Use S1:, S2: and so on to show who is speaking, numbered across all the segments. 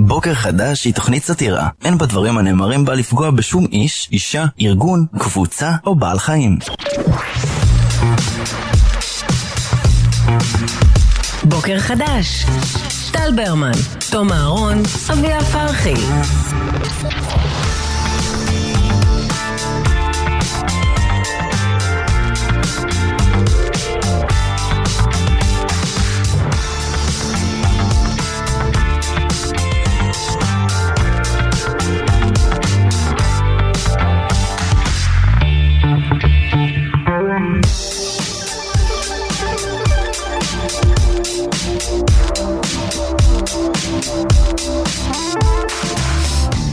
S1: בוקר חדש היא תוכנית סאטירה. אין בדברים הנאמרים בה לפגוע בשום איש, אישה, ארגון, קבוצה או בעל חיים.
S2: בוקר חדש. טל ברמן, תום אהרון, אביה פרחי.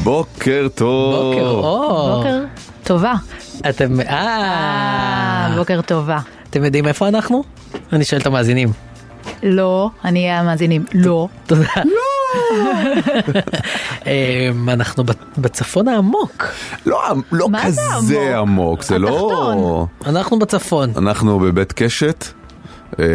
S3: בוקר טוב.
S4: בוקר אור.
S5: בוקר טובה.
S4: אתם, אה,
S5: אה, בוקר טובה.
S4: אתם יודעים איפה אנחנו? אני שואל את המאזינים.
S5: לא, אני אהיה המאזינים. לא.
S4: תודה. אמ, אנחנו ב- בצפון העמוק.
S3: לא, לא
S5: מה זה
S3: כזה
S5: עמוק?
S3: עמוק, זה לא...
S5: התחתון.
S4: אנחנו בצפון.
S3: אנחנו בבית קשת. אה,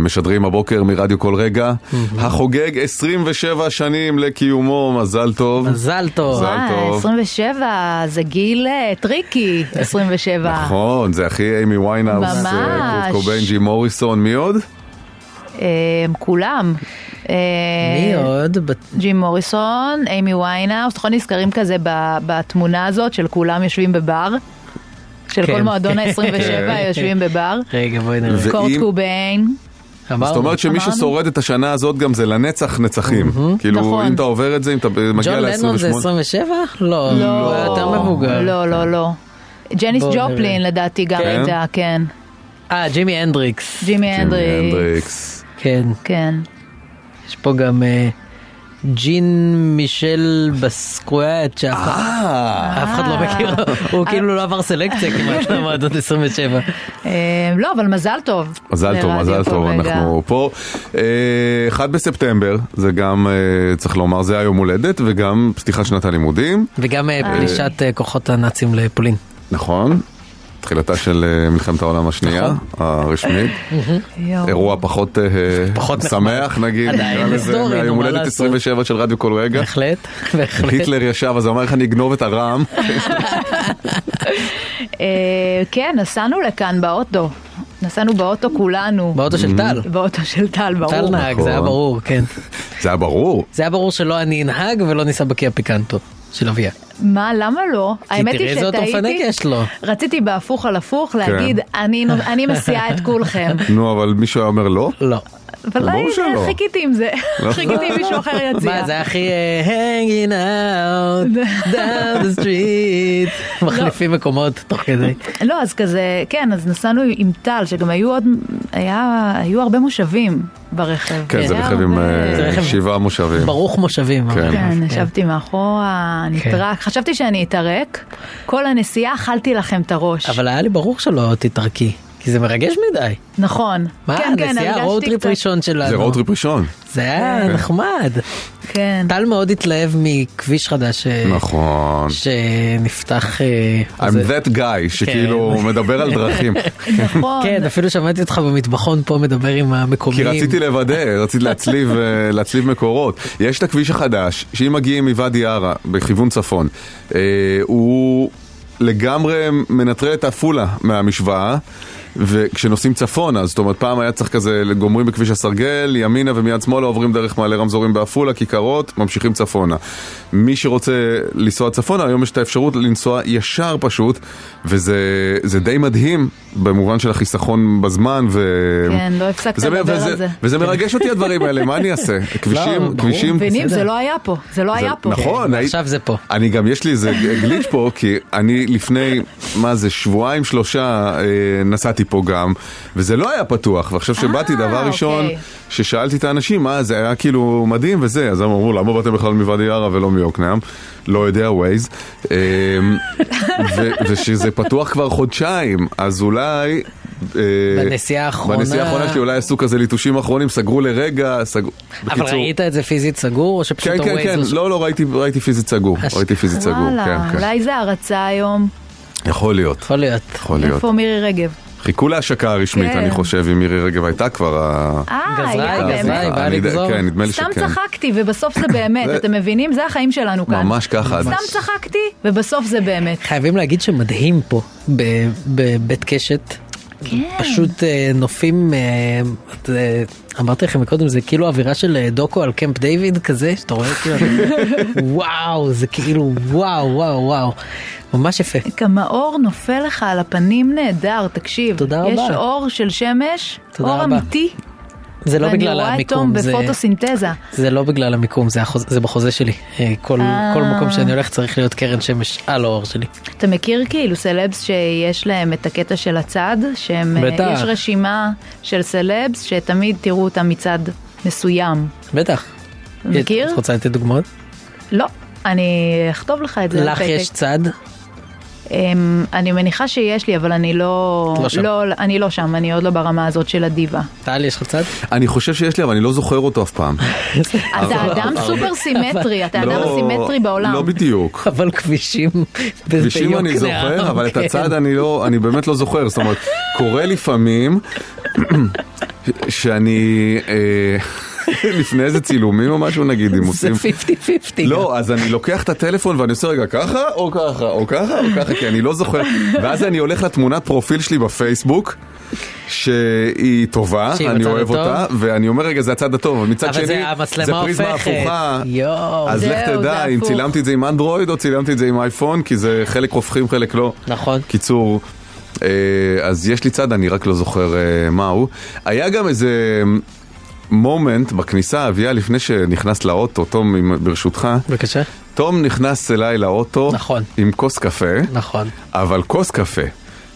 S3: משדרים הבוקר מרדיו כל רגע, החוגג 27 שנים לקיומו, מזל טוב.
S4: מזל טוב.
S3: מזל.
S5: אה,
S3: טוב.
S5: 27, זה גיל אה, טריקי, 27.
S3: נכון, זה הכי אימי ויינאוס,
S5: ממש.
S3: אה, קורט קוביין, ג'י מוריסון, מי עוד?
S5: אה, כולם. אה,
S4: מי עוד? בת-
S5: ג'ים מוריסון, אימי ויינאוס, נכון נזכרים כזה ב- בתמונה הזאת של כולם יושבים בבר? של
S4: כן.
S5: כל מועדון ה-27
S4: כן.
S5: יושבים בבר?
S4: רגע בואי נראה.
S3: ו-
S5: קורט
S3: ואם-
S5: קוביין.
S3: זאת
S4: אמרנו.
S3: אומרת שמי
S5: אמרנו.
S3: ששורד את השנה הזאת גם זה לנצח נצחים. כאילו,
S5: נכון.
S3: אם אתה עובר את זה, אם אתה מגיע
S4: ג'ון לנון זה
S3: ל-28,
S4: 27? לא. הוא היה יותר מבוגר.
S5: לא, לא, לא. ג'ניס
S4: בואו נראה.
S5: ג'ופלין לדעתי גם
S3: כן?
S5: הייתה, כן.
S4: אה, ג'ימי הנדריקס.
S5: ג'ימי הנדרי.
S3: הנדריקס.
S4: כן.
S5: כן.
S4: יש פה גם אה, ג'ין מישל בסקואט, שאף אחד-
S3: אה,
S4: אף אחד לא מכיר. הוא כאילו לא עבר סלקציה כמעט למועדון 27.
S5: אה, לא, אבל מזל טוב.
S3: מזל טוב,
S5: לרדיו
S3: מזל
S5: כל
S3: טוב,
S5: רגע.
S3: אנחנו פה. אה, 1 בספטמבר, זה גם, אה, צריך לומר, זה היום הולדת, וגם פתיחת שנת הלימודים,
S4: וגם אה, פלישת אה, כוחות הנאצים לפולין.
S3: נכון? תחילתה של אה, מלחמת העולם השנייה,
S4: נכון.
S3: הרשמית.
S5: יואו.
S3: אירוע פחות אה,
S4: פחות נחמד.
S3: שמח, נגיד.
S4: עדיין
S3: נקרא לזה,
S4: היסטורי, נו,
S3: מהיום
S4: מה
S3: הולדת
S4: לעשות?
S3: 27 של רדיו כל רגע.
S4: בהחלט, בהחלט. כן.
S3: היטלר ישב, אז הוא אמר איך אני אגנוב את הרעם.
S5: אה, כן, נסענו לכאן באוטו. נסענו באוטו כולנו.
S4: באוטו של טל.
S5: באוטו של טל,
S4: טל
S5: ברור.
S4: נהג, זה היה
S3: נכון.
S4: ברור, כן.
S3: זה היה ברור.
S4: זה היה ברור שלא אני אנהג ולא ניסע בקיה פיקנטו של אביה.
S5: מה, למה לא?
S4: כי תראה איזה אוטו
S5: שטעיתי.
S4: מפנק יש לו.
S5: רציתי בהפוך על הפוך
S3: כן.
S5: להגיד, אני נו- אני מסיעה את כולכם.
S3: נו, אבל מישהו היה אומר לא?
S4: לא.
S5: אבל
S3: ברור
S5: אני-
S3: שלא.
S5: חיכיתי עם זה.
S3: לא.
S5: חיכיתי עם מישהו אחר יציע.
S4: מה זה הכי אה, hanging out down the street. מחליפים מקומות תוך כדי.
S5: לא, אז כזה, כן, אז נסענו עם טל, שגם היו עוד, היה, היו הרבה מושבים ברכב.
S3: כן, זה
S5: היה
S3: רכב עם
S5: הרבה-
S3: אה,
S4: זה רכב-
S3: שבעה מושבים.
S4: ברוך מושבים.
S3: כן.
S4: אבל.
S5: כן, ישבתי מאחורה,
S4: כן.
S5: נטרק, חשבתי שאני אתערק, כל הנסיעה אכלתי לכם את הראש.
S4: אבל היה לי ברור שלא תתערקי. כי זה מרגש מדי.
S5: נכון.
S4: מה,
S5: כן, כן,
S4: נסיעה
S5: הרגשתי
S4: רואו טריפ
S5: קצת-
S4: ראשון שלנו.
S3: זה רוד טריפ ראשון.
S4: זה היה נחמד.
S5: כן.
S4: טל מאוד התלהב מכביש חדש. אה,
S3: נכון.
S4: שנפתח... אה,
S3: I'm
S4: זה-
S3: that guy שכאילו מדבר על דרכים.
S5: נכון.
S4: כן, אפילו שמעתי אותך במטבחון פה מדבר עם
S3: כי
S4: המקומיים.
S3: רציתי לוודא, רציתי להצליב, אה, להצליב מקורות. יש את הכביש החדש, שאם מגיעים מוואדי ערה, בכיוון צפון, אה, הוא לגמרי מנטרל את עפולה מהמשוואה. וכשנוסעים צפונה, זאת אומרת פעם היה צריך כזה, גומרים בכביש הסרגל, ימינה ומיד שמאלה עוברים דרך מעלה רמזורים בעפולה, כיכרות, ממשיכים צפונה. מי שרוצה לנסוע צפונה, היום יש את האפשרות לנסוע ישר פשוט, וזה זה די מדהים במובן של החיסכון בזמן. ו...
S5: כן, לא הפסקת
S3: זה מ-
S5: לדבר
S3: וזה-
S5: על זה.
S3: וזה מרגש אותי הדברים האלה, מה אני אעשה?
S4: ברור.
S3: כבישים, כבישים.
S5: מבינים, זה
S4: בסדר.
S5: לא היה פה, זה לא
S3: זה-
S5: היה פה.
S3: נכון, הי-
S4: עכשיו כן, זה פה.
S3: אני גם, יש לי איזה גליץ' פה, כי אני לפני, מה זה, שבועיים, שלושה, אה, נסעתי פה גם, וזה לא היה פתוח, ועכשיו שבאתי,
S5: אה,
S3: דבר ראשון,
S5: אוקיי.
S3: ששאלתי את האנשים, מה, זה היה כאילו מדהים וזה, אז הם אמרו, למה באתם בכלל מוואדי ערה ולא מיוקנעם? לא יודע, ווייז. אה, ו- ושזה פתוח כבר חודשיים, אז אולי... אה,
S4: בנסיעה האחרונה-
S3: בנסיעה האחרונה שלי אולי עשו כזה ליטושים אחרונים, סגרו לרגע, סגרו...
S4: אבל
S3: בקיצור-
S4: ראית את זה פיזית סגור, או שפשוט
S3: כן, כן,
S4: ה-Waze
S3: כן,
S4: הוא-
S3: לא, לא, ראיתי, ראיתי פיזית סגור,
S4: אש-
S3: ראיתי פיזית סגור,
S5: וואלה,
S3: כן, כן.
S5: אולי זה הרצה היום.
S3: יכול להיות,
S4: יכול להיות.
S3: יכול להיות.
S5: איפה מירי רגב?
S3: חיכו להשקה הרשמית,
S5: כן.
S3: אני חושב, אם מירי רגב הייתה כבר ה... כן,
S5: אה,
S4: גזרה,
S5: היה
S4: גזרה, היא
S5: באמת.
S4: באה
S3: אני-
S4: לגזור.
S3: כן, נדמה לי
S5: סתם
S3: שכן.
S5: צחקתי, ובסוף זה באמת,
S3: זה-
S5: אתם מבינים? זה החיים שלנו כאן.
S3: ממש ככה.
S5: סתם צחקתי, ובסוף זה באמת.
S4: חייבים להגיד שמדהים פה ב- בבית קשת.
S5: כן.
S4: פשוט אה, נופים, אה, את, אה, אמרתי לכם מקודם, זה כאילו אווירה של אה, דוקו על קמפ דיוויד כזה, שאתה רואה כאילו, וואו, זה כאילו וואו, וואו, וואו, ממש יפה.
S5: גם האור נופל לך על הפנים נהדר, תקשיב.
S4: תודה רבה.
S5: יש אור של שמש,
S4: תודה
S5: אור
S4: רבה.
S5: אמיתי,
S4: זה לא
S5: ואני
S4: בגלל
S5: רואה את תום
S4: המיקום, זה,
S5: בפוטוסינתזה.
S4: זה לא בגלל המיקום, זה, החוז, זה בחוזה שלי. אה, כל,
S5: אה.
S4: כל מקום שאני הולך צריך להיות קרן שמש על האור שלי.
S5: אתה מכיר כאילו סלבס שיש להם את הקטע של הצד, שהם...
S4: בטח.
S5: יש רשימה של סלבס שתמיד תראו אותם מצד מסוים.
S4: בטח.
S5: אתה מכיר?
S4: את רוצה לתת דוגמאות?
S5: לא. אני אכתוב לך את זה. על
S4: לך
S5: פתק.
S4: יש צד?
S5: אמ, אני מניחה שיש לי, אבל אני לא...
S4: את לא שם.
S5: לא, אני לא שם, אני עוד לא ברמה הזאת של הדיבה.
S4: טל, יש לך צד?
S3: אני חושב שיש לי, אבל אני לא זוכר אותו אף פעם.
S5: אתה אדם סופר סימטרי, אתה אדם
S3: לא-
S5: סימטרי בעולם.
S3: לא בדיוק.
S4: אבל כבישים. ב-
S3: כבישים אני
S4: ביוקנעם,
S3: זוכר, אבל את
S4: כן.
S3: הצד אני לא, אני באמת לא זוכר. זאת אומרת, קורה לפעמים ש- שאני, אה, לפני איזה צילומים או משהו נגיד, אם
S4: זה
S3: עושים...
S4: 50-50. גם.
S3: לא, אז אני לוקח את הטלפון ואני עושה רגע ככה, או ככה, או ככה, או ככה, כי אני לא זוכר. ואז אני הולך לתמונת פרופיל שלי בפייסבוק. שהיא טובה,
S4: שהיא
S3: אני
S4: בצד
S3: אוהב
S4: הטוב.
S3: אותה, ואני אומר רגע זה הצד הטוב, אבל מצד
S4: אבל
S3: שני,
S4: זה המצלמה
S3: פריזמה
S4: הופכת.
S3: הפוכה,
S4: יואו.
S3: אז
S5: זהו,
S3: לך
S5: זה
S3: תדע אם
S5: הפוך.
S3: צילמתי את זה עם אנדרואיד או צילמתי את זה עם אייפון, כי זה חלק הופכים חלק לא.
S4: נכון.
S3: קיצור, אה, אז יש לי צד, אני רק לא זוכר אה, מהו. היה גם איזה מומנט בכניסה, אביה, לפני שנכנס לאוטו, תום, אם- ברשותך,
S4: בבקשה.
S3: תום נכנס אליי לאוטו
S4: נכון.
S3: עם כוס קפה,
S4: נכון.
S3: אבל כוס קפה,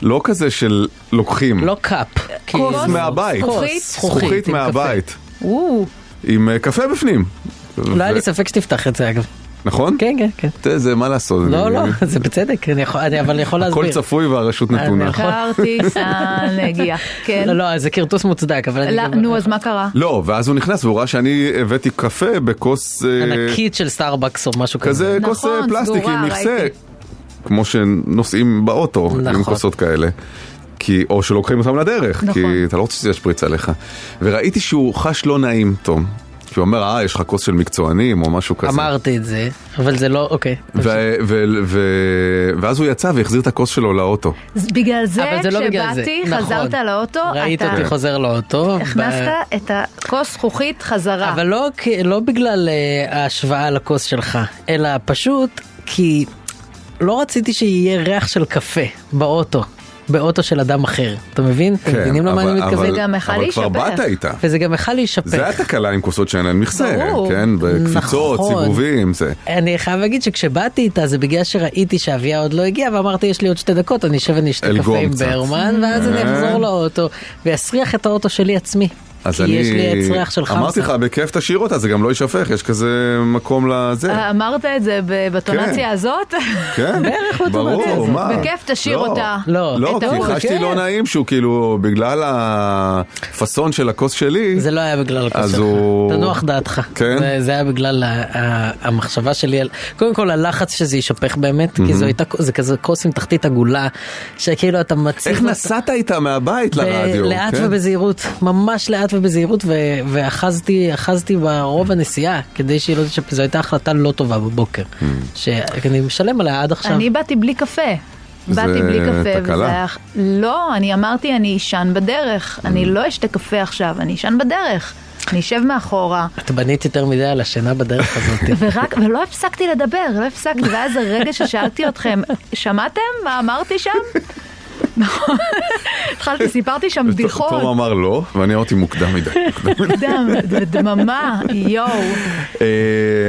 S3: לא כזה של לוקחים.
S4: לא קאפ. כאילו-
S5: כוס
S3: מהבית.
S5: זכוכית?
S3: זכוכית
S4: עם קפה.
S3: מהבית,
S5: או,
S3: עם אה, קפה בפנים.
S4: לא היה
S3: ו-
S4: לי ספק שתפתח את זה אגב.
S3: נכון?
S4: כן, כן, כן.
S3: זה- זה מה לעשות.
S4: לא,
S3: אני-
S4: לא, זה בצדק, אני יכול- אני- אבל אני יכול להסביר.
S3: הכל צפוי והרשות
S4: אה,
S3: נתונה.
S4: נכון.
S5: כרטיסן הגיע. כן.
S4: לא, לא, זה כרטוס מוצדק, אבל אני
S5: לא,
S4: גם...
S5: נו, אז מה קרה?
S3: לא, ואז הוא נכנס והוא ראה שאני הבאתי קפה בכוס... אה,
S4: ענקית של סטארבקס או משהו כזה.
S3: כזה
S5: נכון,
S3: כוס אה, פלסטיק
S5: סגורה,
S3: עם מכסה,
S5: ראיתי.
S3: כמו שנוסעים באוטו עם
S4: נכון.
S3: כוסות כאלה. כי, או שלוקחים אותם לדרך,
S5: נכון.
S3: כי אתה לא רוצה שזה ישפריץ עליך. וראיתי שהוא חש לא נעים, תום. כי הוא אומר, אה, יש לך כוס של מקצוענים או משהו כזה.
S4: אמרתי את זה, אבל זה לא, אוקיי.
S5: אה.
S3: ו- ו- ו- ואז הוא יצא והחזיר את הכוס שלו לאוטו.
S5: אז בגלל זה,
S4: אבל זה לא בגלל זה.
S5: כשבאתי,
S4: נכון.
S5: חזרת לאוטו,
S4: ראית
S5: אתה
S4: אותי חוזר לאוטו. ב-
S5: הכנסת את הכוס זכוכית חזרה.
S4: אבל לא, כ- לא בגלל אה, ההשוואה לכוס שלך, אלא פשוט כי לא רציתי שיהיה ריח של קפה באוטו, באוטו של אדם אחר. אתה מבין? אתם מבינים למה אני
S3: כן, אבל-
S4: מתכוון?
S5: זה גם יכל
S3: אבל כבר
S5: להישפך.
S3: באת איתה.
S4: וזה גם יכל להישפך.
S3: זה התקלה עם כוסות שאין להן מכסה,
S5: ברור.
S3: כן? בקפיצות,
S4: נכון.
S3: סיבובים, זה.
S4: אני חייב להגיד שכשבאתי איתה זה בגלל שראיתי שאביה עוד לא הגיעה ואמרתי יש לי עוד שתי דקות אני אשב ונשתה קפה
S3: אלגום
S4: עם
S3: קצת.
S4: ברמן ואז אני
S3: אה.
S4: אחזור לאוטו ואסריח את האוטו שלי עצמי.
S3: אז
S4: כי
S3: אני...
S4: יש לי את סריח של חמסה.
S3: אמרתי לך, בכיף תשאיר אותה, זה גם לא יישפך, יש כזה מקום לזה.
S4: אמ-
S5: אה, אמרת את זה ב- בטונציה
S3: כן.
S5: הזאת?
S3: כן,
S4: בערך בטובתי
S3: ברור,
S4: הזאת.
S3: מה?
S5: בכיף תשאיר
S3: לא.
S5: אותה.
S4: לא.
S3: לא,
S5: את ההוא,
S3: כי חשתי
S4: כן.
S3: לא נעים שהוא כאילו, בגלל הפאסון של הכוס שלי,
S4: זה לא היה בגלל הכוס
S3: אז
S4: שלך,
S3: הוא-
S4: תנוח דעתך.
S3: כן?
S4: זה, זה היה בגלל ה- ה- המחשבה שלי, על... קודם כל הלחץ שזה יישפך באמת, כי זו הייתה, זה כזה כוס עם תחתית עגולה, שכאילו אתה מציב...
S3: איך
S4: אותה-
S3: נסעת איתה מהבית
S4: ב-
S3: לרדיו?
S4: לאט
S3: כן?
S4: ובזהירות, ממש לאט ובזהירות, ו- ואחזתי אחזתי ברוב הנסיעה כדי שהיא לא תשפר, זו הייתה החלטה לא טובה בבוקר,
S3: Hmm.
S4: שאני משלם עליה עד עכשיו.
S5: אני באתי בלי קפה.
S3: זה
S5: באתי בלי קפה,
S3: תקלה.
S5: וזה היה... לא, אני אמרתי, אני אשן בדרך. אני לא אשתה קפה עכשיו, אני אשן בדרך. אני אשב מאחורה,
S4: את בנית יותר מדי על השינה בדרך הזאת.
S5: ורק, ולא הפסקתי לדבר, לא הפסקתי, ואז הרגע ששאלתי אתכם, שמעתם מה אמרתי שם? נכון. התחלתי, סיפרתי שם
S3: תום
S5: בדיחות,
S3: אמר לא, ואני אמרתי מוקדם מדי.
S5: דם, דממה, יואו.
S3: אה,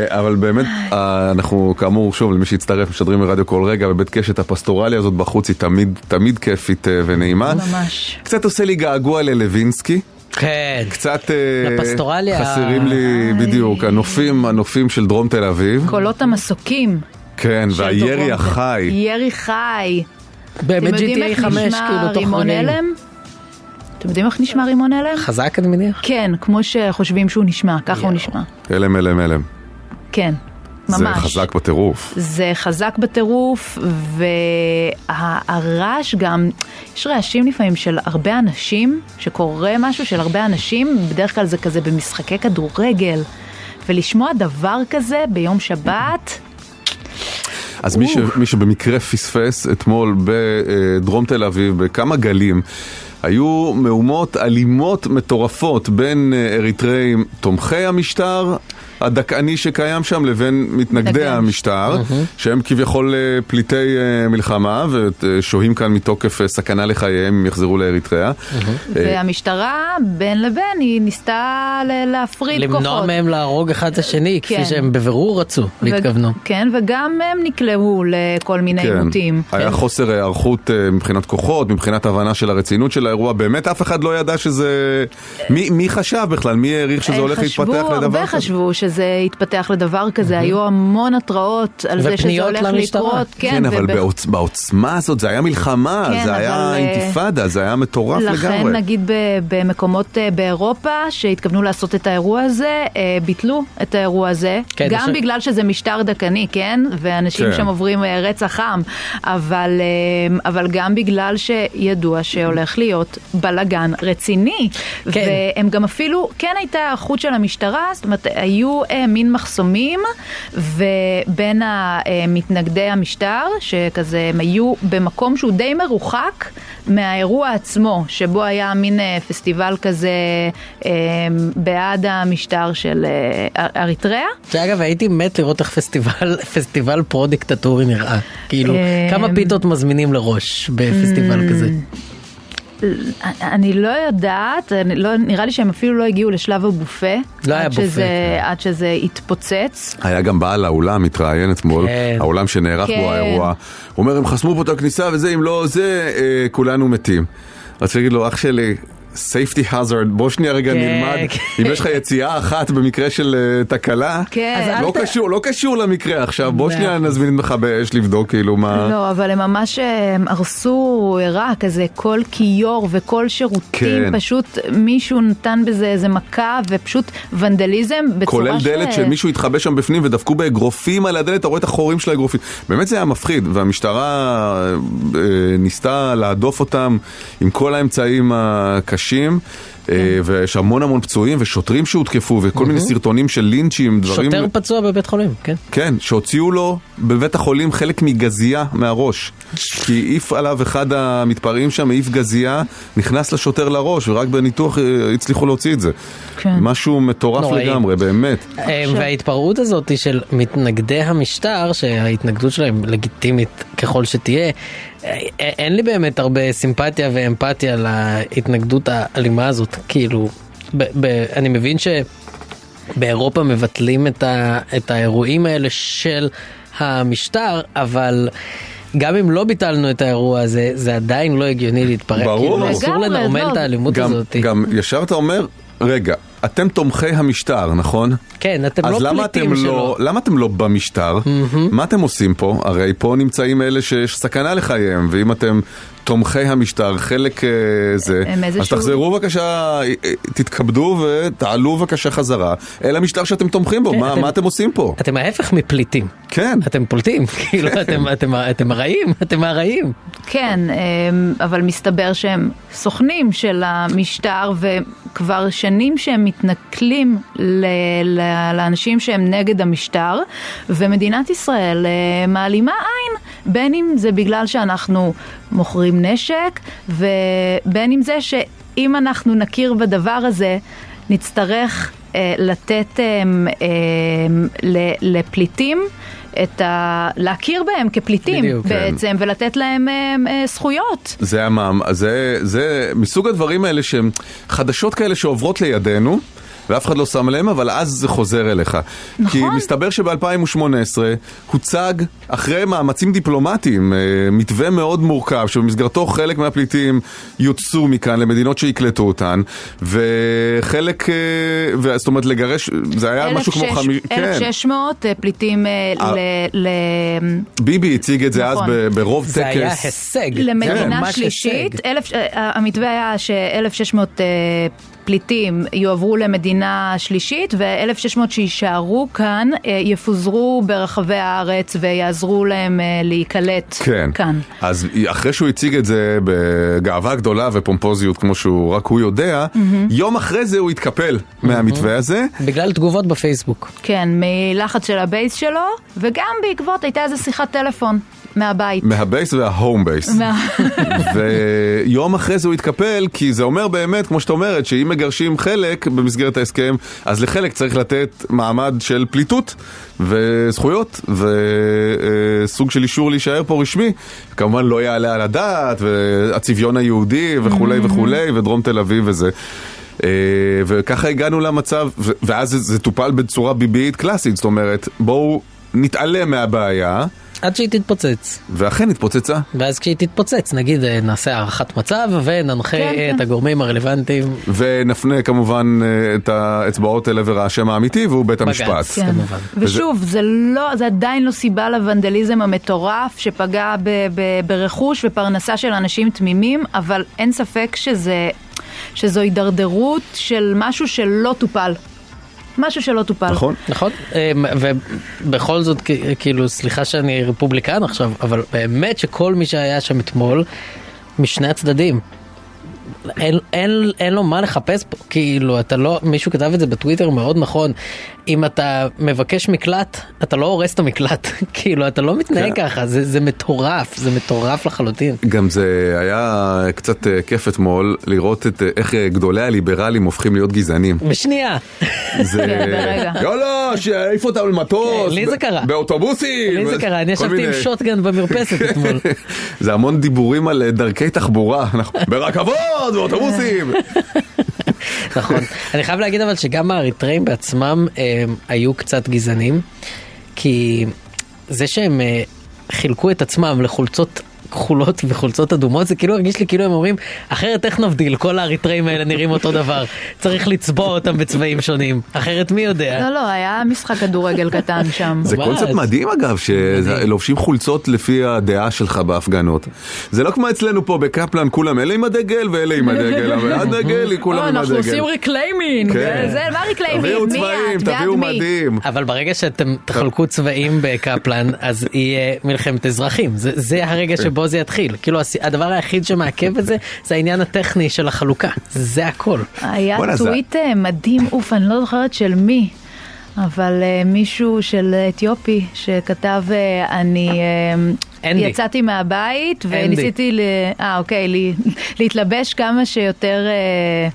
S3: אבל באמת, אה, אנחנו כאמור, שוב, למי שהצטרף, משדרים מרדיו כל רגע, בבית קשת הפסטורליה הזאת בחוץ היא תמיד, תמיד כיפית אה, ונעימה.
S5: ממש.
S3: קצת עושה לי געגוע ללווינסקי.
S4: כן,
S3: קצת אה,
S4: לפסטורליה.
S3: חסרים לי
S5: איי.
S3: בדיוק הנופים הנופים של דרום תל אביב
S5: קולות המסוקים.
S3: כן
S5: של
S3: והירי
S5: דורון.
S3: החי
S5: ירי חי.
S4: באמת
S5: אתם יודעים איך
S4: GTA 5 כאילו
S5: נשמע
S4: תוך
S5: רימון
S4: רגעים.
S5: הלם? אתם יודעים איך נשמע רימון הלם?
S4: חזק אני מניח.
S5: כן, כמו שחושבים שהוא נשמע, ככה הוא נשמע.
S3: הלם הלם הלם
S5: כן. ממש.
S3: זה חזק בטירוף.
S5: זה חזק בטירוף, והרעש גם, יש רעשים לפעמים של הרבה אנשים, שקורה משהו של הרבה אנשים, בדרך כלל זה כזה במשחקי כדורגל, ולשמוע דבר כזה ביום שבת,
S3: אז מי, ש, מי שבמקרה פספס אתמול בדרום תל אביב, בכמה גלים, היו מהומות אלימות מטורפות בין אה, אריתריאים תומכי המשטר הדכאני שקיים שם לבין מתנגדי
S5: מתנגדי
S3: המשטר, שהם כביכול אה, פליטי אה, מלחמה ושוהים כאן מתוקף אה, סכנה לחייהם אם יחזרו לאריתריאה. אה,
S5: והמשטרה בין לבין היא ניסתה ל- להפריד כוחות.
S4: למנוע מהם להרוג אחד את השני, כפי
S5: כן.
S4: שהם בבירור רצו והתכוונו.
S5: ו- כן, וגם הם נקלעו לכל מיני עימותים.
S3: כן. היה חוסר היערכות אה, מבחינת כוחות, מבחינת הבנה של הרצינות של האירוע. באמת אף אחד לא ידע שזה... מי, מי חשב בכלל? מי העריך שזה
S5: הם
S3: הולך
S5: חשבו,
S3: להתפתח לדבר
S5: הרבה חשבו שזה יתפתח לדבר כזה, היו המון התראות על זה שזה
S4: ופניות
S5: הולך
S4: למשטרה.
S5: לקרות.
S3: כן, אבל
S5: ובח-
S3: בעוצ... בעוצמה הזאת, זה היה מלחמה,
S5: כן,
S3: זה היה
S5: אבל, אה,
S3: אינתיפאדה, זה היה מטורף
S5: לכן
S3: לגמרי.
S5: נגיד ב- במקומות אה, באירופה שהתכוונו לעשות את האירוע הזה, אה, ביטלו את האירוע הזה,
S4: כן,
S5: גם
S4: יש-
S5: בגלל שזה משטר דכאני, כן? ואנשים
S3: כן.
S5: שם עוברים אה, רצח עם, אבל, אה, אבל גם בגלל שידוע שהולך להיות בלגן רציני.
S4: כן.
S5: והם גם אפילו, כן הייתה היערכות של המשטרה, זאת אומרת, היו אה, מין מחסומים, ובין המתנגדי המשטר, שכזה הם היו במקום שהוא די מרוחק מהאירוע עצמו, שבו היה מין אה, פסטיבל כזה אה, בעד המשטר של אה, אר- אריתריאה.
S4: שאגב הייתי מת לראות איך פסטיבל, פסטיבל פרו דיקטטורי נראה. כאילו,
S5: אה,
S4: כמה פיתות מזמינים לראש
S5: Mm.
S4: בפסטיבל כזה.
S5: אני לא יודעת, אני לא, נראה לי שהם אפילו לא הגיעו לשלב הבופה.
S4: לא היה
S5: עד
S4: בופה,
S5: שזה, עד שזה התפוצץ.
S3: היה גם בעל האולם, התראיין אתמול,
S4: כן.
S3: האולם שנערך
S5: כן.
S3: בו האירוע. הוא אומר, הם חסמו פה את הכניסה וזה, אם לא זה, אה, כולנו מתים. רציתי להגיד לו, אח שלי... סייפטי hazard, בוא שנייה רגע
S4: כן,
S3: נלמד,
S4: כן.
S3: אם יש לך יציאה אחת במקרה של אה, תקלה,
S5: כן. אז
S4: אל
S3: לא
S4: ת-
S3: קשור, לא קשור למקרה עכשיו, בוא
S4: מאה
S3: שנייה נזמין את מכבי אש לבדוק כאילו מה...
S5: לא, אבל הם ממש אה, הם הרסו, הראה כזה כל כיור וכל שירותים,
S3: כן.
S5: פשוט מישהו נתן בזה איזה מכה ופשוט ונדליזם בצורה
S3: כולל דלת
S5: ש-
S3: שמישהו התחבא שם בפנים ודפקו באגרופים על הדלת, אתה רואה את החורים של האגרופים. באמת זה היה מפחיד, והמשטרה אה, ניסתה להדוף אותם עם כל האמצעים הקשים, אה, ויש המון המון פצועים ושוטרים שהותקפו, וכל מיני סרטונים של לינצ'ים, דברים...
S4: שוטר פצוע בבית חולים, כן.
S3: כן, שהוציאו לו בבית החולים חלק מגזייה מהראש. כי העיף עליו אחד המתפרעים שם, העיף גזייה, נכנס לשוטר לראש, ורק בניתוח אה, הצליחו להוציא את זה.
S5: כן.
S3: משהו מטורף
S4: נוראי.
S3: לגמרי, באמת.
S4: אה, וההתפרעות הזאת היא של מתנגדי המשטר, שההתנגדות שלהם לגיטימית ככל שתהיה, אה, אה, אין לי באמת הרבה סימפתיה ואמפתיה להתנגדות האלימה הזאת. כאילו, ב- ב- אני מבין שבאירופה מבטלים את, ה- את האירועים האלה של המשטר, אבל... גם אם לא ביטלנו את האירוע הזה, זה עדיין לא הגיוני להתפרק.
S3: ברור.
S4: כאילו, אסור
S5: לגמרי,
S4: לנרמל
S5: לא.
S4: את האלימות
S3: גם,
S4: הזאת.
S3: גם ישר אתה אומר, רגע, אתם תומכי המשטר, נכון?
S4: כן, אתם
S3: אז
S4: לא
S3: למה
S4: פליטים
S3: אתם
S4: שלו.
S3: לא, למה אתם לא במשטר? מה אתם עושים פה? הרי פה נמצאים אלה שיש סכנה לחייהם, ואם אתם תומכי המשטר, חלק אה, זה,
S5: הם
S3: אז
S5: איזשהו-
S3: תחזרו בבקשה, אה, אה, תתכבדו ותעלו בבקשה חזרה אל המשטר שאתם תומכים בו,
S4: כן,
S3: מה
S4: אתם-
S3: מה אתם עושים פה?
S4: אתם ההפך מפליטים.
S3: כן.
S4: אתם פולטים, כאילו אתם, אתם, אתם הרעים, אתם הרעים.
S5: כן, אמ, אבל מסתבר שהם סוכנים של המשטר, וכבר שנים שהם מתנכלים ל- ל- לאנשים שהם נגד המשטר, ומדינת ישראל אה, מעלימה עין, בין אם זה בגלל שאנחנו מוכרים נשק, ובין אם זה שאם אנחנו נכיר בדבר הזה, נצטרך אה, לתת אמ, אמ, ל- לפליטים. את ה... להכיר בהם כפליטים
S4: בדיוק.
S5: בעצם. בעצם ולתת להם אה, אה, זכויות.
S3: זה המע"מ, זה, זה מסוג הדברים האלה שהם חדשות כאלה שעוברות לידינו. ואף אחד לא שם עליהם, אבל אז זה חוזר אליך.
S5: נכון.
S3: כי מסתבר שב-2018 הוצג, אחרי מאמצים דיפלומטיים, אה, מתווה מאוד מורכב, שבמסגרתו חלק מהפליטים יוצאו מכאן למדינות שיקלטו אותן, וחלק, אה, ו- זאת אומרת לגרש, זה היה אה, משהו כמו כן.
S5: 1,600,
S3: חמיש...
S5: 1,600 אה, פליטים אה,
S3: אה.
S5: ל... ל...
S3: ביבי הציג את זה אז
S5: נכון.
S3: ב- ברוב
S4: זה
S3: טקס. כן.
S4: היה הישג. זה היה
S5: למדינה
S4: ממש
S5: שלישית,
S4: הישג.
S5: אלף, אה, המתווה היה ש-1,600 אה, פליטים יועברו למדינה שלישית, ו-1,600 שיישארו כאן אה, יפוזרו ברחבי הארץ ויעזרו להם אה, להיקלט
S3: כן.
S5: כאן.
S3: אז אחרי שהוא הציג את זה בגאווה גדולה ופומפוזיות כמו שהוא רק הוא יודע, יום אחרי זה הוא התקפל מהמתווה הזה.
S4: בגלל תגובות בפייסבוק.
S5: כן, מלחץ של הבייס שלו, וגם בעקבות הייתה איזו שיחת טלפון מהבית.
S3: מהבייס וההום בייס.
S5: מה-
S3: ויום אחרי זה הוא התקפל, כי זה אומר באמת, כמו שאת אומרת, שאם מגרשים חלק במסגרת ההסכם, אז לחלק צריך לתת מעמד של פליטות וזכויות, וסוג של אישור להישאר פה רשמי. כמובן לא יעלה על הדעת, והצביון היהודי וכולי
S4: Mm-hmm.
S3: וכולי, ודרום תל אביב וזה. אה, וככה הגענו למצב, ו- ואז זה, זה טופל בצורה ביביית קלאסית, זאת אומרת, בואו נתעלם מהבעיה,
S4: עד שהיא תתפוצץ.
S3: ואכן התפוצצה.
S4: ואז כשהיא תתפוצץ, נגיד אה, נעשה הערכת מצב וננחה
S5: כן, כן.
S4: את הגורמים הרלוונטיים.
S3: ונפנה כמובן אה, את האצבעות אל עבר האשם האמיתי, והוא בית
S4: בג"ץ.
S3: המשפט.
S4: כן. כמובן.
S5: ושוב, זה לא, זה עדיין לא סיבה לוונדליזם המטורף שפגע ב, ב, ברכוש ופרנסה של אנשים תמימים, אבל אין ספק שזה, שזו הידרדרות של משהו שלא טופל. משהו שלא טופל.
S3: נכון?
S4: נכון, אמ, ובכל זאת, כ- כאילו, סליחה שאני רפובליקן עכשיו, אבל באמת שכל מי שהיה שם אתמול, משני הצדדים, אין, אין, אין לו מה לחפש פה, כאילו, אתה לא, מישהו כתב את זה בטוויטר מאוד נכון, אם אתה מבקש מקלט, אתה לא הורס את המקלט, כאילו, אתה לא מתנהג
S3: כן.
S4: ככה, זה, זה מטורף, זה מטורף לחלוטין.
S3: גם זה היה קצת אה, כיף אתמול לראות את, אה, איך אה, גדולי הליברלים הופכים להיות גזענים.
S4: בשנייה,
S3: זה... לא,
S5: כן, ברגע.
S3: יאללה, שיעיף אותם למטוס.
S4: כן, לי זה
S3: ב-
S4: קרה.
S3: באוטובוסים.
S4: לי זה קרה, אני
S3: כל
S4: ישבתי עם
S3: מיני-
S4: שוטגן במרפסת אתמול.
S3: זה המון דיבורים על אה, דרכי תחבורה, אנחנו- ברכבות, באוטובוסים.
S4: נכון. אני חייב להגיד אבל שגם האריתראים בעצמם הם, היו קצת גזענים, כי זה שהם אה, חילקו את עצמם לחולצות... כחולות וחולצות אדומות זה כאילו הרגיש לי כאילו הם אומרים אחרת איך נבדיל כל האריתראים האלה נראים אותו דבר צריך לצבוע אותם בצבעים שונים אחרת מי יודע
S5: לא, לא, היה משחק כדורגל קטן שם.
S3: זה
S4: ממש.
S3: קונספט מדהים אגב, שלובשים חולצות לפי הדעה שלך בהפגנות. זה לא כמו אצלנו פה בקפלן, כולם אלה עם הדגל ואלה עם הדגל, אבל הדגל היא כולם
S5: "אה,
S3: עם
S5: אנחנו
S3: הדגל.
S5: עושים ריקליימינג,
S3: כן.
S5: זה, מה
S3: תביאו
S5: ריקליימינג? מי
S3: צבעים,
S5: את? בעד
S3: תביאו
S5: מי?
S3: מדים.
S4: אבל ברגע שאתם תחלקו צבעים בקפלן, אז יהיה מלחמת אזרחים. זה, זה הרגע שבו זה יתחיל. כאילו, הס- הדבר היחיד שמעכב את זה, זה העניין הטכני של החלוקה. זה הכל.
S5: היה
S3: וואלה, זה-
S5: טוויט אה, מדהים, אוף, אני לא זוכרת של מי, אבל אה, מישהו של אתיופי שכתב, אה, אני אה,
S4: אנדי.
S5: יצאתי מהבית
S4: אנדי.
S5: וניסיתי, ל- אה אוקיי, ל- להתלבש כמה שיותר, אה,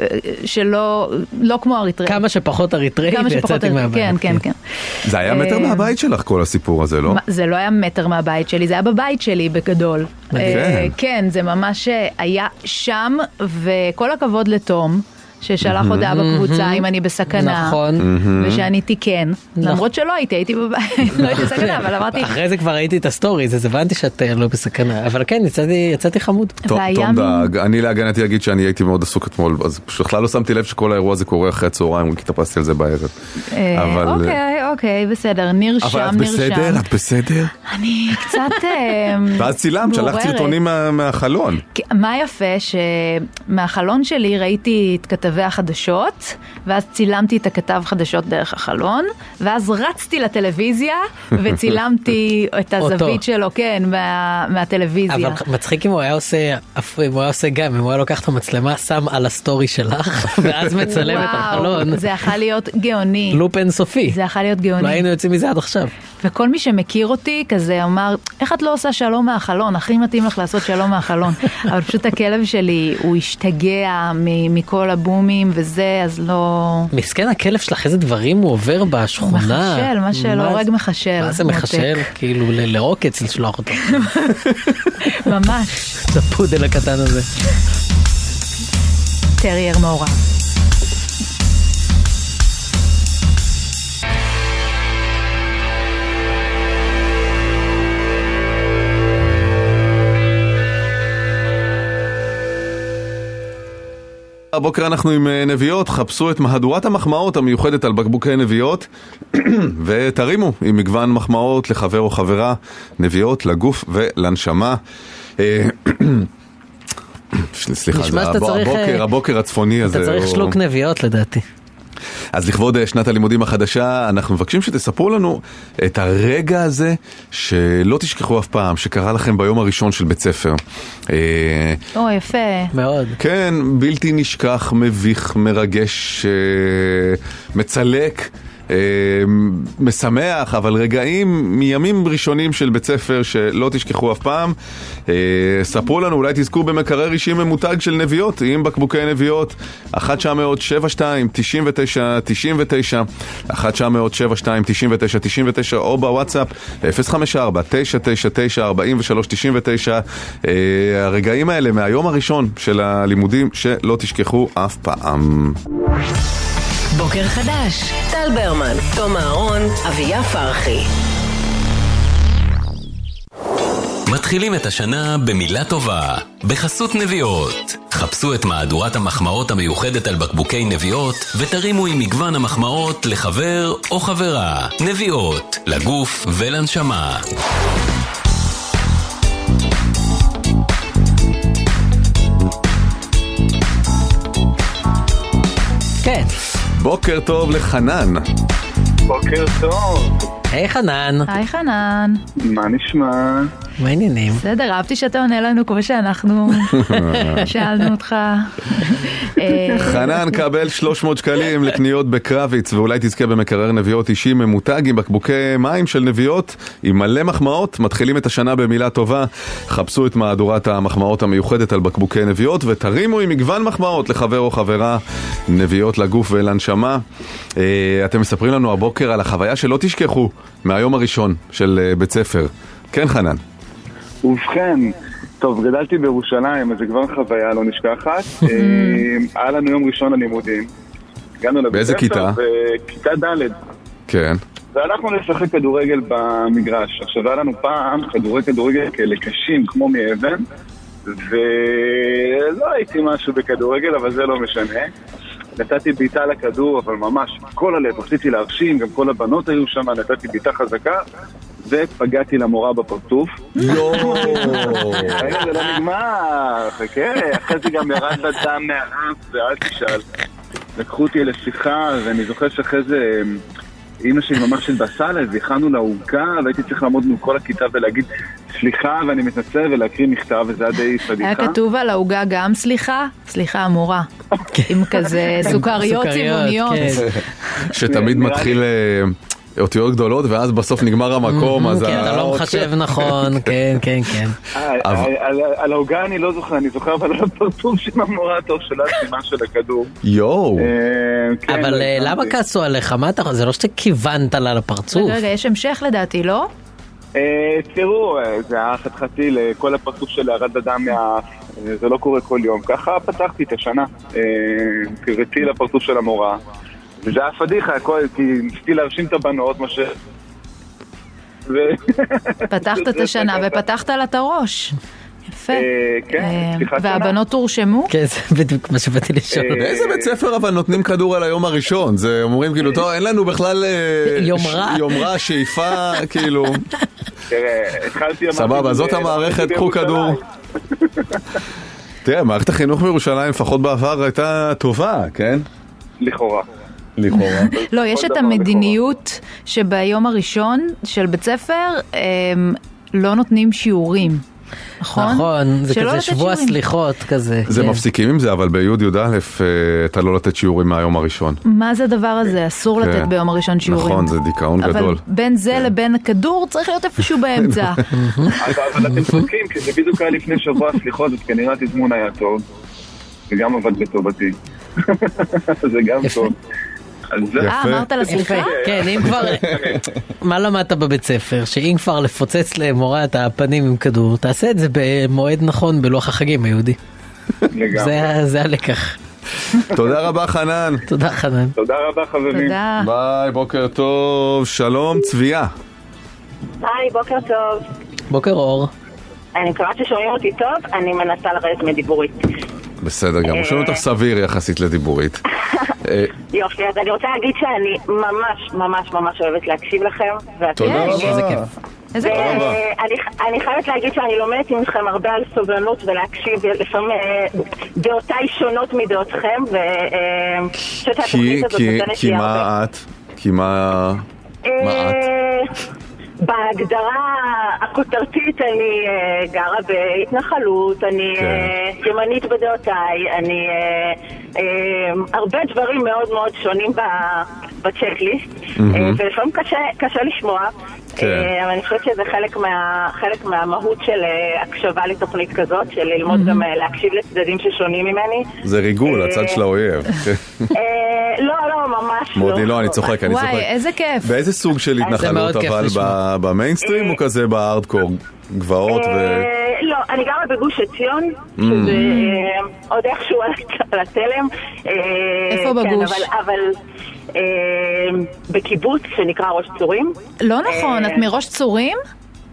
S5: אה, שלא, לא כמו אריתריאים.
S4: כמה שפחות אריתראי
S5: כמה שפחות
S4: ויצאתי
S5: אריתריאים.
S4: מהבית.
S5: כן, כן, כן.
S3: זה היה מטר
S5: אה,
S3: מהבית שלך כל הסיפור הזה, לא?
S5: מה, זה לא היה מטר מהבית שלי, זה היה בבית שלי בגדול.
S3: מדהים.
S5: אה, כן, זה ממש אה, היה שם, וכל הכבוד לתום. ששלח הודעה בקבוצה אם אני בסכנה,
S4: נכון.
S5: ושאני תיקן,
S4: נכון.
S5: למרות שלא הייתי, הייתי בבית, לא הייתי בסכנה, אבל אמרתי,
S4: אחרי זה כבר ראיתי את הסטוריז, אז הבנתי שאת אה, לא בסכנה. אבל כן, יצאתי, יצאתי חמוד.
S3: תום
S5: והיה
S3: תום
S5: מין-
S3: דאג, אני להגנתי אגיד שאני הייתי מאוד עסוק אתמול, אז פשוט בכלל לא שמתי לב שכל האירוע הזה קורה אחרי הצהריים, כי התאפסתי על זה בערב.
S5: אה,
S3: אבל-
S5: אוקיי, אוקיי, בסדר, נרשם,
S3: אבל את
S5: נרשם.
S3: בסדר? את בסדר?
S5: אני קצת... אה,
S3: ואז צילמת, שלחת
S5: מעורערת.
S3: סרטונים מה- מהחלון.
S5: כי- מה יפה שמהחלון שלי ראיתי את כתבי החדשות, ואז צילמתי את הכתב חדשות דרך החלון, ואז רצתי לטלוויזיה וצילמתי את
S4: אותו.
S5: הזווית שלו, כן, מה, מהטלוויזיה.
S4: אבל מצחיק אם הוא היה עושה, אפ- אם הוא היה עושה גם, אם הוא היה לוקח את המצלמה, שם על הסטורי שלך, ואז מצלם את החלון.
S5: וואו, זה יכול להיות גאוני.
S4: לופ אינסופי.
S5: זה יכול להיות
S4: לא
S5: גאוני.
S4: היינו יוצאים מזה עד עכשיו.
S5: וכל מי שמכיר אותי כזה אמר, איך את לא עושה שלום מהחלון? הכי מתאים לך לעשות שלום מהחלון. אבל פשוט הכלב שלי, הוא השתגע מ- מכל הבומים וזה, אז לא...
S4: מסכן הכלב שלך, איזה דברים הוא עובר בשכונה.
S5: מחשל, מה שלא
S4: זה-
S5: הורג מחשל,
S4: מה זה
S5: מותק.
S4: מחשל? כאילו ל- לעוקץ לשלוח אותו.
S5: ממש
S4: את הפודל הקטן הזה.
S3: כן,
S5: טרייר מעורב.
S3: הבוקר אנחנו עם אה, נביעות, חפשו את מהדורת המחמאות המיוחדת על בקבוקי נביעות ותרימו עם מגוון מחמאות לחבר או חברה, נביעות לגוף ולנשמה. אה, סליחה,
S4: נשמע
S3: זה
S4: שאתה
S3: הבו-
S4: צריך,
S3: הבוקר,
S4: אה,
S3: הבוקר הצפוני הזה.
S4: אתה צריך
S3: הוא-
S4: שלוק נביעות לדעתי.
S3: אז לכבוד אה, שנת הלימודים החדשה, אנחנו מבקשים שתספרו לנו את הרגע הזה שלא תשכחו אף פעם, שקרה לכם ביום הראשון של בית ספר. אה,
S5: או, יפה.
S4: מאוד.
S3: כן, בלתי נשכח, מביך, מרגש, אה, מצלק, אה, משמח, אבל רגעים מימים ראשונים של בית ספר שלא תשכחו אף פעם. אה, ספרו לנו, אולי תזכו במקרר אישי ממותג של נביעות, עם בקבוקי נביעות, 1-900-72-99-99, 1-900-72-99-99, או בוואטסאפ, 054-999-4399. אה, הרגעים האלה מהיום הראשון של הלימודים שלא תשכחו אף פעם.
S2: בוקר חדש, טל ברמן, תום אהרון, אביה פרחי.
S6: מתחילים את השנה במילה טובה, בחסות נביעות. חפשו את מהדורת המחמאות המיוחדת על בקבוקי נביעות, ותרימו עם מגוון המחמאות לחבר או חברה. נביעות, לגוף ולנשמה.
S4: כן.
S3: בוקר טוב לחנן.
S7: בוקר
S8: כן.
S7: טוב,
S4: היי חנן,
S5: היי חנן.
S7: מה נשמע?
S4: מה העניינים?
S5: בסדר, אהבתי שאתה עונה לנו כמו שאנחנו שאלנו אותך. אה,
S3: חנן, קבל 300 שקלים לקניות בקרביץ, ואולי תזכה במקרר נביעות אישי ממותג עם בקבוקי מים של נביעות, עם מלא מחמאות, מתחילים את השנה במילה טובה. חפשו את מהדורת המחמאות המיוחדת על בקבוקי נביעות, ותרימו עם מגוון מחמאות לחבר או חברה, נביעות לגוף ולנשמה. אה, אתם מספרים לנו הבוקר על החוויה שלא תשכחו מהיום הראשון של אה, בית ספר. כן, חנן.
S7: ובכן, טוב, גדלתי בירושלים, אז זה כבר חוויה לא נשכחת. אה, היה לנו יום ראשון ללימודים. הגענו לבית
S3: באיזה
S7: ספר,
S3: כיתה?
S7: בכיתה ד',
S3: כן.
S7: והלכנו לשחק כדורגל במגרש. עכשיו, היה לנו פעם כדורי כדורגל כאלה קשים, כמו מאבן, ולא הייתי משהו בכדורגל, אבל זה לא משנה. נתתי בעיטה לכדור, אבל ממש, כל הלב, רציתי להרשים, גם כל הבנות היו שם, נתתי בעיטה חזקה, ופגעתי למורה בפרצוף. רגע, זה לא נגמר, חכה, אחרי זה גם ירד לה דם מהאף, ואל תשאל. לקחו אותי לשיחה, ואני זוכר שאחרי זה אימא שלי ממש התבשרה עליי, והכנו לה עוגה, והייתי צריך לעמוד מול כל הכיתה ולהגיד סליחה, ואני מתנצל, ולהקריא מכתב, וזה היה די אה? פדיחה.
S5: היה כתוב על העוגה גם סליחה, סליחה המורה. עם כזה
S7: כן.
S5: סוכריות צבעוניות.
S4: כן.
S3: שתמיד
S7: נראה
S3: מתחיל אה, אותיות גדולות, ואז בסוף נגמר המקום, אז...
S4: כי אתה לא
S3: האות-
S4: מחשב נכון, כן, כן, כן.
S7: אה,
S3: אבל-
S7: על- על- על העוגה אני לא זוכר, אני זוכר אבל על הפרצוף של המורה תוך שלב סימן של הכדור.
S3: יואו,
S7: אה, כן,
S4: אבל
S7: לא
S4: אה, למה
S7: הבנתי.
S4: כעסו עליך? מה אתה... זה לא שאתה כיוונת לה לפרצוף.
S5: רגע, רגע, יש המשך לדעתי, לא?
S7: אה, תראו, אה, זה היה חתחתי לכל הפרצוף של ירד אדם מהאף, אה, זה לא קורה כל יום. ככה פתחתי את השנה, אה, קראתי לפרצוף של המורה. וזה היה פדיחה, הכל, כי ניסיתי להרשים את הבנות, מה ש... ו-
S5: פתחת את השנה ופתחת לה את הראש. יפה.
S7: אה, כן,
S5: אה,
S7: פתיחת שנה.
S5: והבנות הורשמו?
S4: כן, זה בדיוק מה שבאתי לשאול.
S7: אה,
S3: באיזה בית ספר אבל נותנים כדור על היום הראשון? זה אומרים כאילו, טוב, אין לנו בכלל... אה,
S4: יומרה.
S3: ש- יומרה, שאיפה, כאילו,
S7: תראה, התחלתי... אמרתי,
S3: סבבה, זאת
S7: אה,
S3: המערכת,
S7: הייתי
S3: קחו
S7: בירושלים.
S3: כדור. תראה, מערכת החינוך בירושלים, לפחות בעבר, הייתה טובה, כן?
S7: לכאורה.
S3: לכאורה.
S5: לא, יש
S7: כל
S5: את
S7: דבר
S5: המדיניות שביום הראשון של בית ספר אמ, לא נותנים שיעורים. נכון?
S4: נכון, זה
S5: שלא
S4: כזה
S5: לתת
S4: שבוע
S5: שיעורים.
S4: סליחות כזה.
S3: זה
S4: כן.
S3: מפסיקים עם זה, אבל בי'-י"א אה, אתה לא לתת שיעורים מהיום הראשון.
S5: מה זה הדבר הזה? אסור
S3: כן.
S5: לתת ביום הראשון שיעורים.
S3: נכון, זה דיכאון גדול.
S5: אבל בין זה לבין הכדור צריך להיות איפשהו באמצע.
S7: אבל אבל אתם צודקים, כי זה בדיוק היה לפני שבוע, סליחות, אז כנראה התזמון היה טוב. זה גם עבד בטובתי. זה גם טוב. אז זה...
S5: אה,
S3: יפה.
S5: אמרת לה
S4: יפה,
S5: סליחה?
S4: כן, אם כבר... מה למדת בבית ספר? שאם כבר לפוצץ למורה את הפנים עם כדור, תעשה את זה במועד נכון בלוח החגים היהודי.
S7: לגמרי.
S4: זה ה- זה הלקח.
S3: תודה רבה, חנן.
S4: תודה חנן.
S7: תודה רבה חברים.
S5: תודה.
S3: ביי, בוקר טוב, שלום, צביה.
S9: היי, בוקר טוב.
S4: בוקר
S5: כן,
S4: אור.
S9: אני מקווה ששומעים אותי טוב, אני מנסה לרדת מדיבורית. אה.
S3: בסדר גמור, שומעים אותך סביר יחסית לדיבורית. אה,
S9: יופי, אז אני רוצה להגיד שאני ממש ממש ממש אוהבת להקשיב לכם. ואתם-
S3: תודה
S5: יש,
S4: איזה
S3: רבה.
S4: כיף.
S5: איזה
S9: ו-
S5: כיף.
S3: רבה.
S9: אני- אני חייבת להגיד שאני לומדת ממכם הרבה על סובלנות ולהקשיב, לפעמים אה, דעותיי שונות מדעותכם, ואני חושבת
S3: כי,
S9: שהתוכנית הזאת
S3: כי,
S9: נותנת
S3: כי
S9: לי הרבה.
S3: מה את? כי מה... מה את?
S9: אה, בהגדרה הכותרתית אני אה, גרה בהתנחלות, אני
S3: כן.
S9: אה, ימנית בדעותיי, אני אה, אה, הרבה דברים מאוד מאוד שונים ב- בצ'קליסט, אה, ולפעמים קשה, קשה לשמוע.
S3: Mm-hmm. כן.
S9: אה, אבל אני חושבת שזה חלק, מה, חלק מהמהות של אה, הקשבה לתוכנית כזאת, של
S3: Mm-hmm.
S9: ללמוד גם אה, להקשיב לצדדים ששונים ממני.
S3: זה ריגול, הצד של האויב.
S9: אה, לא, לא, ממש לא.
S3: מודי, לא, אני צוחק, אני
S5: וואי,
S3: צוחק.
S5: איזה כיף.
S3: באיזה סוג של התנחלות,
S4: מאוד כיף
S3: אבל
S4: לשמוע.
S3: ב- במיינסטרים או כזה בהארדקור? גבעות ו...
S9: אה, לא, אני גרה בגוש עציון, שזה אה, עוד איכשהו על הת- על התלם. אה,
S5: איפה
S9: כן,
S5: בגוש?
S9: אבל- אבל אה, בקיבוץ שנקרא ראש צורים.
S5: לא נכון,
S9: אה,
S5: את מראש צורים?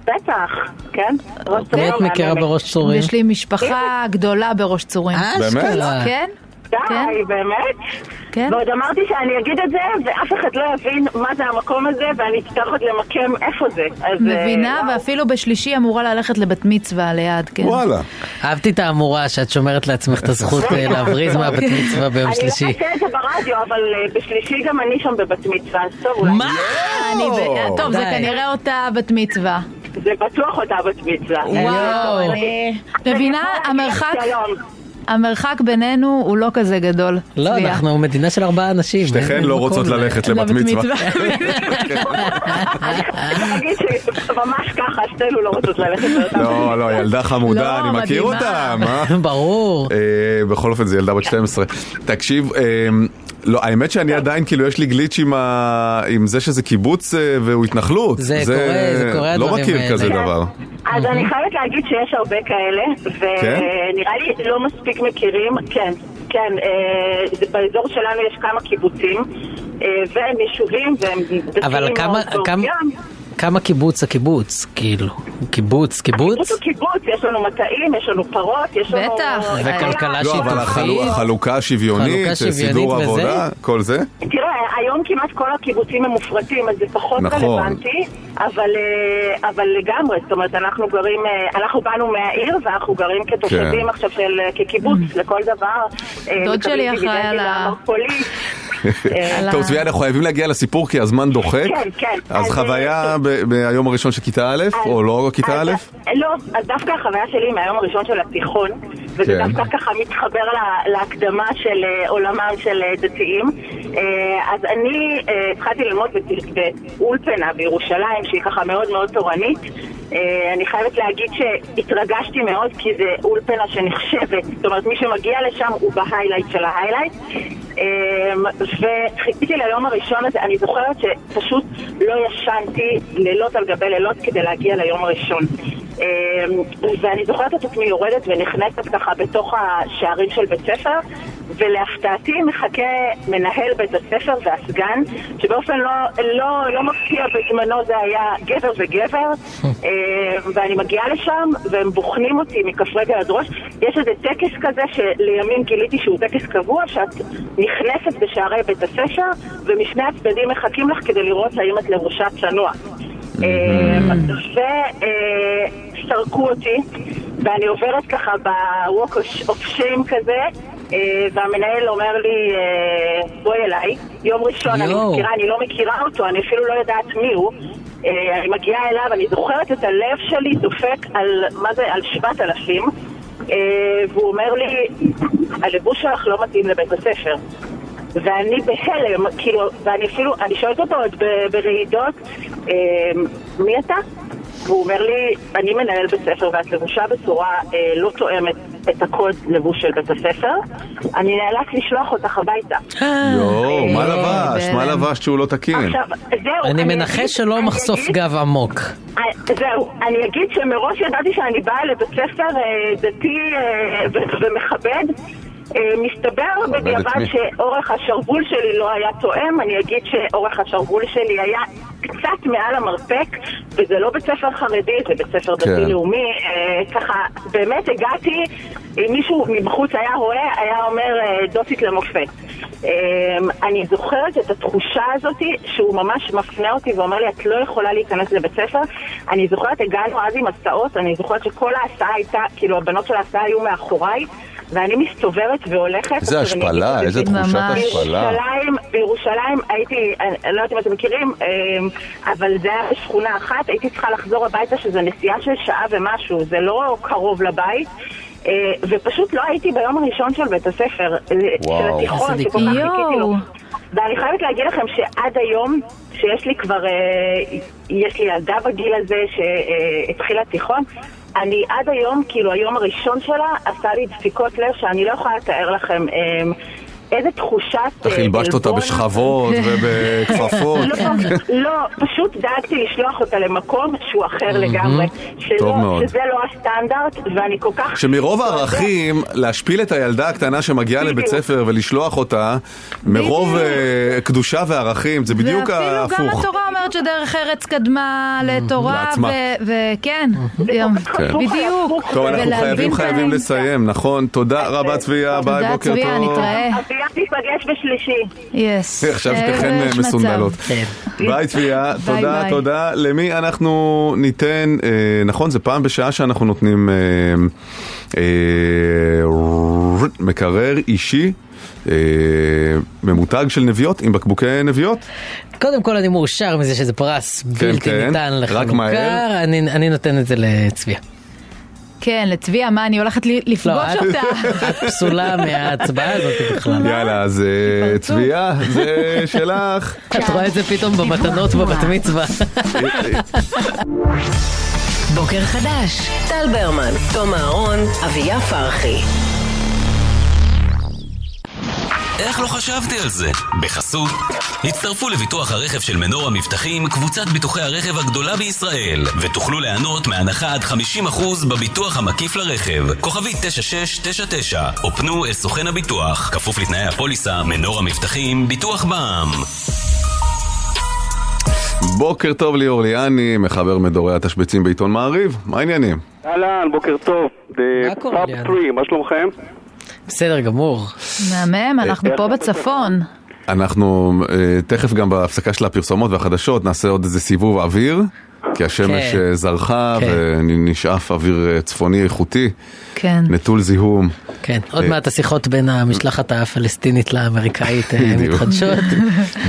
S9: בטח, כן? ראש
S4: מי
S9: צורים
S4: את מכירה
S9: מהממת.
S4: בראש צורים?
S5: יש לי משפחה גדולה בראש צורים.
S4: אשכרה.
S5: כן?
S9: די,
S5: כן.
S9: באמת?
S5: כן.
S9: ועוד אמרתי שאני אגיד את זה, ואף אחד לא יבין מה זה המקום הזה, ואני אצטרך עוד למקם איפה זה. אז, אה,
S5: מבינה,
S9: וואו.
S5: ואפילו בשלישי אמורה ללכת לבת מצווה ליד, כן.
S3: וואלה.
S4: אהבתי את האמורה שאת שומרת לעצמך את הזכות אה, להבריז מהבת מצווה ביום
S9: אני
S4: שלישי.
S9: לא אעשה את זה ברדיו, אבל אה, בשלישי גם אני שם בבת מצווה, אז טוב, אולי.
S4: מה?
S5: אני ב- אה, טוב, זה
S4: די.
S5: כנראה אותה בת מצווה.
S9: זה בטוח אותה בת מצווה.
S5: וואו, אני... מבינה, המרחק...
S9: שלום.
S5: המרחק בינינו הוא לא כזה גדול.
S4: לא,
S5: צביה.
S4: אנחנו מדינה של ארבעה אנשים.
S3: שתיכן
S4: אין
S3: לא
S4: מקום
S3: רוצות
S4: ל-
S3: ללכת לבת מצווה.
S9: תגיד שממש ככה, שתינו לא רוצות ללכת לאותה
S3: לא, לא, ילדה
S5: לא,
S3: חמודה, אני מכיר
S5: מדהימה.
S3: אותה, מה?
S4: ברור. כן.
S3: אה, בכל אופן, זו ילדה בת 12. תקשיב, אה, לא, האמת שאני עדיין, כאילו, יש לי גליץ' עם ה- עם זה שזה קיבוץ אה, והוא התנחלות.
S4: זה קורה, זה קורה,
S3: לא
S4: הדברים
S3: מכיר
S4: האלה.
S3: כזה
S9: כן.
S3: דבר.
S9: אז אני חייבת להגיד שיש הרבה כאלה,
S3: כן?
S9: ונראה לי לא מספיק מכירים, כן, כן, אה, זה- באזור שלנו יש כמה קיבוצים, אה, והם יישובים, והם דתיים
S4: אבל כמה,
S9: מאוד
S4: כמה,
S9: באופיים.
S4: כמה קיבוץ הקיבוץ? כאילו, קיבוץ,
S9: הקיבוץ
S4: קיבוץ?
S9: הוא קיבוץ, יש לנו מטעים, יש לנו פרות, יש לנו...
S5: בטח.
S4: וכלכלה
S3: לא, אבל החלו-
S4: שיתופית.
S3: החלוקה השוויונית,
S4: חלוקה שוויונית
S3: סידור
S4: וזה?
S3: עבודה, כל זה.
S9: תראה, היום כמעט כל הקיבוצים הם מופרטים, אז זה פחות
S3: נכון.
S9: רלוונטי, אבל, אה, אבל לגמרי, זאת אומרת, אנחנו גרים, אה, אנחנו באנו מהעיר ואנחנו גרים כתושבים
S3: כן.
S9: עכשיו של, אה, כקיבוץ לכל דבר. אה,
S5: Mm. דוד
S9: מקבלים
S5: שלי אחראי
S9: דיבידנדים
S5: על ה-
S9: מהמרכולים. אה,
S5: על
S3: טוב,
S5: ה-
S3: צביה, אנחנו חייבים להגיע לסיפור כי הזמן דוחק.
S9: כן, כן.
S3: אז
S9: אז,
S3: חוויה
S9: אה,
S3: ב- ביום הראשון של כיתה א', או לא כיתה
S9: אז-
S3: א'?
S9: לא, אז דווקא החוויה שלי היא מהיום הראשון של התיכון, וזה
S3: כן.
S9: דווקא ככה מתחבר לה- להקדמה של אה, עולמם של אה, דתיים. אה, אז אני אה, התחלתי ללמוד בת- באולפנה בירושלים, שהיא ככה מאוד מאוד תורנית. אה, אני חייבת להגיד שהתרגשתי מאוד, כי זה אולפנה שנחשבת, זאת אומרת מי שמגיע לשם הוא בהיילייט של ההיילייט. אמ, וחיכיתי ליום הראשון הזה, אני זוכרת שפשוט לא ישנתי לילות על גבי לילות כדי להגיע ליום הראשון. אמ, ואני זוכרת את עצמי יורדת ונכנסת ככה בתוך השערים של בית ספר, ולהפתעתי מחכה מנהל בית הספר והסגן, שבאופן לא, לא, לא מפתיע בזמנו זה היה גבר וגבר, אמ, ואני מגיעה לשם והם בוחנים אותי מכף רגל עד ראש. יש איזה טקס כזה שלימים גיליתי שהוא טקס קבוע, שאת נכנסת בשערי בית הספר, ומשני הצדדים מחכים לך כדי לראות האם את לבושה צנוע. אה, וסרקו אה, אותי, ואני עוברת ככה ב-Walk of Shame כזה, אה, והמנהל אומר לי, אה, בואי אליי. יום ראשון, אני
S4: יואו.
S9: מזכירה, אני לא מכירה אותו, אני אפילו לא יודעת מי הוא. אה, אני מגיעה אליו, אני זוכרת את הלב שלי דופק על, מה זה, על 7,000. אה, והוא אומר לי, הלבוש שלך לא מתאים לבית הספר. ואני בהלם, כאילו, ואני אפילו, אני שואלת אותו עוד ב- ברעידות, אה, מי אתה? והוא אומר לי, אני מנהל בית ספר ואת לבושה בצורה אה, לא תואמת את הקוד לבוש של בית הספר, אני נאלץ לשלוח אותך הביתה.
S3: יואו, לא,
S4: אה,
S3: מה לבש? מה
S5: בהלם.
S3: לבש שהוא לא תקין?
S9: אה, עכשיו, זהו.
S4: אני
S9: אגיד-
S4: מנחש שלא
S9: אני
S4: מחשוף
S9: אגיד-
S4: גב עמוק.
S9: אה, זהו, אני אגיד שמראש ידעתי שאני באה לבית ספר אה, דתי אה, ו- ומכבד. אה, מסתבר
S3: מכבד את
S9: בדיעבד
S3: מי?
S9: שאורך השרוול שלי לא היה תואם, אני אגיד שאורך השרוול שלי היה קצת מעל המרפק, וזה לא בית ספר חרדי, זה בית ספר
S3: כן.
S9: דתי-לאומי. אה, ככה, באמת הגעתי, אם מישהו מבחוץ היה רואה, היה אומר אה, דותית למופת. אה, אני זוכרת את התחושה הזאת שהוא ממש מפנה אותי ואומר לי, את לא יכולה להיכנס לבית ספר. אני זוכרת, הגענו אז עם הסעות, אני זוכרת שכל ההסעה הייתה, כאילו הבנות של ההסעה היו מאחוריי. ואני מסתובבת והולכת.
S3: איזה
S9: עכשיו, אני
S3: השפלה,
S9: אגיד לך,
S3: איזה תחושת
S5: ממש.
S3: השפלה.
S9: בירושלים, בירושלים הייתי, אני אני לא יודעת אם אתם מכירים, אמ, אבל זה היה בשכונה אחת, הייתי צריכה לחזור הביתה שזה נסיעה של שעה ומשהו, זה לא קרוב לבית. אה, ופשוט לא הייתי ביום הראשון של בית הספר, אה, של
S3: וואו.
S9: התיכון,
S4: איזה
S9: שכל כך חיכיתי לו.
S5: יואו.
S9: ואני חייבת להגיד לכם שעד היום, שיש לי כבר, אה, יש לי ילדה בגיל הזה שהתחילה תיכון, אני עד היום, כאילו היום הראשון שלה, עשה לי דפיקות לב שאני לא יכולה לתאר לכם אה, איזה תחושת...
S3: אתה
S9: אה,
S3: חילבשת אותה
S9: עלבון.
S3: בשכבות ובכפפות.
S9: לא, לא, פשוט דאגתי לשלוח אותה למקום שהוא אחר לגמרי. שלא-
S3: טוב מאוד.
S9: שזה לא הסטנדרט, ואני כל כך...
S5: לא,
S3: שמרוב הערכים, להשפיל את הילדה הקטנה שמגיעה לבית
S9: בדיוק.
S3: ספר ולשלוח אותה, מרוב
S5: בדיוק.
S3: אה, קדושה וערכים, זה בדיוק
S5: ואפילו גם
S3: ההפוך.
S5: התורה אומרת שדרך ארץ קדמה לתורה,
S3: לעצמה.
S5: ו- וכן,
S3: כן.
S5: בדיוק.
S3: טוב, אנחנו
S5: ולהבין
S3: חייבים
S5: את
S3: חייבים
S5: האמצע.
S3: לסיים, נכון? תודה רבה צביה,
S5: תודה,
S3: ביי, בוקר
S5: צביה,
S3: טוב.
S5: נתראה.
S9: אביה תיפגש בשלישי.
S5: יס.
S3: עכשיו שתיכן
S5: איזה
S3: אה,
S5: מצב.
S3: מסונדלות.
S4: כן.
S3: ביי צביה, תודה,
S5: ביי.
S3: תודה. למי אנחנו ניתן, אה, נכון, זה פעם בשעה שאנחנו נותנים אה, אה, רוט, מקרר אישי. אה, ממותג של נביעות עם בקבוקי נביעות.
S4: קודם כל אני מאושר מזה שזה פרס בלתי
S3: כן.
S4: ניתן
S3: רק מהר.
S4: לחנוכה, אני- אני נותן את זה לצביה.
S5: כן, לצביה, מה, אני הולכת ל- לפגוש
S4: לא, את-
S5: אותה.
S4: את פסולה מההצבעה הזאת בכלל.
S3: יאללה, אז אה,
S5: פרצוף.
S3: צביה, זה שלך.
S4: את רואה את זה פתאום במתנות בבת מצווה.
S2: בוקר חדש, טל ברמן, תום אהרון, אביה פרחי.
S6: איך לא חשבתי על זה? בחסות, הצטרפו לביטוח הרכב של מנור המבטחים, קבוצת ביטוחי הרכב הגדולה בישראל, ותוכלו ליהנות מהנחה עד 50% בביטוח המקיף לרכב, כוכבית 9699, או פנו אל סוכן הביטוח, כפוף לתנאי הפוליסה, מנור המבטחים, ביטוח בע"מ.
S3: בוקר טוב ליאור ליאני, מחבר מדורי התשבצים בעיתון מעריב, מה העניינים?
S8: אהלן, בוקר טוב. אה,
S4: מה קורה,
S8: פאפ
S4: ליאן?
S8: 3, מה שלומכם?
S4: בסדר גמור.
S5: מהמם, אנחנו פה בצפון.
S3: אנחנו אה, תכף גם בהפסקה של הפרסומות והחדשות נעשה עוד איזה סיבוב אוויר, כי השמש
S4: כן.
S3: אה, זרחה
S4: כן.
S3: ונשאף אוויר אה, צפוני איכותי,
S5: כן.
S3: נטול זיהום.
S4: כן, עוד
S3: אה,
S4: מעט השיחות בין המשלחת הפלסטינית לאמריקאית אה,
S3: בדיוק.
S4: מתחדשות.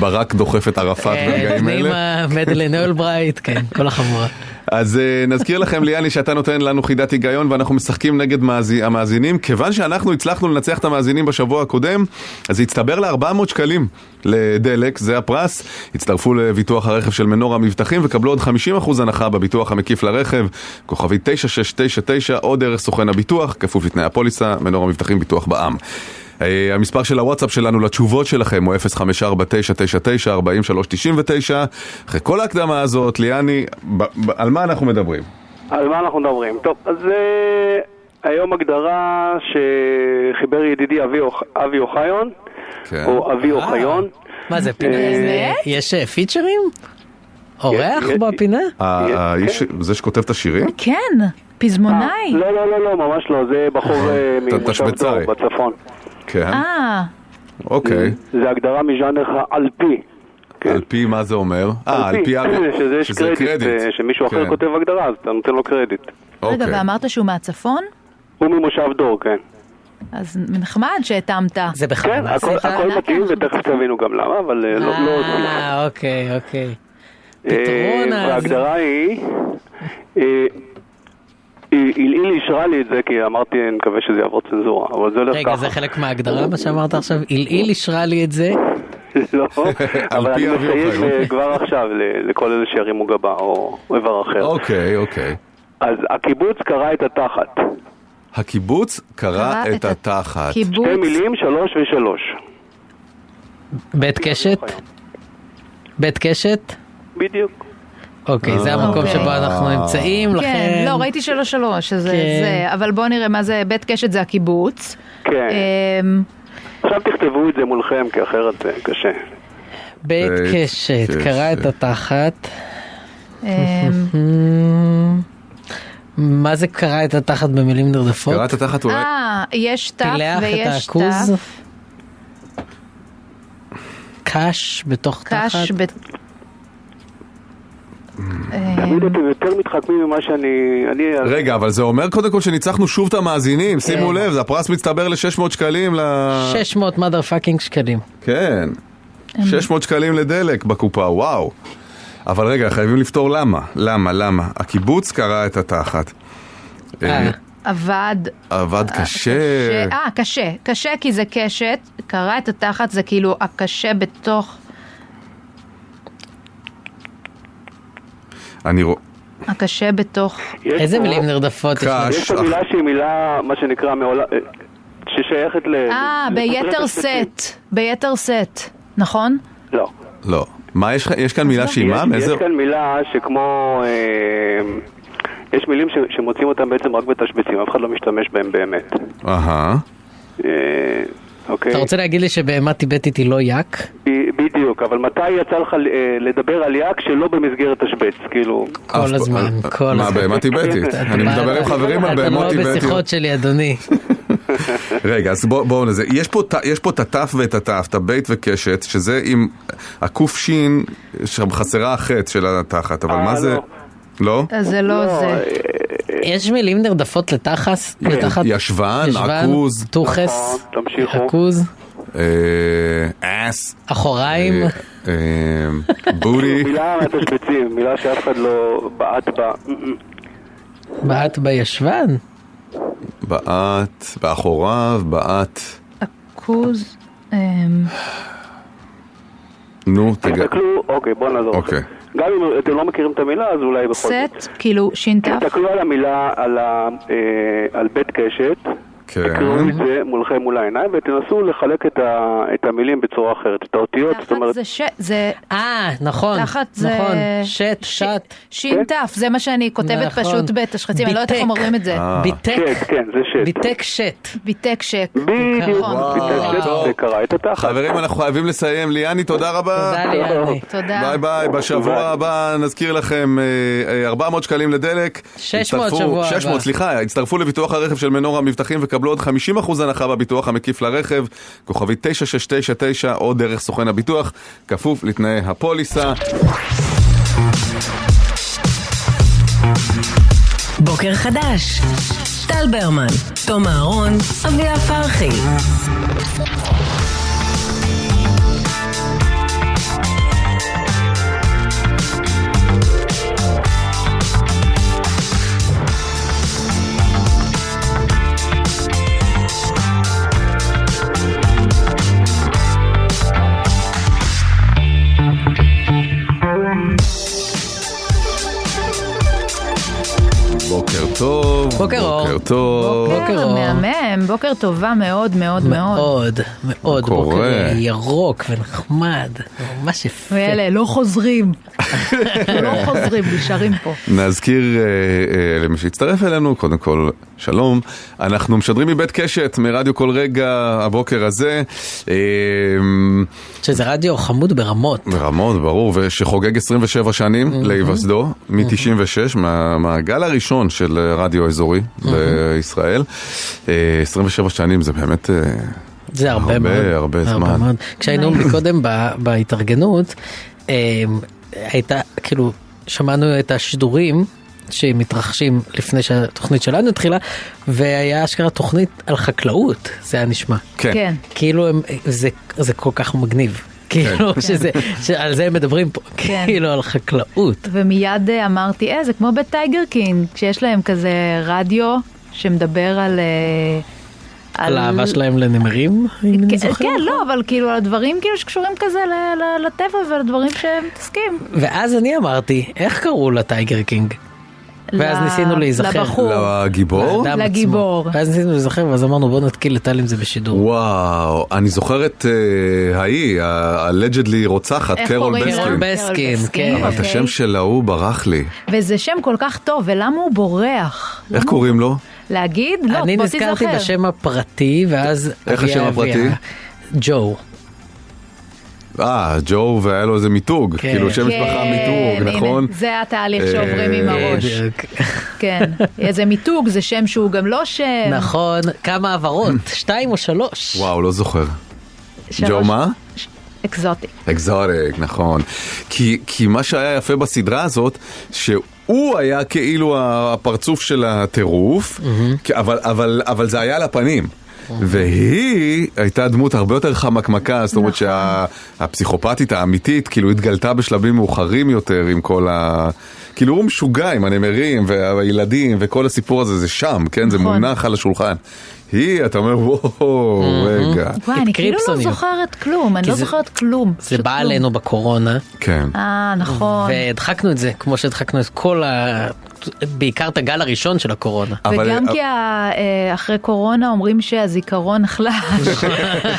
S3: ברק דוחף את ערפאת
S4: אה,
S3: ברגעים אלה.
S4: נעימה, מדלן אולברייט, כן, כל החבורה.
S3: אז אה, נזכיר לכם ליאני שאתה נותן לנו חידת היגיון ואנחנו משחקים נגד מאזי- המאזינים. כיוון שאנחנו הצלחנו לנצח את המאזינים בשבוע הקודם, אז זה הצטבר ל-400 שקלים לדלק, זה הפרס. הצטרפו לביטוח הרכב של מנור המבטחים וקבלו עוד 50% הנחה בביטוח המקיף לרכב, כוכבי 9699 או דרך סוכן הביטוח, כפוף לתנאי הפוליסה, מנור המבטחים ביטוח בע"מ. אה, המספר של הוואטסאפ שלנו לתשובות שלכם הוא 054-999-4399. אחרי כל ההקדמה הזאת, ליאני, ב- ב- על מה אנחנו מדברים?
S8: על מה אנחנו מדברים? טוב, אז אה, היום הגדרה שחיבר ידידי אבי אוח- אבי אוחיון,
S3: כן.
S8: או
S4: אה.
S8: אבי אוחיון.
S4: מה זה, פינה?
S5: באמת?
S4: יש אה, פיצ'רים? אורח
S8: יש-
S4: בפינה?
S3: ה- האיש, אה, זה שכותב את השירים?
S5: כן,
S8: אה,
S5: פזמונאי.
S8: לא, לא, לא, לא, ממש לא, זה בחור אה,
S3: ת-
S8: ממושב דור
S3: תשבצאי.
S8: בצפון.
S3: כן,
S5: אה,
S3: אוקיי.
S8: זה הגדרה מז'אנר האלפי. כן.
S3: על פי מה זה אומר? אה, על פי... ה-
S8: שזה יש קרדיט, אה, שמישהו אחר
S3: כן,
S8: כותב הגדרה, אז אתה נותן לו קרדיט.
S5: רגע,
S3: אוקיי.
S5: ואמרת שהוא מהצפון?
S8: הוא ממושב דור, כן.
S5: אז נחמד שהתאמת.
S4: זה
S8: כן,
S4: בכוונה.
S8: הכל
S4: עשית?
S8: הכל מתאים, ותכף תבינו גם למה, אבל אה, לא לא עושים.
S4: אה, אוקיי, אוקיי. פתרון
S8: אה,
S4: אז.
S8: וההגדרה היא, אה, היא- היא היא אישרה לי את זה כי אמרתי, אני מקווה שזה יעבור צנזורה, אבל זה הולך ככה.
S4: רגע, זה חלק מההגדרה, מה שאמרת עכשיו? עילעיל אישרה לי את זה.
S8: לא, אבל
S3: פי
S8: אני
S3: אבי
S8: מסייג
S3: אוחיון.
S8: אה, כבר עכשיו ל- לכל אלה שירימו גבה או איבר אחר.
S3: אוקיי, אוקיי.
S8: אז הקיבוץ קרע את התחת.
S3: הקיבוץ קרע
S5: קרע
S3: את
S5: את
S3: התחת.
S5: קיבוץ.
S8: שתי מילים, שלוש ושלוש.
S4: בית קשת? בית קשת?
S8: בדיוק.
S4: אוקיי, זה המקום
S5: אוקיי.
S4: שבו אנחנו
S3: אה.
S4: נמצאים,
S5: כן,
S4: לכן...
S5: לא, ראיתי שלוש שלוש, שזה
S4: כן.
S5: זה, אבל בואו נראה מה זה, בית קשת זה הקיבוץ.
S8: כן.
S5: אמ,
S8: עכשיו תכתבו את זה מולכם, כי אחרת זה אה, קשה.
S4: בית קשת, קרע את התחת.
S5: אמ,
S4: מה זה קרע את התחת במילים נרדפות?
S3: קראת תחת אולי?
S5: אה, יש תף
S4: פילח את
S5: ויש
S4: העכוז?
S5: תף.
S4: קש בתוך תחת?
S5: קש ב... אמ,
S4: אה.
S8: תמיד אתם יותר מתחכמים ממה שאני... אני...
S3: רגע, אבל זה אומר קודם כל שניצחנו שוב את המאזינים, שימו לב, זה הפרס מצטבר ל-600 שקלים ל...
S4: 600 mother fucking שקלים.
S3: כן. 600 שקלים לדלק בקופה, וואו. אבל רגע, חייבים לפתור למה. למה, למה? הקיבוץ קרע את התחת. אה,
S4: אה,
S5: עבד...
S3: עבד
S4: כן.
S3: קשה.
S5: אה, קשה. קשה כי זה קשת, קרע את התחת זה כאילו הקשה בתוך...
S3: אני רואה...
S5: הקשה בתוך...
S8: יש
S4: איזה
S8: פה-
S4: מילים נרדפות יש לנו?
S3: קש.
S8: יש פה מילה שהיא מילה, מה שנקרא, מעולה... אה, ששייכת ל...
S5: אה,
S8: ל-
S5: ביתר
S8: לכותרת הספציפית.
S5: סט. ביתר סט, נכון?
S8: לא.
S3: לא. מה, יש, יש כאן מילה שהיא מה?
S8: יש
S3: מאיזה...
S8: כאן מילה שכמו... אה, יש מילים ש- שמוצאים אותן בעצם רק בתשבצים, אף אחד לא משתמש בהן באמת.
S3: אהה.
S8: אה, אוקיי?
S4: אתה רוצה להגיד לי שבהמה טיבטית היא לא יאק?
S8: ב- בדיוק, אבל מתי יצא לך אה, לדבר על יאק שלא במסגרת תשבץ? כאילו...
S3: אף-
S4: כל הזמן,
S3: אה,
S4: כל
S3: מה,
S4: הזמן.
S3: בהמה טיבטית? אני
S4: מה,
S3: מדבר עם
S4: אתה-
S3: חברים על בהמות
S4: אתה לא
S3: טיבטיות.
S4: בשיחות שלי, אדוני.
S3: רגע, אז בואו בוא נזה. יש פה ת- יש פה את הטף ואת הטף, את הבית וקשת, שזה עם הק"ש, שם חסרה החטא של התחת, אבל
S8: אה,
S3: מה זה?
S8: לא. אה,
S3: לא?
S5: אז זה לא זה.
S4: יש מילים נרדפות לתחס? לתחת?
S3: ישבן,
S4: ישבן,
S3: עכוז,
S4: תוכס,
S8: נכון, תמשיכו.
S4: עכוז,
S3: אה, אס,
S4: אחוריים.
S3: אה,
S4: לא-
S3: אה, בורי,
S8: מילה מהתשבצים, מילה שאף אחד לא בעט בה.
S4: בעט בישבן?
S3: בעט, באחוריו, בעט.
S5: עכוז... אמ,
S3: נו, תגע...
S8: תסתכלו, אוקיי, בואו נעזור לכם.
S3: אוקיי.
S8: גם אם אתם לא מכירים את המילה, אז אולי בכל זאת.
S5: סט, כאילו ש"ת.
S8: תסתכלו על המילה, על, ה, אה, על בית קשת,
S3: כן.
S8: תקראו את זה מולכם מול העיניים ותנסו לחלק את, ה, את המילים בצורה אחרת, את האותיות, זאת
S5: תחת
S8: אומרת,
S5: זה ש... זה...
S4: אה, נכון,
S5: תחת זה...
S4: נכון, שט,
S5: ש-
S4: שט,
S5: ש"ת, זה מה שאני כותבת
S4: נכון.
S5: פשוט בתשחצים, אני לא יודעת איך
S4: ביטק.
S5: הם אומרים את זה.
S3: אה,
S8: כן,
S4: ביטק,
S8: כן, זה שט.
S4: ביטק שט.
S5: ביטק שק.
S8: בדיוק,
S5: נכון.
S8: ביטק שט,
S3: טוב.
S8: זה קרע את התחת.
S3: חברים, אנחנו חייבים לסיים. ליאני, תודה רבה.
S4: תודה ליאני.
S5: תודה.
S3: ביי ביי, בשבוע
S8: ביי.
S3: הבא נזכיר לכם אה, אה, 400 שקלים לדלק.
S4: 600
S3: הצטרפו-
S4: שבוע הבא.
S3: 600, סליחה, הצטרפו לביטוח הרכב של מנורה מבטחים וקבלו עוד 50% הנחה בביטוח המקיף לרכב, כוכבי 9699 או דרך סוכן הביטוח, כפוף לתנאי הפוליסה.
S2: בוקר חדש. טל ברמן, תום אהרון, אביה פרחי.
S3: בוקר טוב.
S4: בוקר אור.
S3: בוקר טוב.
S4: בוקר
S5: בוקר
S4: אור.
S5: מהמם, בוקר טובה מאוד מאוד מאוד.
S4: מאוד, מאוד
S3: קורה.
S4: בוקר ירוק ונחמד, ממש יפה.
S5: ואלה לא חוזרים, לא חוזרים, נשארים פה.
S3: נזכיר אה, אה, למי שהצטרף אלינו, קודם כל, שלום. אנחנו משדרים מבית קשת, מרדיו כל רגע הבוקר הזה. אה,
S4: שזה רדיו חמוד ברמות.
S3: ברמות, ברור, ושחוגג 27 שנים להיווסדו, מ-96, מה- מהגל הראשון של אה, רדיו אזורי בישראל. אה, 27 שנים זה באמת... אה,
S4: זה הרבה
S3: הרבה,
S4: מאוד.
S3: הרבה זמן.
S4: מאוד. כשהיינו מקודם ב- בהתארגנות, אמ, הייתה, כאילו, שמענו את השידורים שמתרחשים לפני שהתוכנית שלנו התחילה, והיה אשכרה תוכנית על חקלאות, זה היה נשמע.
S5: כן.
S4: כאילו, הם, זה, זה כל כך מגניב.
S3: כן.
S4: כאילו, שזה, שעל זה הם מדברים פה,
S5: כן.
S4: כאילו על חקלאות.
S5: ומיד אה, אמרתי, אה, זה כמו בטייגר קינג, כשיש להם כזה רדיו שמדבר על... אה,
S4: על האהבה שלהם לנמרים, אם אני נכון.
S5: כן,
S4: זוכר.
S5: כן, לא, אבל כאילו על הדברים כאילו שקשורים כזה ל- ל- לטבע ולדברים שהם מתעסקים.
S4: ואז אני אמרתי, איך קראו לטייגר קינג? ואז
S5: ל-
S4: ניסינו להיזכר.
S5: לבחור.
S3: לגיבור?
S4: לאדם עצמו.
S5: לגיבור.
S4: ואז ניסינו להיזכר, ואז אמרנו בוא נתקיל לטל עם זה בשידור.
S3: וואו, אני זוכר את אה, ההיא, הלג'דלי רוצחת,
S5: איך
S3: קרול
S5: קוראים לה?
S3: בסקין.
S4: קרול בסקין, כן.
S3: אבל את
S5: אוקיי.
S3: השם של ההוא ברח לי.
S5: וזה שם כל כך טוב, ולמה הוא בורח?
S3: איך קוראים לו?
S5: להגיד? לא,
S4: אני
S5: בוא
S4: נזכרתי
S5: תיזכר.
S4: בשם הפרטי, ואז...
S3: איך
S4: אביה
S3: השם
S4: הביאה.
S3: הפרטי?
S4: ג'ו.
S3: אה, ג'ו והיה לו איזה מיתוג,
S4: כן.
S3: כאילו שם משפחה
S5: כן,
S3: מיתוג,
S5: הנה,
S3: נכון?
S5: זה התהליך שעוברים עם
S3: אה,
S5: הראש. כן. זה מיתוג, זה שם שהוא גם לא שם.
S4: נכון, כמה העברות? שתיים או שלוש?
S3: וואו, לא זוכר.
S5: שלוש.
S3: ג'ו מה?
S5: אקזוטי.
S3: אקזוטיק, נכון. כי, כי מה שהיה יפה בסדרה הזאת, שהוא היה כאילו הפרצוף של הטירוף, כי- אבל, אבל, אבל זה היה על הפנים. והיא הייתה דמות הרבה יותר חמקמקה, זאת
S5: נכון.
S3: אומרת שהפסיכופתית האמיתית כאילו התגלתה בשלבים מאוחרים יותר עם כל ה... כאילו הוא משוגע עם הנמרים והילדים וכל הסיפור הזה, זה שם, כן? זה
S5: נכון.
S3: מונח על השולחן. היא, אתה אומר, וואו, רגע.
S5: וואי, אני כאילו לא
S4: קריפסוניות.
S5: זוכרת כלום, אני
S4: כי
S5: לא
S4: זה-
S5: זוכרת כלום.
S4: זה
S5: פשוט
S4: בא
S5: כלום.
S4: עלינו בקורונה,
S3: כן.
S5: אה, נכון.
S4: והדחקנו את זה, כמו שהדחקנו את כל ה... בעיקר את הגל הראשון של הקורונה.
S3: אבל-
S5: וגם כי ה- אה, אחרי קורונה אומרים שהזיכרון נחלש,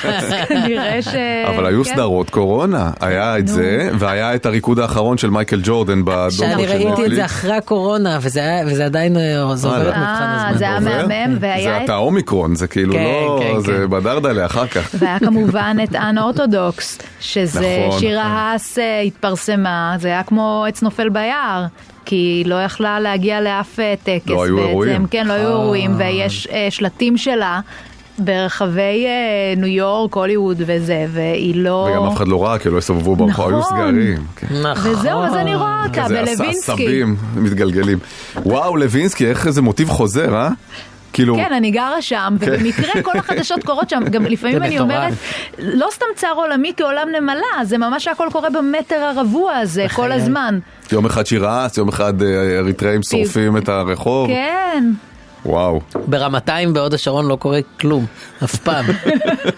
S5: אז כנראה ש...
S3: אבל היו
S5: כן.
S3: סדרות קורונה, היה את
S5: נו.
S3: זה, והיה את הריקוד האחרון של מייקל ג'ורדן בדומה של
S4: שאני ראיתי את זה אחרי הקורונה, וזה היה- וזה עדיין אה, זה עובר את
S3: וואלה.
S4: מבחן
S5: אה,
S4: הזמן.
S5: זה היה מהמם, והיה
S3: זה
S5: את-
S3: אתה אומיקרון, זה כאילו
S4: כן,
S3: לא,
S4: כן,
S3: זה
S4: כן.
S3: בדרדלה אחר כך.
S5: והיה כמובן את אנ אורתודוקס, שזה
S3: נכון,
S5: שירה
S3: נכון.
S5: האס אה, התפרסמה, זה היה כמו עץ נופל ביער. כי היא לא יכלה להגיע לאף אה, טקס
S3: לא היו
S5: בעצם,
S3: אירועים.
S5: כן, לא היו אירועים, ויש אה, שלטים שלה ברחבי אה, ניו יורק, הוליווד וזה, והיא לא...
S3: וגם אף אחד לא ראה, כאילו הסתובבו ברחוב, היו
S5: נכון.
S3: סגרים. כן.
S4: נכון.
S5: וזהו, אז אני רואה אותה
S3: כזה עשה
S5: בלווינסקי.
S3: עשבים מתגלגלים. וואו, לוינסקי, איך איזה מוטיב חוזר, אה? כאילו,
S5: כן, אני גרה שם, ובמקרה כל החדשות קורות שם, גם לפעמים
S4: זה
S5: אני
S4: מטורף.
S5: אומרת, לא סתם צער עולמי כעולם נמלה, זה ממש הכל קורה במטר הרבוע הזה, כל הזמן.
S3: יום אחד שירה, יום אחד אה, אריתראים שורפים את הרחוב.
S5: כן,
S3: וואו.
S4: ברמתיים בהוד השרון לא קורה כלום, אף פעם.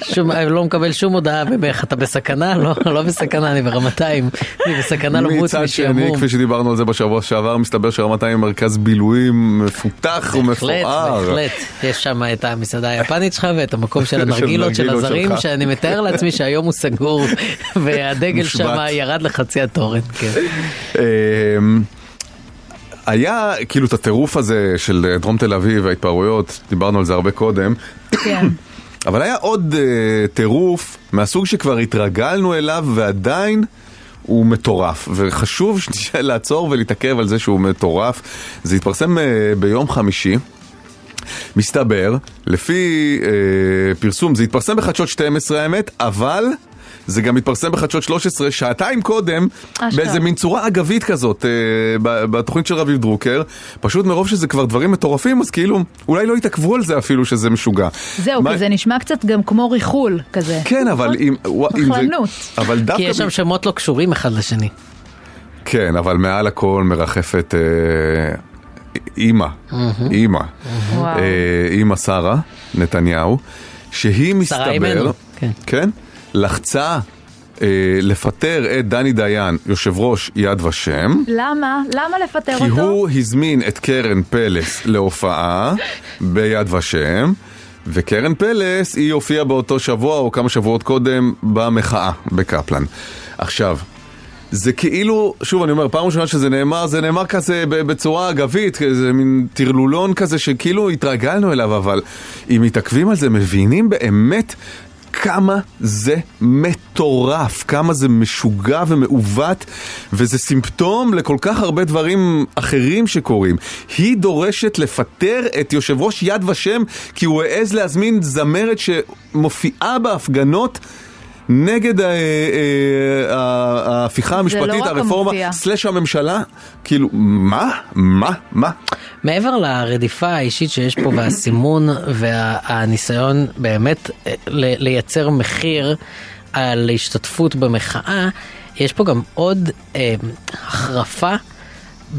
S4: שום, אני לא מקבל שום הודעה במך, אתה בסכנה? לא, לא בסכנה, אני ברמתיים. אני בסכנה למות
S3: מצד שני,
S4: משעמום.
S3: כפי שדיברנו על זה בשבוע שעבר, מסתבר שרמתיים היא מרכז בילויים מפותח
S4: בהחלט,
S3: ומפואר.
S4: בהחלט. יש שם את המסעדה היפנית שלך ואת המקום של
S3: של
S4: הנרגילות של
S3: הנרגילות
S4: הזרים,
S3: שלך.
S4: שאני מתאר לעצמי שהיום הוא סגור, והדגל
S3: מושבת.
S4: שם ירד לחצי התורן. כן.
S3: אמ, היה כאילו את הטירוף הזה של אה, דרום תל אביב, ההתפרעויות, דיברנו על זה הרבה קודם,
S5: כן.
S3: אבל היה עוד אה, טירוף מהסוג שכבר התרגלנו אליו ועדיין הוא מטורף, וחשוב שנייה לעצור ולהתעכב על זה שהוא מטורף. זה התפרסם אה, ביום חמישי. מסתבר, לפי אה, פרסום, זה התפרסם בחדשות 12 האמת, אבל זה גם התפרסם בחדשות 13 שעתיים קודם,
S5: אשכרה.
S3: באיזה מין צורה אגבית כזאת, אה, ב- בתוכנית של רביב דרוקר. פשוט מרוב שזה כבר דברים מטורפים, אז כאילו, אולי לא התעכבו על זה אפילו שזה משוגע.
S5: זהו,
S3: מה-
S5: כי זה נשמע קצת גם כמו ריחול כזה.
S3: כן, אבל אם... ווא- אם זה-
S5: מחלנות.
S3: אבל דווקא...
S4: כי יש שם שמות לא קשורים אחד לשני.
S3: כן, אבל מעל הכל מרחפת אה, אימא. אימא.
S5: וואו.
S3: אה, אימא שרה, נתניהו, שהיא
S4: שרה
S3: מסתבר...
S4: אימנו, כן.
S3: כן? לחצה אה, לפטר את דני דיין, יושב ראש יד ושם.
S5: למה? למה לפטר
S3: כי
S5: אותו?
S3: הוא הזמין את קרן פלס להופעה ביד ושם, וקרן פלס היא הופיעה באותו שבוע או כמה שבועות קודם במחאה בקפלן. עכשיו, זה כאילו, שוב אני אומר, פעם ראשונה שזה נאמר, זה נאמר כזה ב- בצורה אגבית, איזה מין טרלולון כזה שכאילו התרגלנו אליו, אבל אם מתעכבים על זה, מבינים באמת כמה זה מטורף, כמה זה משוגע ומעוות, וזה סימפטום לכל כך הרבה דברים אחרים שקורים. היא דורשת לפטר את יושב ראש יד ושם, כי הוא העז להזמין זמרת שמופיעה בהפגנות. נגד אה, אה, אה, ההפיכה המשפטית,
S5: לא רק
S3: הרפורמה,
S5: המופיע.
S3: סלש הממשלה, כאילו, מה? מה? מה?
S4: מעבר לרדיפה האישית שיש פה והסימון והניסיון באמת אה, ל- לייצר מחיר על השתתפות במחאה, יש פה גם עוד אה, החרפה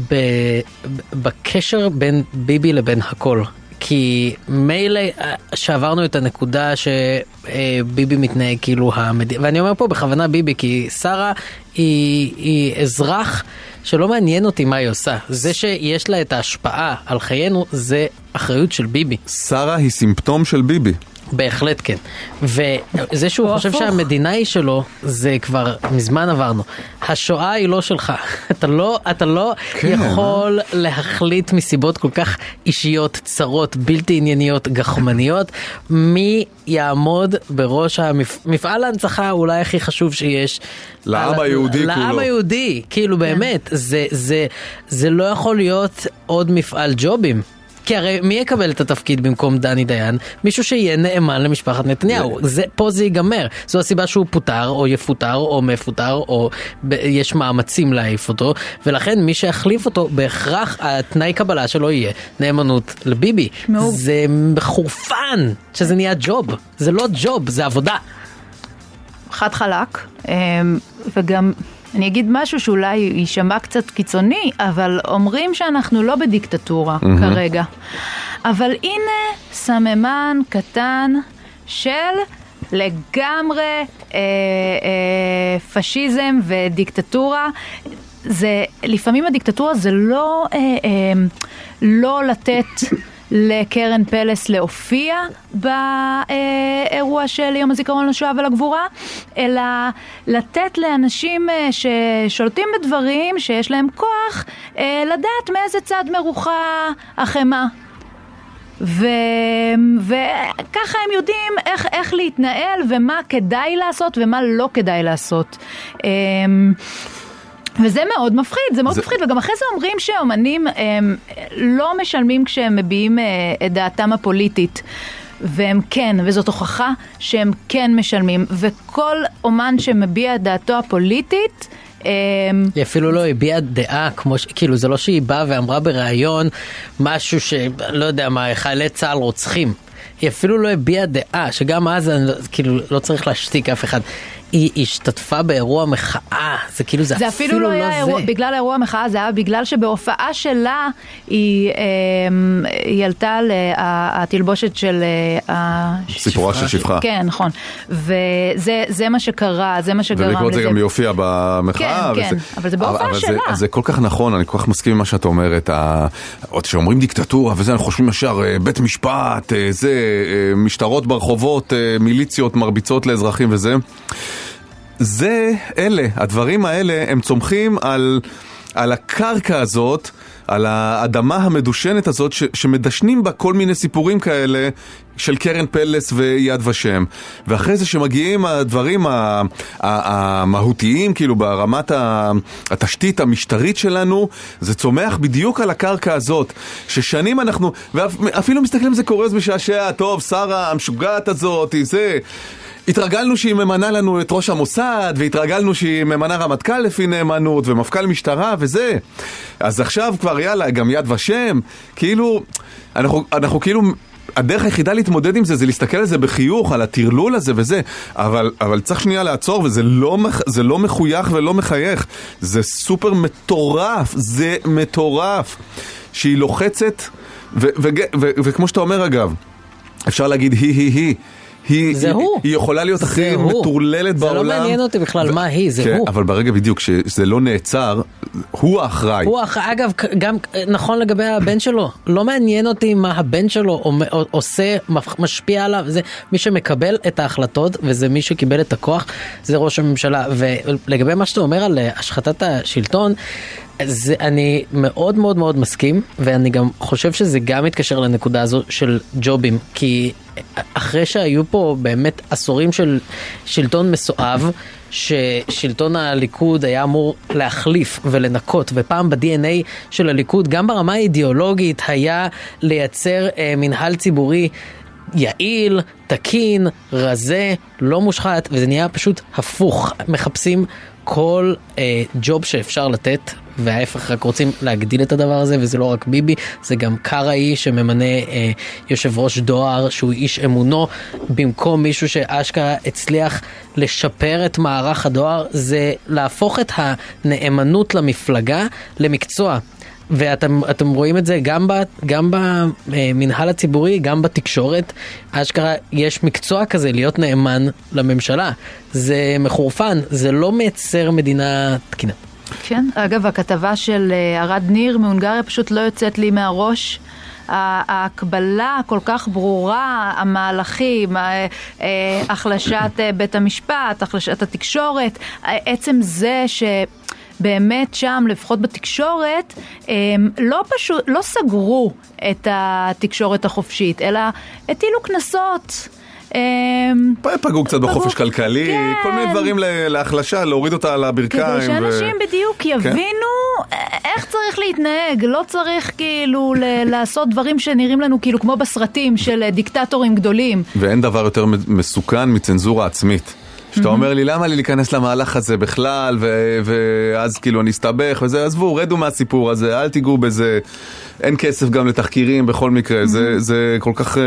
S4: ב- ב- בקשר בין ביבי לבין הכל. כי מילא אה, שעברנו את הנקודה שביבי מתנהג כאילו המדינה, ואני אומר פה בכוונה ביבי, כי שרה היא, היא אזרח שלא מעניין אותי מה היא עושה. זה שיש לה את ההשפעה על חיינו, זה אחריות של ביבי.
S3: שרה היא סימפטום של ביבי.
S4: בהחלט כן. וזה שהוא
S10: או
S4: חושב
S10: הפוך.
S4: שהמדינה היא שלו, זה כבר מזמן עברנו. השואה היא לא שלך. אתה לא, אתה לא
S10: כן,
S4: יכול להחליט מסיבות כל כך אישיות, צרות, בלתי ענייניות, גחמניות, מי יעמוד בראש המפ... מפעל ההנצחה אולי הכי חשוב שיש.
S3: לעם
S4: על-
S3: היהודי
S4: לעם
S3: כולו.
S4: היהודי, כאילו באמת, זה, זה, זה לא יכול להיות עוד מפעל ג'ובים. כי הרי מי יקבל את התפקיד במקום דני דיין? מישהו שיהיה נאמן למשפחת נתניהו. זה, פה זה ייגמר. זו הסיבה שהוא פוטר, או יפוטר, או מפוטר, או ב- יש מאמצים להעיף אותו, ולכן מי שיחליף אותו, בהכרח התנאי קבלה שלו יהיה נאמנות לביבי. זה חורפן שזה נהיה ג'וב. זה לא ג'וב, זה עבודה.
S5: חד חלק, אמ, וגם אני אגיד משהו שאולי יישמע קצת קיצוני, אבל אומרים שאנחנו לא בדיקטטורה
S10: מהמם.
S5: כרגע. אבל הנה סממן קטן של לגמרי אה, אה, פשיזם ודיקטטורה. זה, לפעמים הדיקטטורה זה לא, אה, אה, לא לתת לקרן פלס להופיע באירוע של יום הזיכרון לשואה ולגבורה, אלא לתת לאנשים אה, ששולטים בדברים, שיש להם כוח, אה, לדעת מאיזה צד מרוחה החמאה. ו... וככה הם יודעים איך, איך להתנהל ומה כדאי לעשות ומה לא כדאי לעשות. אמ, וזה מאוד מפחיד, זה מאוד
S10: זה-
S5: זה... מפחיד, וגם אחרי זה אומרים שאומנים הם, לא משלמים כשהם מביעים אה, את דעתם הפוליטית. והם כן, וזאת הוכחה שהם כן משלמים. וכל אומן שמביע את דעתו הפוליטית, אמ,
S4: היא אפילו לא הביעה דעה, כמו ש... כאילו, זה לא שהיא באה ואמרה בריאיון משהו שלא יודע מה, חיילי צה"ל רוצחים. היא אפילו לא הביעה דעה, שגם אז אני לא, כאילו לא צריך להשתיק אף אחד. היא השתתפה באירוע מחאה, זה כאילו, זה,
S5: זה אפילו לא היה אירוע,
S4: זה.
S5: בגלל האירוע המחאה, זה היה בגלל שבהופעה שלה היא, אמ, היא עלתה על אה, התלבושת של... אה, הש-
S3: סיפורה של שפחה.
S5: כן, נכון. וזה זה מה שקרה, זה מה שגרם לזה.
S3: ובעקבות זה גם היא הופיעה במחאה.
S5: כן,
S3: וזה-
S5: כן, אבל זה בהופעה
S3: אבל זה-
S5: שלה.
S3: זה כל כך נכון, אני כל כך מסכים עם מה שאת אומרת. ה- עוד כשאומרים דיקטטורה וזה, אנחנו חושבים ישר אה, בית משפט, אה, זה, אה, משטרות ברחובות, אה, מיליציות מרביצות לאזרחים וזה. זה, אלה, הדברים האלה, הם צומחים על, על הקרקע הזאת, על האדמה המדושנת הזאת, ש, שמדשנים בה כל מיני סיפורים כאלה של קרן פלס ויד ושם. ואחרי זה שמגיעים הדברים ה, ה, המהותיים, כאילו ברמת ה, התשתית המשטרית שלנו, זה צומח בדיוק על הקרקע הזאת, ששנים אנחנו, ואפילו מסתכלים על זה קורס משעשע, טוב, שרה המשוגעת הזאת, היא זה. התרגלנו שהיא ממנה לנו את ראש המוסד, והתרגלנו שהיא ממנה רמטכ"ל לפי נאמנות, ומפכ"ל משטרה וזה. אז עכשיו כבר יאללה, גם יד ושם, כאילו, אנחנו, אנחנו כאילו, הדרך היחידה להתמודד עם זה, זה להסתכל על זה בחיוך, על הטרלול הזה וזה, אבל, אבל צריך שנייה לעצור, וזה לא, מח- זה לא מחוייך ולא מחייך, זה סופר מטורף, זה מטורף, שהיא לוחצת, ו, ו, ו, ו, וכמו שאתה אומר אגב, אפשר להגיד היא היא היא. היא,
S4: זה
S3: היא,
S4: הוא.
S3: היא יכולה להיות הכי
S4: הוא.
S3: מטורללת
S4: זה לא
S3: בעולם.
S4: מעניין אותי בכלל מה היא, זה
S3: כן,
S4: הוא.
S3: אבל ברגע בדיוק שזה לא נעצר, הוא האחראי.
S4: הוא אח- אגב, כ- גם אה, נכון לגבי הבן שלו, לא מעניין אותי מה הבן שלו אומ- או- עושה, מפ- משפיע עליו, זה מי שמקבל את ההחלטות וזה מי שקיבל את הכוח, זה ראש הממשלה. ולגבי מה שאתה אומר על אה, השחתת השלטון, זה, אני מאוד מאוד מאוד מסכים, ואני גם חושב שזה גם מתקשר לנקודה הזו של ג'ובים, כי אחרי שהיו פה באמת עשורים של שלטון מסואב, ששלטון הליכוד היה אמור להחליף ולנקות, ופעם ב-DNA של הליכוד, גם ברמה האידיאולוגית, היה לייצר אה, מנהל ציבורי יעיל, תקין, רזה, לא מושחת, וזה נהיה פשוט הפוך. מחפשים כל אה, ג'וב שאפשר לתת, וההפך, רק רוצים להגדיל את הדבר הזה, וזה לא רק ביבי, זה גם קרעי שממנה אה, יושב ראש דואר שהוא איש אמונו, במקום מישהו שאשכרה הצליח לשפר את מערך הדואר, זה להפוך את הנאמנות למפלגה למקצוע. ואתם אתם רואים את זה גם, ב, גם במנהל הציבורי, גם בתקשורת. אשכרה יש מקצוע כזה להיות נאמן לממשלה. זה מחורפן, זה לא מייצר מדינה תקינה.
S5: כן, אגב, הכתבה של אה, ערד ניר מהונגריה פשוט לא יוצאת לי מהראש. ה- ההקבלה הכל כך ברורה, המהלכים, ה- אה, החלשת אה, בית המשפט, החלשת התקשורת, אה, עצם זה ש... באמת שם, לפחות בתקשורת, הם לא פשוט, לא סגרו את התקשורת החופשית, אלא הטילו קנסות. הם,
S3: פ- פגעו קצת בחופש
S5: פגעו-
S3: כלכלי,
S5: כן.
S3: כל מיני דברים ל- להחלשה, להוריד אותה על הברכיים.
S5: כדי שאנשים
S3: ו- כן.
S5: בדיוק יבינו אה, איך צריך להתנהג, לא צריך כאילו ל- לעשות דברים שנראים לנו כאילו כמו בסרטים של אה, דיקטטורים גדולים.
S3: ואין דבר יותר מ- מסוכן מצנזורה עצמית. שאתה אומר לי, למה לי להיכנס למהלך הזה בכלל, ו- ואז כאילו אני אסתבך וזה, עזבו, רדו מהסיפור הזה, אל תיגעו בזה. אין כסף גם לתחקירים בכל מקרה, זה, זה כל כך, אה,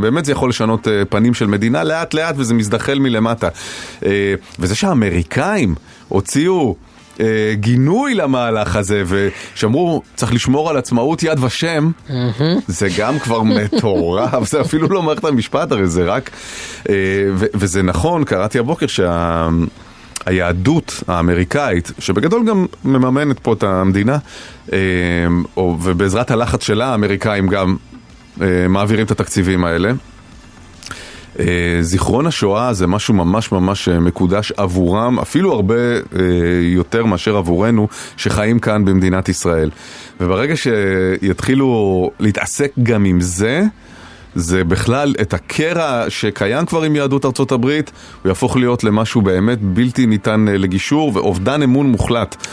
S3: באמת זה יכול לשנות אה, פנים של מדינה לאט לאט, וזה מזדחל מלמטה. אה, וזה שהאמריקאים הוציאו... אה, גינוי למהלך הזה, ושאמרו, צריך לשמור על עצמאות יד ושם, זה גם כבר מטורף, זה אפילו לא מערכת המשפט, הרי זה רק... אה, ו- וזה נכון, קראתי הבוקר שה... היהדות האמריקאית, שבגדול גם מממנת פה את המדינה, אה, או- ובעזרת הלחץ שלה האמריקאים גם אה, מעבירים את התקציבים האלה. אה, זיכרון השואה זה משהו ממש ממש אה, מקודש עבורם, אפילו הרבה אה, יותר מאשר עבורנו, שחיים כאן במדינת ישראל. וברגע שיתחילו להתעסק גם עם זה, זה בכלל, את הקרע שקיים כבר עם יהדות ארצות הברית, הוא יהפוך להיות למשהו באמת בלתי ניתן אה, לגישור ואובדן אמון מוחלט.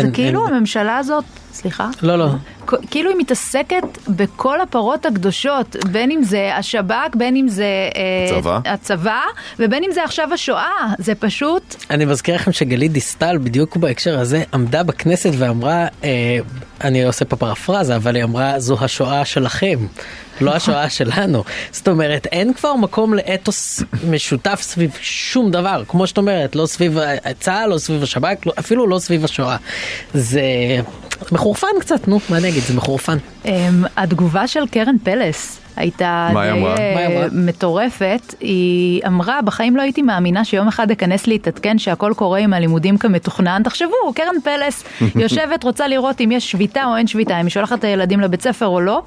S5: זה כאילו הממשלה הזאת, סליחה?
S4: לא, לא.
S5: כ- כאילו היא מתעסקת בכל הפרות הקדושות, בין אם זה השב"כ, בין אם זה אה,
S3: הצבא.
S5: הצבא, ובין אם זה עכשיו השואה, זה פשוט...
S4: אני מזכיר לכם שגלית דיסטל בדיוק בהקשר הזה עמדה בכנסת ואמרה, אה, אני עושה פה פרפרזה, אבל היא אמרה, זו השואה שלכם, לא השואה שלנו. זאת אומרת, אין כבר מקום לאתוס משותף סביב שום דבר, כמו שאת אומרת, לא סביב ה- צה"ל, לא סביב השב"כ, לא, אפילו לא סביב השואה. זה מחורפן קצת, נו, מה אני אגיד, זה מחורפן.
S5: אמ, התגובה של קרן פלס הייתה
S3: מה היא
S5: די,
S3: אמרה?
S5: אה,
S4: מה היא אמרה?
S5: מטורפת. היא אמרה, בחיים לא הייתי מאמינה שיום אחד אכנס להתעדכן שהכל קורה עם הלימודים כמתוכנן. תחשבו, קרן פלס יושבת, רוצה לראות אם יש שביתה או אין שביתה, אם היא שולחת את הילדים לבית ספר או לא,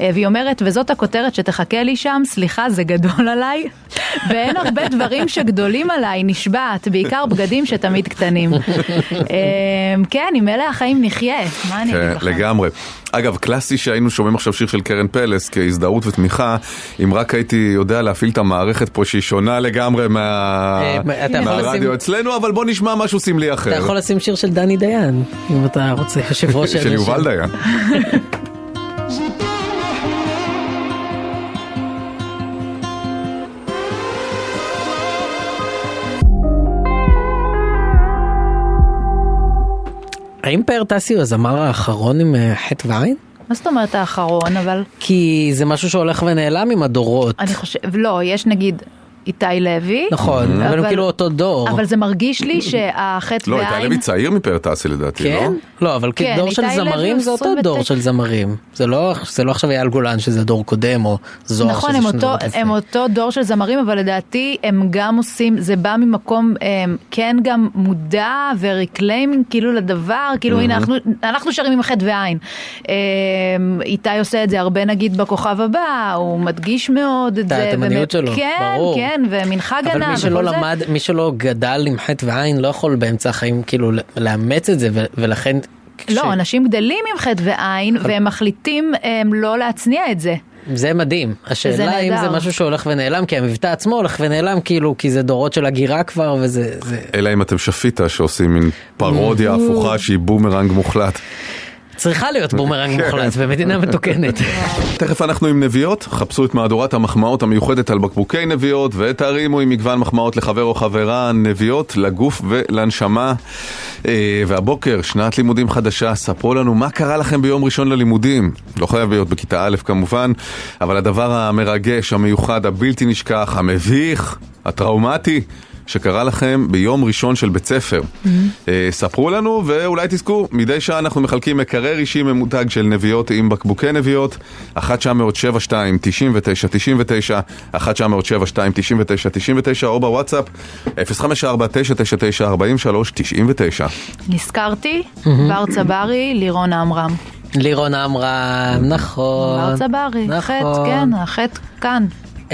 S5: אה, והיא אומרת, וזאת הכותרת שתחכה לי שם, סליחה, זה גדול עליי, ואין הרבה דברים שגדולים עליי, נשבעת, בעיקר בגדים שתמיד קטנים. אמ, כן, עם אלה החיים נחיה, מה אני אגיד
S3: כן,
S5: לכם?
S3: לגמרי. אגב, קלאסי שהיינו שומעים עכשיו שיר של קרן פלס כהזדהות ותמיכה, אם רק הייתי יודע להפעיל את המערכת פה שהיא שונה לגמרי
S4: אה,
S3: מה-
S4: אתה יכול לשים-
S3: מהרדיו אצלנו, אבל בוא נשמע משהו סמלי
S4: אתה
S3: אחר.
S4: יכול לשים שיר של דני דיין, אם אתה רוצה, יושב ראש
S3: של יובל דיין.
S4: האם פאר טסי הוא הזמר האחרון עם אה, חטא ועין?
S5: מה זאת אומרת האחרון, אבל...
S4: כי זה משהו שהולך ונעלם עם הדורות.
S5: אני חושב, לא, יש נגיד איתי לוי.
S4: נכון, אבל הם כאילו אותו דור.
S5: אבל זה מרגיש לי שהחטא
S3: לא, הייתה
S5: והעין...
S3: לוי צעיר מפרטסי לדעתי, לא?
S4: כן? לא, אבל
S5: כן,
S4: כדור של
S5: איתי לוי
S4: זמרים זה אותו
S5: 29.
S4: דור של זמרים. זה לא זה לא עכשיו אייל גולן שזה דור קודם, או זוהר
S5: נכון,
S4: שזה
S5: הם
S4: שני
S5: אותו,
S4: דורות לפני.
S5: הם אותו דור של זמרים, אבל לדעתי הם גם עושים, זה בא ממקום הם, כן גם מודע וריקליימינג כאילו לדבר, כאילו הנה אנחנו, אנחנו שרים עם החטא ועין. הם, איתי עושה את זה הרבה נגיד בכוכב הבא, הוא מדגיש מאוד את
S4: את
S5: זה. באמת-
S4: התימניות שלו,
S5: כן,
S4: ברור.
S5: כן, ומנחה גנב.
S4: אבל מי שלא
S5: וכל זה.
S4: למד, מי שלא גדל עם חטא ועין לא יכול באמצע החיים כאילו ל- לאמץ את זה, ו- ולכן... כש-
S5: לא, אנשים גדלים עם חטא ועין, והם מחליטים הם, לא להצניע את זה.
S4: זה מדהים.
S5: שזה
S4: השאלה אם
S5: נהדר.
S4: זה משהו שהולך ונעלם, כי המבטא עצמו הולך ונעלם, כאילו, כי זה דורות של הגירה כבר, וזה... זה-
S3: אלא אם אתם שפיטה שעושים מין פרודיה הפוכה שהיא בומרנג מוחלט.
S4: צריכה להיות בומרנג מוחלט במדינה מתוקנת.
S3: תכף אנחנו עם נביאות, חפשו את מהדורת המחמאות המיוחדת על בקבוקי נביאות ותרימו עם מגוון מחמאות לחבר או חברה נביאות לגוף ולנשמה. אה, והבוקר, שנת לימודים חדשה, ספרו לנו מה קרה לכם ביום ראשון ללימודים. לא חייב להיות בכיתה א' כמובן, אבל הדבר המרגש, המיוחד, הבלתי נשכח, המביך, הטראומטי. שקרה לכם ביום ראשון של בית ספר.
S5: Mm-hmm.
S3: אה, ספרו לנו ואולי תזכו, מדי שעה אנחנו מחלקים מקרר אישי ממותג של נביאות עם בקבוקי נביאות, 1-907-2-99-99, 1-907-2-99-99 או בוואטסאפ 054-999-4399.
S5: אמ,
S4: נכון,
S5: נזכרתי, בר צברי, לירון עמרם.
S4: לירון עמרם, נכון.
S5: מר צברי, חטא,
S4: נכון.
S5: כן, החטא כאן.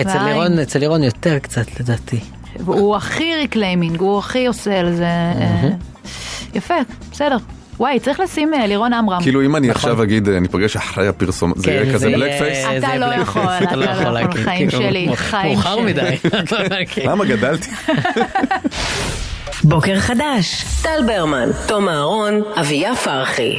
S4: אצל
S5: בעין.
S4: לירון, אצל לירון יותר קצת לדעתי.
S5: הוא הכי ריקליימינג, הוא הכי עושה על זה. אה, יפה, בסדר. וואי, צריך לשים אה, לירון עמרם.
S3: כאילו אם אני
S4: נכון.
S3: עכשיו
S5: נכון.
S3: אגיד, אה, ניפגש אחרי הפרסום, זה יהיה כזה
S4: זה
S3: בלק פייס?
S4: יהיה-
S5: כן, אתה
S4: זה
S5: לא
S4: בלק
S5: יכול,
S4: פייס,
S5: אתה לא יכול,
S4: להגיד,
S5: חיים
S4: כאילו,
S5: שלי,
S4: מאוחר-
S5: חיים
S4: מאוחר
S5: שלי. לא
S4: מדי. כן.
S3: למה גדלתי?
S2: בוקר חדש, טל ברמן, תום אהרון, אביה פרחי.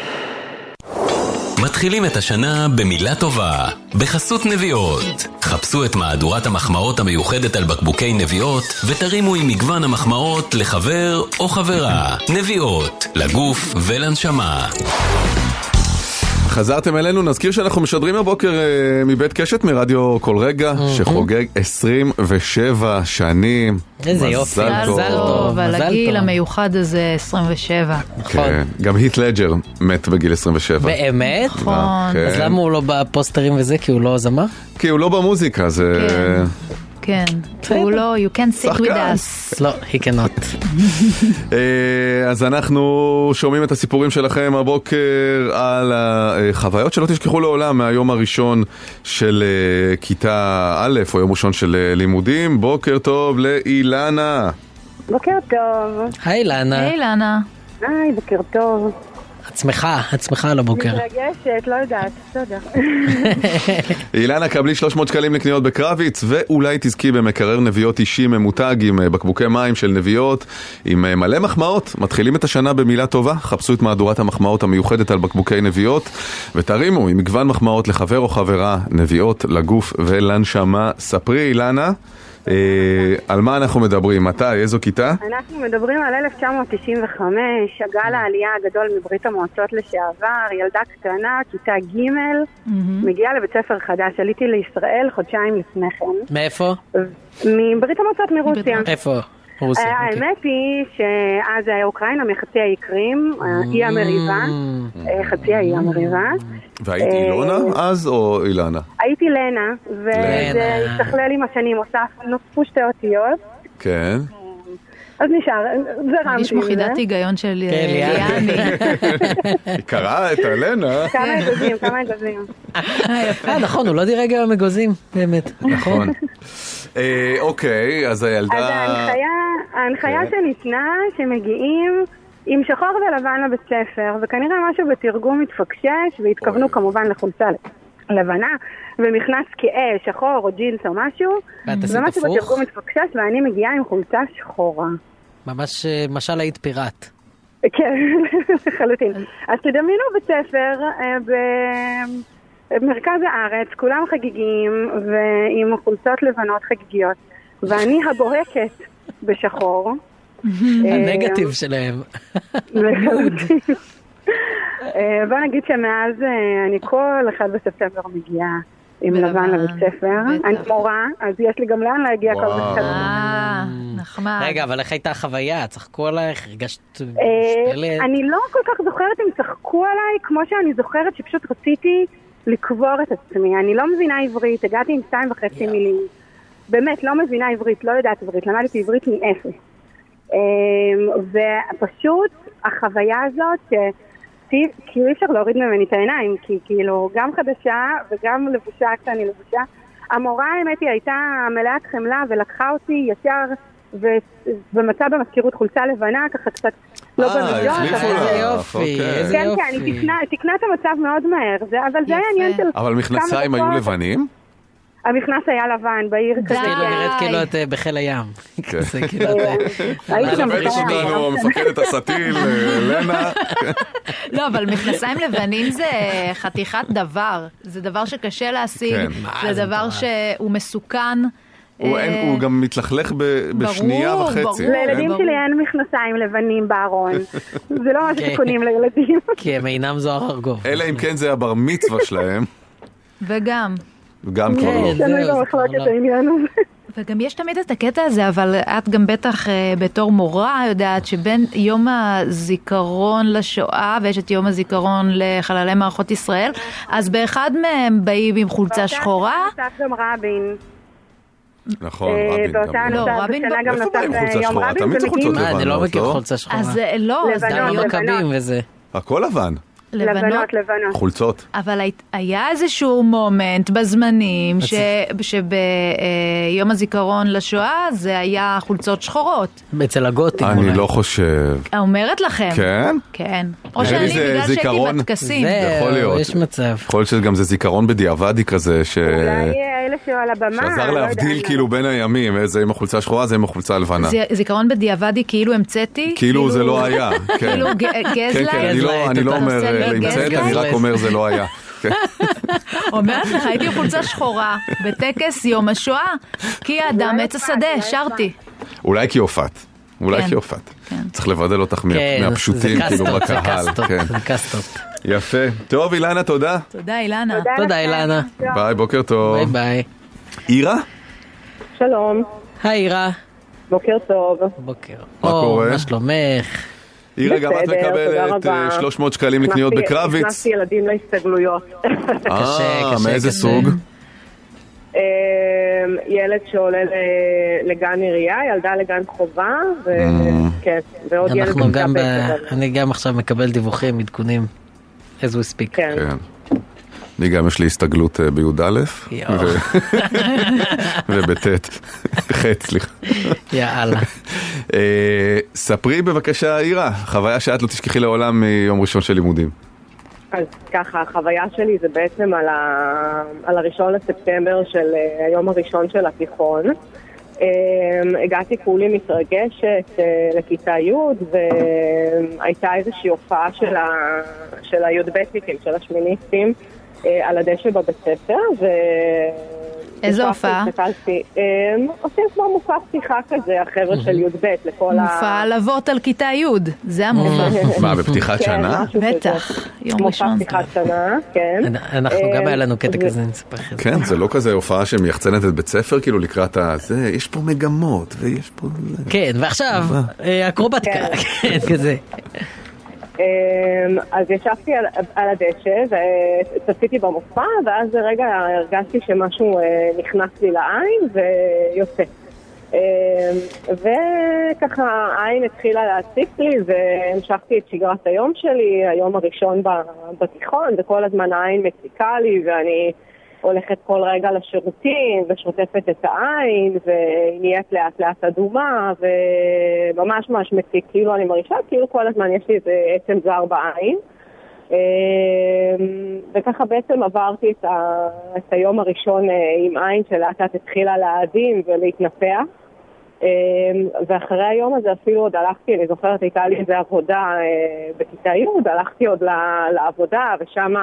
S6: מתחילים את השנה במילה טובה, בחסות נביעות. חפשו את מהדורת המחמאות המיוחדת על בקבוקי נביעות, ותרימו עם מגוון המחמאות לחבר או חברה. נביעות, לגוף ולנשמה.
S3: חזרתם אלינו, נזכיר שאנחנו משדרים הבוקר אה, מבית קשת מרדיו כל רגע, שחוגג 27 שנים.
S4: איזה יופי,
S3: מזל
S4: מזל
S3: טוב.
S4: טוב.
S5: על
S4: מזל
S5: הגיל
S4: טוב.
S5: המיוחד הזה, 27.
S4: נכון.
S3: כן, גם היט לג'ר מת בגיל 27.
S4: באמת?
S5: נכון.
S3: כן.
S4: אז למה הוא לא בפוסטרים וזה? כי הוא לא זמר?
S3: כי הוא לא במוזיקה, זה...
S5: כן. כן. הוא לא, you can sit with
S3: שחקן.
S5: us.
S4: לא, he cannot.
S3: אה, אז אנחנו שומעים את הסיפורים שלכם הבוקר על החוויות שלא תשכחו לעולם מהיום הראשון של אה, כיתה א' או יום ראשון של אה, לימודים. בוקר טוב לאילנה.
S10: בוקר טוב.
S4: היי לנה,
S5: היי, לנה.
S10: היי, בוקר טוב.
S4: את שמחה, את שמחה על הבוקר.
S10: מתרגשת, לא יודעת, בסדר.
S3: אילנה, קבלי 300 שקלים לקניות בקרביץ, ואולי תזכי במקרר נביעות אישי ממותג עם אה, בקבוקי מים של נביעות, עם אה, מלא מחמאות. מתחילים את השנה במילה טובה, חפשו את מהדורת המחמאות המיוחדת על בקבוקי נביעות, ותרימו עם מגוון מחמאות לחבר או חברה, נביעות לגוף ולנשמה. ספרי, אילנה, אה, על מה אנחנו מדברים, מתי, איזו כיתה?
S10: אנחנו מדברים על 1995, הגל
S4: כן.
S10: העלייה הגדול מברית המועצות לשעבר, ילדה קטנה, כיתה ג', מגיעה לבית ספר חדש. עליתי לישראל חודשיים לפני כן,
S4: מאיפה?
S10: מברית המועצות מרוסיה.
S4: איפה? רוסיה.
S10: אה,
S4: אוקיי.
S10: האמת היא שאז היה אוקראינה מחצי האי קרים, האי
S4: Mm.
S10: המריבה, אה, חצי האי המריבה. אה,
S3: והיית אילונה אז או אילנה?
S10: הייתי לנה, וזה
S4: לנה.
S10: השתכלל עם השנים, הוסף- נוספו שתי אותיות.
S3: כן.
S10: אז נשאר,
S5: יש
S10: זרמתי עם זה.
S5: מוחידת היגיון של אה,
S4: כן, ליאני.
S5: ליאני.
S3: היא קראה את אלנה.
S4: כן.
S10: כמה אגוזים, כמה אגוזים.
S4: אה, נכון, הוא לא דירג היום אגוזים, באמת.
S3: נכון. אה, אוקיי, אז הילדה...
S10: אז ההנחיה, ההנחיה
S3: כן.
S10: שניתנה, שמגיעים עם שחור ולבן לבית ספר, וכנראה משהו בתרגום מתפקשש, והתכוונו כמובן לחולצה לבנה, ומכנס כהה, שחור או ג'ינס או משהו,
S4: ואת עשית
S10: ומשהו
S4: הפוך?
S10: בתרגום מתפקשש, ואני מגיעה עם חולצה שחורה.
S4: ממש אה, משל היית פיראט.
S10: כן, לחלוטין. אז תדמיינו בית ספר אה, במרכז הארץ, כולם חגיגיים ועם חולצות לבנות חגיגיות, ואני הבוהקת בשחור.
S11: אה,
S4: הנגטיב שלהם.
S10: לחלוטין. אה, בוא נגיד שמאז אה, אני כל אחד בספטמבר מגיעה עם
S5: בלבן,
S10: לבן לבית ספר.
S5: בטח.
S10: אני מורה, אז יש לי גם לאן להגיע כל
S3: וואו.
S10: בספטמבר.
S5: אה, נחמד.
S4: רגע, אבל איך הייתה החוויה? צחקו עלייך? הרגשת
S10: אה,
S4: משתלת?
S10: אני לא כל כך זוכרת אם צחקו עליי, כמו שאני זוכרת שפשוט רציתי לקבור את עצמי. אני לא מבינה עברית, הגעתי עם שתיים וחצי מילים. באמת, לא מבינה עברית, לא יודעת עברית, למדתי עברית מאפס. אה, ופשוט החוויה הזאת, ש- כאילו אי אפשר להוריד ממני את העיניים, כי כאילו גם חדשה וגם לבושה כשאני לבושה. המורה האמת היא הייתה מלאת חמלה ולקחה אותי ישר ו- ומצאה במזכירות חולצה לבנה, ככה קצת לא
S3: אה,
S10: במדויק.
S3: החליפו
S10: אבל-
S4: איזה
S3: לה.
S4: יופי,
S3: אוקיי.
S4: איזה
S10: כן, כן,
S4: יופי.
S10: היא תיקנה- תיקנה את המצב מאוד מהר, זה- אבל זה היה
S5: יפה.
S10: עניין של...
S3: אבל מכנסיים
S10: כמה
S3: היו
S10: דקות.
S3: לבנים?
S10: המכנס היה לבן, בעיר
S5: די.
S10: כזה.
S4: כאילו
S11: לא
S4: נראית
S5: די.
S4: כאילו את אה, בחיל הים.
S3: כן.
S4: כזה, כאילו את, אה,
S10: הייתי גם
S3: מכבדת
S10: בחיל הים.
S3: אותנו מפקדת הסטיל, אה, לנה.
S5: לא, אבל מכנסיים לבנים זה חתיכת דבר. זה דבר שקשה להשיג,
S3: כן.
S5: זה דבר שהוא מסוכן.
S3: הוא
S5: אה,
S3: אין- הוא גם מתלכלך ב- בשנייה
S5: ברור,
S3: וחצי.
S5: ברור.
S10: לילדים
S4: כן,
S5: ברור.
S10: שלי אין מכנסיים לבנים בארון. זה לא משהו
S4: כן.
S10: שקונים לילדים.
S4: כי הם אינם זוהר ארגוב.
S3: אלא אם כן זה הבר מצווה שלהם,
S5: וגם,
S3: גם
S10: כן,
S3: כבר לא.
S4: זהו,
S10: שנוי
S4: זה כבר
S10: במחלוקת
S4: לא.
S10: העניין הזה.
S5: וגם יש תמיד את הקטע הזה, אבל את גם בטח אה, בתור מורה יודעת שבין יום הזיכרון לשואה ויש את יום הזיכרון לחללי מערכות ישראל, אז באחד מהם באים עם חולצה
S10: אוקיי.
S5: שחורה.
S10: נוסף גם רבין.
S3: נכון,
S10: אה,
S3: רבין.
S10: באותה
S3: גם
S5: לא.
S3: לא.
S5: לא,
S10: נוסף
S5: רבין
S10: בשנה
S5: ב-
S10: גם
S3: איפה
S10: נוסף
S3: באים עם חולצה
S10: אה, יום
S3: שחורה?
S10: רבין,
S3: תמיד זה חולצות
S10: ומגיעים
S4: מה, אני לא
S3: לבנות,
S4: מכיר
S3: לא?
S4: חולצה שחורה.
S5: אז אה, לא, אז
S10: לבנון,
S4: גם
S5: גם
S10: לבנון.
S4: המכבים וזה.
S3: הכל לבן.
S5: לבנות.
S10: לבנות, לבנות.
S3: חולצות.
S5: אבל היית- היה איזשהו מומנט בזמנים,
S4: אז-
S5: שביום הזיכרון לשואה זה היה חולצות שחורות.
S4: אה, אצל הגותים. אולי.
S3: אני לא חושב.
S5: אומרת לכם.
S3: כן?
S5: כן. או
S3: נראה לי
S5: שאני,
S3: זה
S5: בגלל שהייתי
S3: זיכרון. נכון.
S5: בטקסים.
S4: זהו,
S3: יכול להיות.
S4: יש מצב.
S3: יכול להיות שגם זה זיכרון בדיעבדי כזה, ש...
S10: אולי אה, אלה שהיו על הבמה,
S3: שעזר
S10: לא
S3: להבדיל
S10: יודעת.
S3: כאילו בין הימים, זה עם החולצה השחורה, זה עם החולצה הלבנה.
S5: זה- זיכרון בדיעבדי כאילו המצאתי.
S3: כאילו זה לא היה, כן.
S5: כאילו ג-
S3: כן, כן,
S5: גזלייט.
S3: אני לא- אני לא
S5: אתה
S3: אומר
S5: עושה לי
S3: אה, להמצאת, אני
S5: גזלייט?
S3: רק אומר זה לא היה. כן.
S5: אומרת לך, הייתי עם חולצה שחורה בטקס יום השואה, כי האדם עץ השדה, שרתי.
S3: אולי כי הופעת. אולי
S5: כן.
S3: כי הופעת.
S5: כן.
S3: צריך לבדל אותך מה-
S4: כן,
S3: מהפשוטים,
S4: זה
S3: כאילו
S4: קסטות, זה
S3: בקהל.
S4: קסטות,
S3: כן.
S4: זה קסטות.
S3: יפה. טוב, אילנה, תודה.
S5: תודה, אילנה.
S4: תודה אילנה,
S3: ביי, בוקר
S4: ביי
S3: טוב.
S4: ביי.
S3: אירה?
S11: שלום,
S4: היי אירה.
S11: בוקר טוב.
S4: בוקר.
S3: מה
S4: אור,
S3: קורה?
S4: מה שלומך?
S3: אירה, גם את
S11: בסדר, תודה
S3: מקבלת אה,
S11: רבה.
S3: 300 שקלים לקניות
S11: הכנסתי-
S3: בקרביץ.
S11: הכנסתי ילדים להסתגלויות.
S4: קשה,
S3: אה,
S4: קשה,
S3: מאיזה
S4: קשה. כן.
S3: סוג?
S11: אמ, ילד שעולה ל- לגן עירייה, ילדה לגן חובה,
S3: אה.
S11: וכן, ועוד ילד
S4: אנחנו
S11: בכיתה
S4: גם, ב...
S11: ב' כזה.
S4: אני גם עכשיו מקבל דיווחים, עדכונים. as we speak.
S11: כן.
S3: כן. אני גם יש לי הסתגלות אה, בי"א.
S4: יואו.
S3: ו- ובט', ח', סליחה.
S4: יאללה.
S3: אה, ספרי בבקשה, אירה, חוויה שאת לא תשכחי לעולם מיום ראשון של לימודים.
S11: אז ככה, החוויה שלי זה בעצם על, ה... על הראשון לספטמבר של אה, היום הראשון של התיכון. אמ, הגעתי כולי מתרגשת אה, לכיתה י' והייתה איזושהי הופעה של, ה... של הי"בניקים, של השמיניסטים, אה, על הדשא בבית ספר. ו...
S5: איזו
S11: נכנסתי,
S5: הופעה?
S11: הסתכלתי, אמ, עושים כמו מופע פתיחה כזה, החבר'ה של י"ב, לכל ה...
S5: מופע עלבות על כיתה י', זה המופע.
S3: מה, בפתיחת
S11: כן,
S3: שנה?
S11: משהו כזה.
S5: בטח, יום
S11: מופע
S5: ראשון.
S11: פתיחת שנה, כן.
S4: אנחנו גם
S11: אה,
S4: היה לנו קטע
S11: זה-
S4: כזה, אני אספר לך. את זה.
S3: כן, זה לא כזה הופעה שמייחצנת את בית ספר, כאילו לקראת ה... זה, יש פה מגמות, ויש פה... זה.
S4: כן, ועכשיו, אה, אקרובטיקה. כן, כזה.
S11: אמ, אז ישבתי על, על הדשא וצפיתי במופע, ואז לרגע הרגשתי שמשהו אה, נכנס לי לעין ויוצא. אמ, וככה העין התחילה להציק לי והמשכתי את שגרת היום שלי, היום הראשון ב- בתיכון, וכל הזמן העין מציקה לי ואני הולכת כל רגע לשירותים ושוטפת את העין והיא נהיית לאט לאט אדומה וממש ממש מציק, כאילו אני מרגישה כאילו כל הזמן יש לי איזה עצם זר בעין אמ, וככה בעצם עברתי את, ה... את היום הראשון אה, עם עין שלאט לאט התחילה להאדים ולהתנפח אמ, ואחרי היום הזה אפילו עוד הלכתי, אני זוכרת הייתה לי איזו עבודה אה, בכיתה י', הלכתי עוד ל- לעבודה ושם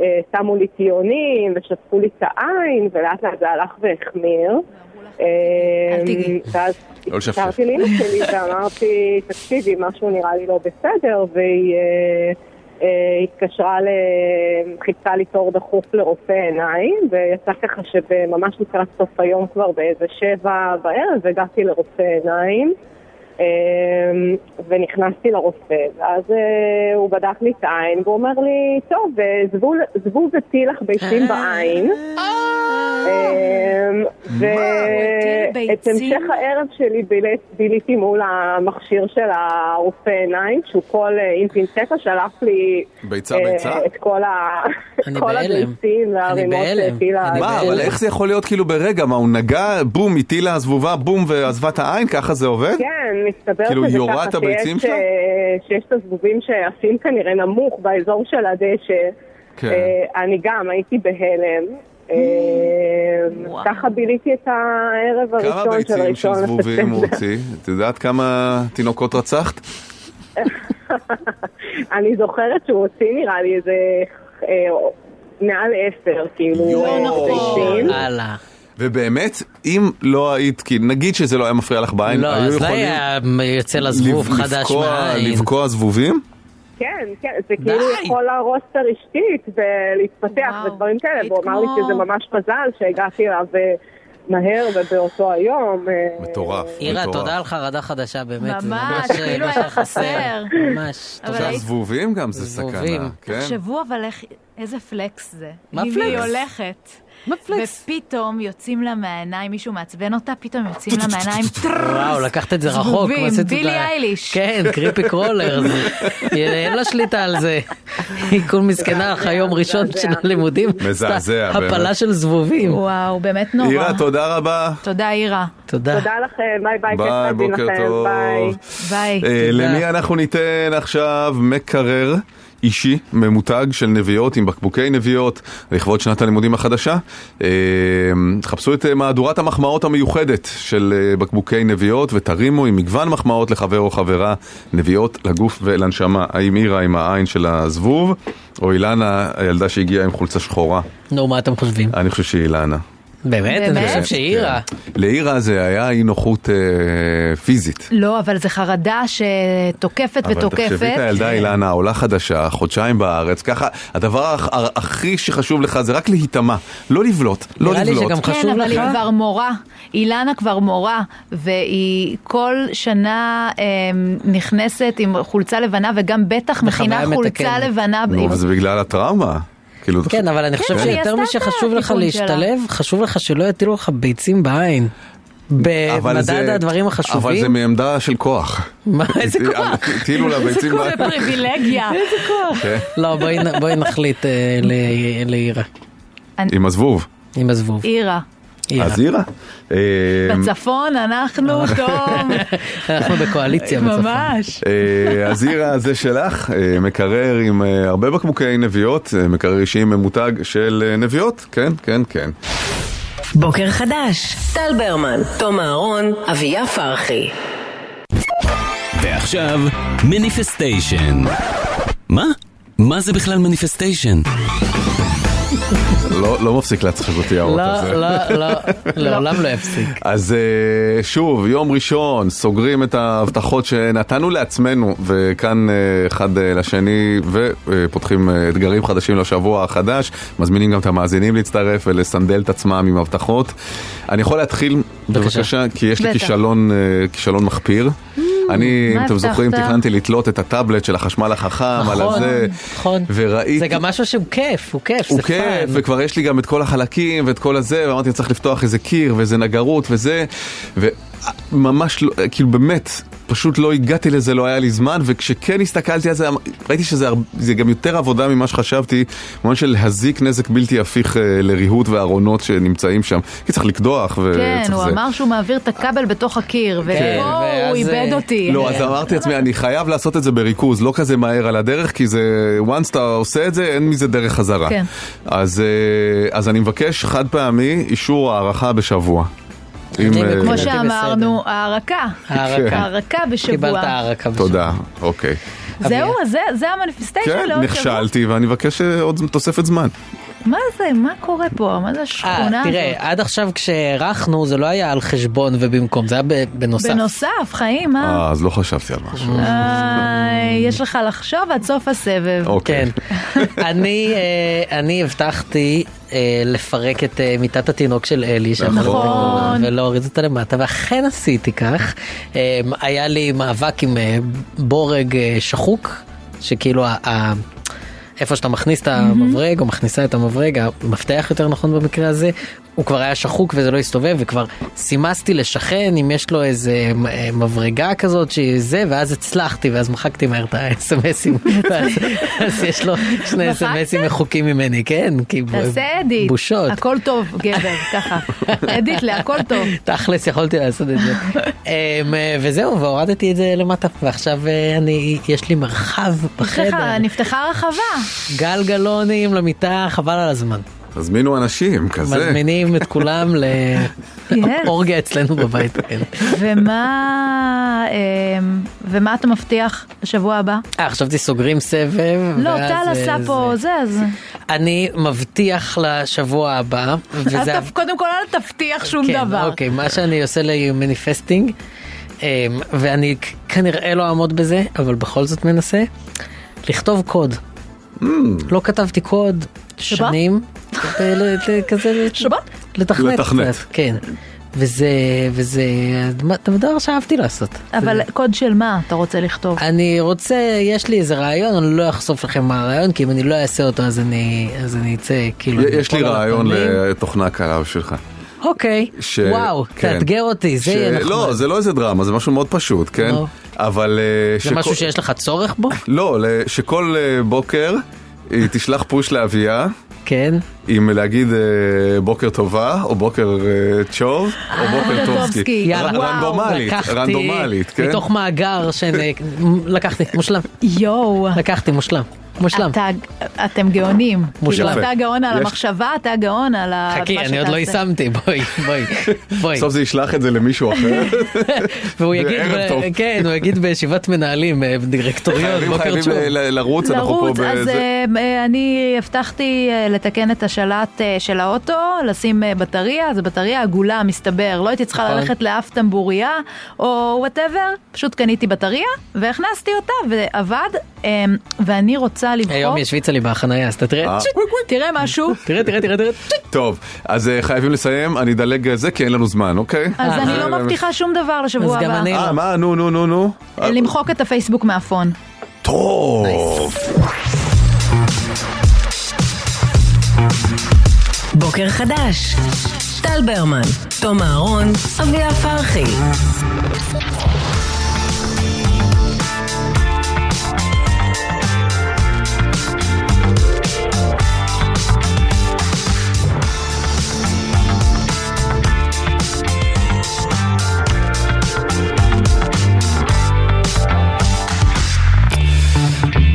S11: אה, שמו לי טיעונים ושטפו לי את העין ולאט לאט זה הלך והחמיר. אמ,
S5: אל תיגעי.
S11: ואז
S3: לא לשפשף.
S11: התקשרתי לאמא שלי ואמרתי, תקשיבי, משהו נראה לי לא בסדר, והיא אה, אה, התקשרה, ל... חיפשה לי תור דחוף לרופא עיניים, ויצא ככה שממש לקראת סוף היום כבר באיזה שבע בערב, הגעתי לרופא עיניים. אמ, ונכנסתי לרופא, ואז אה, הוא בדק לי את העין, והוא אומר לי, טוב, אה, זבוב- זבוב הטיל לך ביצים בעין. אמ,
S5: הטיל
S11: ואת
S5: ביצים?
S11: המשך הערב שלי ביל- ביליתי מול המכשיר של הרופא עיניים, שהוא כל אה, עם פינצטה שלף לי
S3: ביצה,
S11: אה,
S3: ביצה?
S11: את כל ה-
S4: אני
S11: כל
S4: בהלם.
S11: הביצים והרימות
S4: בהלם.
S11: שהטילה.
S4: אני
S3: מה,
S4: בהלם.
S3: אבל איך זה יכול להיות כאילו ברגע, מה, הוא נגע, בום, הטילה הזבובה, בום, ועזבה את העין, ככה זה עובד?
S11: כן, מסתבר
S3: כאילו,
S11: שזה
S3: יורה
S11: ככה
S3: את הביצים
S11: שיש,
S3: שלה?
S11: אה, שיש את הזבובים שעפים כנראה נמוך באזור של הדשא.
S3: כן.
S11: אה, אני גם הייתי בהלם. אה,
S5: וואו.
S11: ככה ביליתי את הערב
S3: כמה
S11: הראשון של
S3: ביצים של
S11: הראשון
S3: זבובים הוא
S11: לספטמבר.
S3: הוציא? את יודעת כמה תינוקות רצחת?
S11: אני זוכרת שהוא הוציא נראה לי איזה אה, מעל עשר, כאילו,
S3: לא
S11: אה,
S3: נכון.
S11: ביצים.
S4: הלאה.
S3: ובאמת, אם לא היית, כי נגיד שזה לא היה מפריע לך בעין,
S4: לא,
S3: היו
S4: אז לא
S3: יכולים
S4: היה יוצא לזבוב
S3: לב-
S4: חדש
S3: לבקוע-
S4: מהעין.
S3: לבקוע זבובים?
S11: כן, כן, זה כאילו
S4: די.
S11: יכול להרוס את הרשתית ולהתפתח
S5: וואו,
S11: ודברים כאלה,
S5: היית
S11: והוא אמר לי
S5: כמו-
S11: שזה ממש מזל שהגעתי אליו אה, מהר ובאותו היום. אה,
S3: מטורף.
S4: אירה,
S3: מטורף.
S4: תודה על חרדה חדשה, באמת. זה
S5: ממש,
S4: אה,
S5: כאילו
S4: מה
S5: היה
S4: שחסר.
S5: חסר.
S4: ממש.
S5: אבל
S4: תודה.
S3: עכשיו
S5: היית-
S3: זבובים גם זה
S4: זבובים.
S3: סכנה, כן?
S5: תחשבו אבל איך- איזה פלקס זה.
S4: מה
S5: אם היא
S4: פלקס?
S5: הולכת מפלקס. ופתאום יוצאים לה מהעיניים, מישהו מעצבן אותה, פתאום יוצאים לה מהעיניים,
S4: וואו, לקחת את זה רחוק.
S5: זבובים,
S4: ועשית את
S5: בילי
S4: ה-
S5: אייליש.
S4: כן, קריפי קרולר. זה- אין לה שליטה על זה. היא כל מסכנה אחרי יום ראשון של הלימודים.
S3: מזעזע,
S4: עשתה
S3: באמת.
S4: הפלה של זבובים.
S5: וואו, באמת נורא.
S3: אירה, תודה רבה.
S5: תודה, אירה.
S4: תודה.
S10: תודה לכם, ביי ביי, כיף
S3: ביי,
S10: להאזין
S3: בוקר
S10: לכם,
S3: טוב.
S10: ביי.
S5: ביי.
S3: אה, למי אנחנו ניתן עכשיו מקרר אישי ממותג של נביעות עם בקבוקי נביעות לכבוד שנת הלימודים החדשה? אה, חפשו את אה, מהדורת המחמאות המיוחדת של אה, בקבוקי נביעות ותרימו עם מגוון מחמאות לחבר או חברה נביעות לגוף ולנשמה. האם אירה עם העין של הזבוב או אילנה, הילדה שהגיעה עם חולצה שחורה?
S4: נו, מה אתם חושבים?
S3: אני חושב שהיא אילנה.
S4: באמת? אני
S5: באמת?
S4: חושב
S3: כן.
S4: שאירה.
S3: לאירה זה היה אי נוחות אה, פיזית.
S5: לא, אבל זה חרדה שתוקפת
S3: אבל תחשבי את
S5: ותוקפת.
S3: הילדה אילנה, עולה חדשה, חודשיים בארץ, ככה, הדבר הכ- הכי שחשוב לך זה רק להיטמע, לא לבלוט, לא
S4: נראה לי
S3: לבלוט.
S4: שגם חשוב
S5: כן, אבל
S4: לך?
S5: היא כבר מורה. אילנה כבר מורה, והיא כל שנה אה, נכנסת עם חולצה לבנה, וגם בטח מכינה
S4: בחוויה
S5: חולצה
S4: מתקנת.
S5: לבנה.
S3: נו, אבל זה בגלל הטראומה. כאילו,
S4: כן, אבל אני חושב
S5: כן, היא
S4: שיותר
S5: עשתה את
S4: משחשוב לך
S5: התיקון שלה.
S4: להשתלב, חשוב לך שלא יטילו לך ביצים בעין.
S3: אבל
S4: במדד
S3: זה-
S4: הדברים
S3: אבל זה
S4: החשובים.
S3: מעמדה של כוח.
S4: מה, איזה
S3: הטילו-
S4: כוח?
S3: הטילו לה ביצים.
S5: זה פריבילגיה.
S3: כן.
S4: לא, בואי נ- בואי נחליט אה, ל- לאירה.
S3: עם הזבוב.
S4: עם הזבוב.
S5: אירה.
S4: אירה.
S3: אז אירה. אה,
S5: בצפון אנחנו טוב.
S4: אנחנו בקואליציה אה. בצפון.
S5: ממש.
S3: אה, אז אירה זה שלך, אה, מקרר עם אה, הרבה בקבוקי נביעות, אה, מקרר אישי ממותג של אה, נביעות, כן, כן, כן.
S2: בוקר חדש, טל ברמן, תום אהרון, אביה פרחי.
S6: ועכשיו, מניפסטיישן. מה? מה זה בכלל מניפסטיישן?
S3: לא לא מפסיק להצחיק אותי האורות הזה.
S4: לא, לא, לא, לעולם לא יפסיק.
S3: אז אה, שוב, יום ראשון, סוגרים את ההבטחות שנתנו לעצמנו, וכאן אה, אחד אה, לשני, ופותחים אה, אתגרים חדשים לשבוע החדש, מזמינים גם את המאזינים להצטרף ולסנדל את עצמם עם הבטחות. אני יכול להתחיל,
S4: בבקשה. Mm,
S3: בבקשה, כי יש לי
S5: בטח.
S3: כישלון, אה, כישלון מחפיר. אני, אם
S5: מה
S3: אתם זוכרים,
S5: הבטחת?
S3: תכננתי לתלות את הטאבלט של החשמל החכם על
S4: נכון,
S3: הזה,
S4: נכון.
S3: וראיתי...
S4: זה גם משהו שהוא כיף, הוא כיף,
S3: הוא
S4: זה
S3: כיף,
S4: פאן.
S3: וכבר יש לי גם את כל החלקים ואת כל הזה, ואמרתי, צריך לפתוח איזה קיר ואיזה נגרות וזה, וממש לא, כאילו באמת, פשוט לא הגעתי לזה, לא היה לי זמן, וכשכן הסתכלתי על זה, אמ- ראיתי שזה הר- זה גם יותר עבודה ממה שחשבתי, במובן של להזיק נזק בלתי הפיך אה, לריהוט וארונות שנמצאים שם, כי צריך לקדוח וצריך
S5: כן,
S3: אה, זה. כן.
S5: הוא אמר שהוא מעביר את הכבל בתוך הקיר, ופה
S4: כן, ואז,
S5: הוא איבד
S4: אה,
S5: אותי.
S3: לא, אז אמרתי לעצמי, אני חייב לעשות את זה בריכוז, לא כזה מהר על הדרך, כי זה, once אתה עושה את זה, אין מזה דרך חזרה.
S5: כן.
S3: אז, אה, אז אני מבקש חד פעמי אישור הארכה בשבוע. אם,
S4: אני
S3: אה,
S4: וכמו
S5: כמו
S4: ש-
S5: אוקיי, שאמרנו, הערקה.
S4: הערקה.
S5: הערקה
S4: קיבלת
S5: בשבוע.
S4: הערקה. בשבוע.
S3: תודה, אוקיי.
S5: זהו, לא
S4: אביה.
S5: אז זה- זה המניפיסטיישן
S3: כן,
S5: לעוד שבוע.
S3: נכשלתי, ואני מבקש אה, עוד ז- תוספת זמן.
S5: מה זה? מה קורה פה? מה זה
S4: אה,
S5: השכונה הזאת?
S4: תראה, עד עכשיו כשהארכנו זה לא היה על חשבון ובמקום, זה היה ב- בנוסף.
S5: בנוסף, חיים, מה?
S3: אה, אז לא חשבתי על משהו.
S5: איי, יש לך לחשוב עד סוף הסבב.
S3: אוקיי.
S4: כן. אני, אה, אני הבטחתי אה, לפרק את אה, מיטת התינוק של אלי, שאנחנו
S5: נכון.
S4: לא- ולהוריד אותה למטה, ואכן עשיתי כך. אה, היה לי מאבק עם אה, בורג אה, שחוק, שכאילו ה... ה איפה שאתה מכניס את המברג, או מכניסה את המברג, המפתח יותר נכון במקרה הזה, הוא כבר היה שחוק וזה לא הסתובב, וכבר סימסתי לשכן אם יש לו איזה אה, מברגה כזאת שהיא זה, ואז הצלחתי, ואז מחקתי מהר את האס.אם.אסים, ואז אז יש לו שני
S5: מחקת?
S4: אס.אם.אסים מחוקים ממני, כן, כי ב-
S5: תעשה אדיט.
S4: בושות.
S5: הכל טוב, גבר, ככה. אדיט להכל טוב.
S4: תכלס יכולתי לעשות את זה. אמ, אה, וזהו, והורדתי את זה למטה, ועכשיו אה, אני, יש לי מרחב בחדר.
S5: סליחה, נפתחה הרחבה.
S4: גלגלונים למיטה, חבל על הזמן.
S3: תזמינו אנשים, כזה.
S4: מזמינים את כולם לאורגיה אצלנו בבית. כן.
S5: ומה אמ, ומה אתה מבטיח בשבוע הבא?
S4: אה, חשבתי סוגרים סבב.
S5: לא,
S4: ואז,
S5: טל
S4: אה,
S5: עשה פה
S4: זה.
S5: זה, אז...
S4: אני מבטיח לשבוע הבא,
S5: אל
S4: וזה...
S5: תב- קודם כל אל תבטיח שום
S4: כן,
S5: דבר.
S4: אוקיי, מה שאני עושה למניפסטינג, אמ, ואני כ- כנראה לא אעמוד בזה, אבל בכל זאת מנסה, לכתוב קוד. לא כתבתי קוד שנים. ו- ל- ל- כזה ל-
S5: שבת?
S4: לתכנת.
S3: לתכנת.
S4: קצת, כן. וזה, וזה דבר שאהבתי לעשות.
S5: אבל קוד של מה אתה רוצה לכתוב?
S4: אני רוצה, יש לי איזה רעיון, אני לא אחשוף לכם מה הרעיון, כי אם אני לא אעשה אותו אז אני, אז אני אצא, כאילו... אני
S3: יש לי
S4: אפול על
S3: רעיון
S4: הפנים.
S3: לתוכנה קלה בשבילך.
S4: אוקיי,
S3: ש-
S4: וואו,
S3: כן.
S4: תאתגר אותי, זה
S3: ש-
S4: יהיה נחמד.
S3: לא, זה לא איזה דרמה, זה משהו מאוד פשוט, כן?
S4: לא.
S3: אבל... אה,
S4: זה
S3: שכל-
S4: משהו שיש לך צורך בו?
S3: לא, ל- שכל אה, בוקר היא תשלח פוש לאביה.
S4: כן.
S3: עם להגיד אה, בוקר טובה, או בוקר אה, צ'וב, או
S5: אה,
S3: בוקר טובסקי. ר- רנדומלית,
S4: לקחתי
S3: רנדומלית, כן?
S4: מתוך מאגר שאני... לקחתי, מושלם.
S5: יואו.
S4: לקחתי, מושלם. מושלם.
S5: אתה, אתם גאונים.
S4: מושלם.
S5: כאילו, אתה גאון על
S3: יש-
S5: המחשבה, אתה גאון על ה...
S4: חכי,
S5: מה
S4: אני עוד לא
S5: שתעשה.
S4: יישמתי, בואי, בואי, בואי.
S3: בסוף זה ישלח את זה למישהו אחר.
S4: והוא יגיד,
S3: ערב
S4: ב-
S3: טוב.
S4: כן, הוא יגיד בישיבת מנהלים, אה, דירקטוריון,
S3: חייבים
S4: בוקר
S3: חייבים
S4: טוב.
S3: ל- ל- לרוץ, אנחנו פה
S5: לרוץ, אז
S3: בזה.
S5: אה, אה, אני הבטחתי אה, לתקן את השלט אה, של האוטו, לשים אה, בטריה, זו בטריה עגולה, מסתבר. לא הייתי צריכה
S4: נכון.
S5: ללכת לאף טמבוריה או וואטאבר, פשוט קניתי בטריה והכנסתי אותה ועבד, אה, ואני רוצה לבחור...
S4: היום יש ויצלי בחנייה, אז אתה אה, תראה,
S3: אה.
S4: צ'יט,
S5: תראה משהו,
S4: תראה, תראה, תראה, תראה, צ'יט.
S3: טוב, אז אה, חייבים לסיים, אני אדלג על זה כי אין לנו זמן, אוקיי?
S5: אז אני לא מבטיחה שום דבר לשבוע
S4: אז גם
S5: הבא.
S4: אני לא.
S3: אה, מה? נו, נו, נו, נו. אה,
S5: למחוק את הפייסבוק מהפון.
S3: טוב.
S2: בוקר חדש. טל ברמן, תום אהרון, אביה פרחי.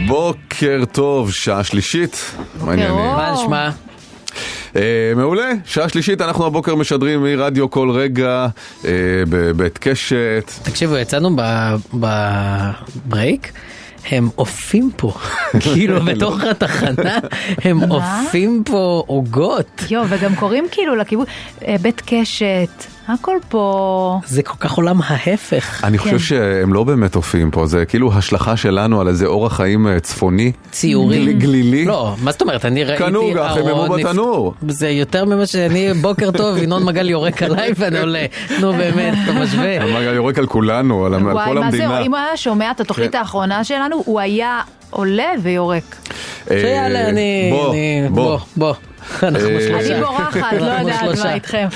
S3: בוקר טוב, שעה שלישית. מה העניינים?
S5: אור.
S4: מה נשמע?
S3: אה, מעולה, שעה שלישית, אנחנו הבוקר משדרים מרדיו כל רגע, אה, בבית קשת.
S4: תקשיבו, יצאנו ב- בברייק. הם עופים פה, כאילו בתוך התחנה הם עופים פה עוגות.
S5: יואו, וגם קוראים כאילו לכיוון, אה, בית קשת, הכל פה.
S4: זה כל כך עולם ההפך.
S3: אני
S5: כן.
S3: חושב שהם לא באמת אופים פה, זה כאילו השלכה שלנו על איזה אורח חיים אה, צפוני.
S4: ציורים.
S3: גל- גלילי.
S4: לא, מה זאת אומרת, אני ראיתי...
S3: קנו גם, הם
S4: אהרון
S3: ימו
S4: נפ-
S3: בתנור.
S4: זה יותר ממה שאני, בוקר טוב, ינון מגל יורק עליי ואני עולה. נו באמת, אתה משווה.
S3: אמר, יורק על כולנו, על על
S5: וואי,
S3: כל
S5: מה
S3: המדינה.
S5: זה, אם הוא היה שומע את התוכנית
S3: כן.
S5: האחרונה שלנו, הוא היה עולה ויורק.
S3: אה,
S4: שיאללה, אני...
S3: בוא,
S4: אני-
S3: בוא.
S4: בוא, בוא. אנחנו
S3: אה,
S5: אני
S4: בשלושה.
S5: בורחת, לא
S4: אנחנו
S5: יודעת
S4: שלושה.
S5: מה איתכם.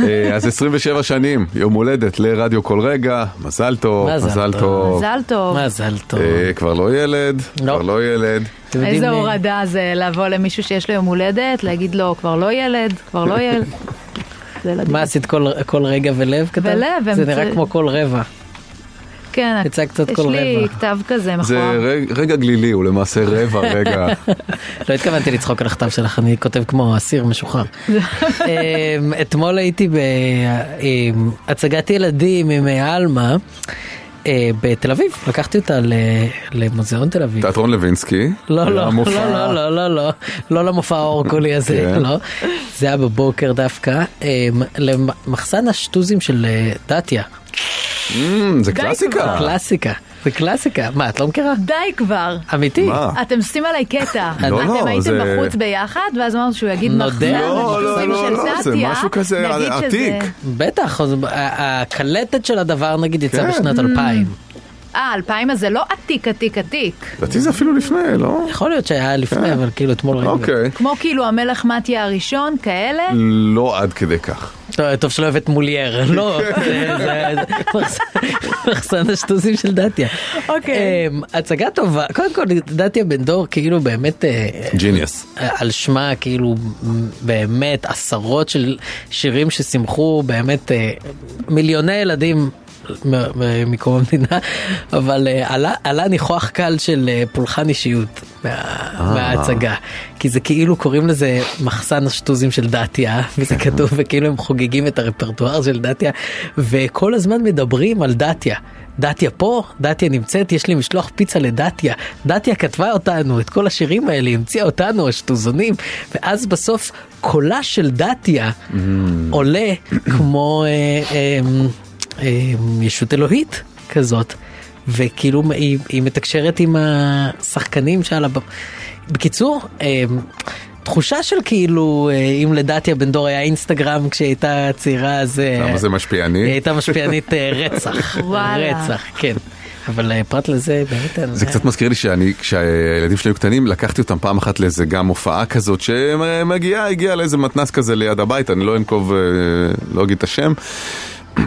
S3: אה, אז 27 שנים, יום הולדת לרדיו כל רגע, מזל טוב,
S4: מזל
S3: מזל
S4: טוב.
S3: טוב.
S5: מזל טוב.
S4: מזל טוב.
S3: אה, כבר לא ילד, כבר לא ילד.
S4: אתם יודעים,
S5: איזה
S4: אה,
S5: הורדה זה לבוא למישהו שיש לו יום הולדת, להגיד לו, כבר לא ילד, כבר לא ילד. זה ילדים.
S4: מה עשית כל- כל רגע ולב כתב?
S5: ולב,
S4: זה
S5: הם-
S4: נראה כמו כל רבע.
S5: כן,
S4: יצא קצת
S5: יש
S4: כל
S5: לי
S4: רבע.
S5: כתב כזה
S4: נכון.
S3: זה
S5: מכוער.
S3: רג- רגע גלילי, הוא למעשה רבע רגע.
S4: לא התכוונתי לצחוק על הכתב שלך, אני כותב כמו אסיר משוחרר.
S12: לא
S4: אמ, אתמול הייתי בהצגת ילדים עם עלמה אה, בתל אביב, לקחתי אותה ל- למוזיאון תל אביב.
S3: תיאטרון לוינסקי.
S4: לא, לא, לא,
S3: המופע.
S4: לא, לא, לא, לא, לא למופע האורקולי הזה,
S3: כן.
S4: לא. זה היה בבוקר דווקא, אמ, למחסן השטוזים של אה, דתיה.
S3: אמ, זה קלאסיקה.
S4: קלאסיקה, זה קלאסיקה. מה, את לא מכירה?
S5: די כבר.
S4: אמיתי?
S3: מה?
S5: אתם עושים עליי קטע.
S3: לא, לא,
S5: אתם הייתם
S3: זה-
S5: בחוץ ביחד, ואז אמרנו שהוא יגיד
S4: נודה.
S5: מחזר,
S3: לא, לא,
S5: ושטוסים
S3: לא,
S5: של
S3: לא, זה
S5: תתיה,
S3: משהו כזה
S5: נגיד שזה-
S3: עתיק.
S4: בטח, אז ה- הקלטת של הדבר נגיד יצא
S3: כן.
S5: Mm.
S4: בשנת 2000.
S5: אה, אלפיים אז זה לא עתיק עתיק עתיק.
S3: לדעתי זה אפילו לפני, לא? כן.
S4: יכול להיות שהיה לפני, אבל כאילו אתמול ראיתי.
S3: אוקיי.
S5: כמו כאילו המלך מתיה הראשון, כאלה.
S3: לא עד כדי כך.
S4: טוב, טוב שלא הבאת מולייר, לא, זה- זה- זה- מחסן השטוזים של דתיה.
S5: אוקיי.
S4: אמ, הצגה טובה, קודם כל דתיה בן דור כאילו באמת אה,
S3: ג'יניוס.
S4: אה, על שמה כאילו באמת עשרות של שירים ששימחו באמת אה, מיליוני ילדים. מ- מ- מקום המדינה אבל אה, עלה, עלה ניחוח קל של אה, פולחן אישיות מה, מההצגה כי זה כאילו קוראים לזה מחסן השטוזים של דתיה וזה כתוב וכאילו הם חוגגים את הרפרטואר של דתיה וכל הזמן מדברים על דתיה. דתיה פה, דתיה נמצאת, יש לי משלוח פיצה לדתיה. דתיה כתבה אותנו, את כל השירים האלה, המציאה אותנו, השטוזונים, ואז בסוף קולה של דתיה עולה כמו אה, אה, אה, ישות אלוהית כזאת, וכאילו היא, היא מתקשרת עם השחקנים שעל הבמה. בקיצור, אה, התחושה של כאילו, אה, אם לדעתי הבן דור היה אינסטגרם כשהיא הייתה צעירה, אז... אה,
S3: למה זה משפיעני?
S4: היא הייתה משפיענית אה, רצח.
S5: וואלה.
S4: רצח, כן. אבל אה, פרט לזה, באמת... אין-
S3: זה קצת מזכיר לי שאני, כשהילדים שלי היו קטנים, לקחתי אותם פעם אחת לאיזה גם הופעה כזאת שמגיעה, הגיעה לאיזה מתנס כזה ליד הבית, אני לא אנקוב, אה, לא אגיד את השם.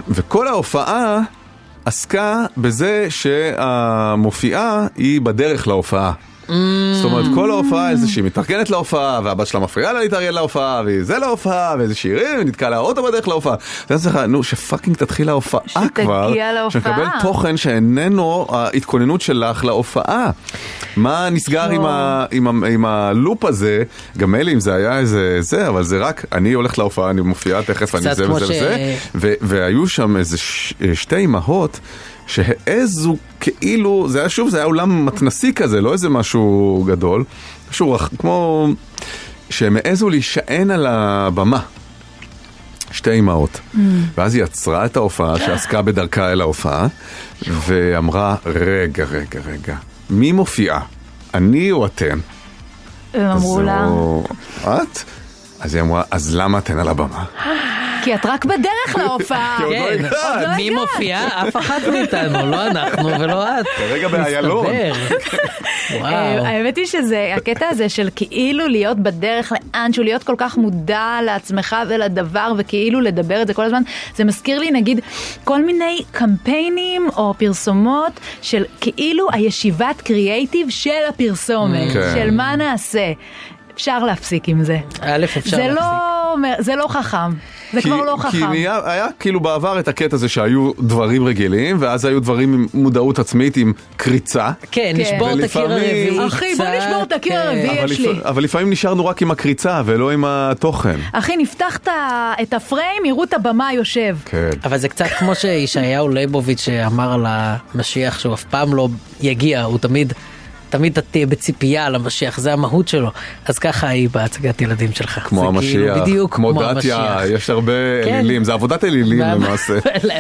S3: וכל ההופעה עסקה בזה שהמופיעה היא בדרך להופעה. זאת אומרת, כל ההופעה, איזה שהיא מתארגנת להופעה, והבת שלה מפריעה לה להתארגן להופעה, והיא זה להופעה, ואיזה שירים, ונתקע לה האוטו בדרך להופעה. אתה יודע לך, נו, שפאקינג תתחיל ההופעה כבר,
S5: להופעה.
S3: שנקבל תוכן שאיננו ההתכוננות שלך להופעה. מה נסגר
S4: לא.
S3: עם, ה, עם, ה, עם הלופ הזה, גם מילא אם זה היה איזה זה, אבל זה רק, אני הולך להופעה, אני מופיעה תכף, אני
S4: קצת
S3: זה
S4: כמו
S3: וזה
S4: ש-
S3: וזה, ו- והיו שם איזה ש- שתי אימהות שהעזו כאילו, זה היה שוב, זה היה אולם מתנסי כזה, לא איזה משהו גדול, משהו רח- כמו, שהם העזו להישען על הבמה. שתי אימהות,
S8: אוקיי.
S3: ואז היא עצרה את ההופעה שעסקה בדרכה אל ההופעה, ואמרה, רגע, רגע, רגע, מי מופיעה? אני או אתן?
S5: הם אמרו
S3: אז לא.
S5: לה,
S3: הוא, את? אז היא אמרה, אז למה אתן על הבמה?
S5: כי את רק בדרך להופעה.
S3: כי עוד לא
S4: כן,
S3: הגעת.
S5: עוד לא
S4: מי
S5: הגעת.
S4: מופיעה? אה, אף אחת מאיתנו, לא אנחנו ולא את.
S3: כרגע באיילון.
S4: מסתבר.
S5: אה,
S4: וואו.
S5: האמת היא שזה הקטע הזה של כאילו להיות בדרך לאנשהו, להיות כל כך מודע לעצמך ולדבר וכאילו לדבר את זה כל הזמן. זה מזכיר לי נגיד כל מיני קמפיינים או פרסומות של כאילו הישיבת קריאייטיב של הפרסומת,
S3: כן.
S5: של מה נעשה. אפשר להפסיק עם זה.
S4: א', אפשר
S5: זה
S4: להפסיק.
S5: לא, אומר- זה לא חכם, זה כבר לא
S3: כי
S5: חכם.
S3: נהיה, היה כאילו בעבר את הקטע הזה שהיו דברים רגילים, ואז היו דברים עם מודעות עצמית, עם קריצה.
S4: כן,
S5: כן.
S4: נשבור את הקיר
S3: ולפעמים-
S4: הרביעי.
S5: אחי, בוא
S4: קצת,
S5: נשבור את הקיר
S4: כן.
S5: הרביעי.
S3: אבל,
S5: יש לי.
S3: אבל לפעמים נשארנו רק עם הקריצה ולא עם התוכן.
S5: אחי, נפתח את ה- את הפריים, יראו את הבמה יושב.
S3: כן.
S4: אבל זה קצת כמו שישעיהו ליבוביץ' אמר על המשיח שהוא אף פעם לא יגיע, הוא תמיד, תמיד אתה תהיה בציפייה למשיח, זה המהות שלו. אז ככה היא בהצגת ילדים שלך.
S3: כמו
S4: זה כאילו
S3: המשיח,
S4: בדיוק
S3: כמו
S4: כמו
S3: דתיה,
S4: המשיח.
S3: יש הרבה
S4: כן.
S3: אלילים, זה עבודת אלילים למעשה.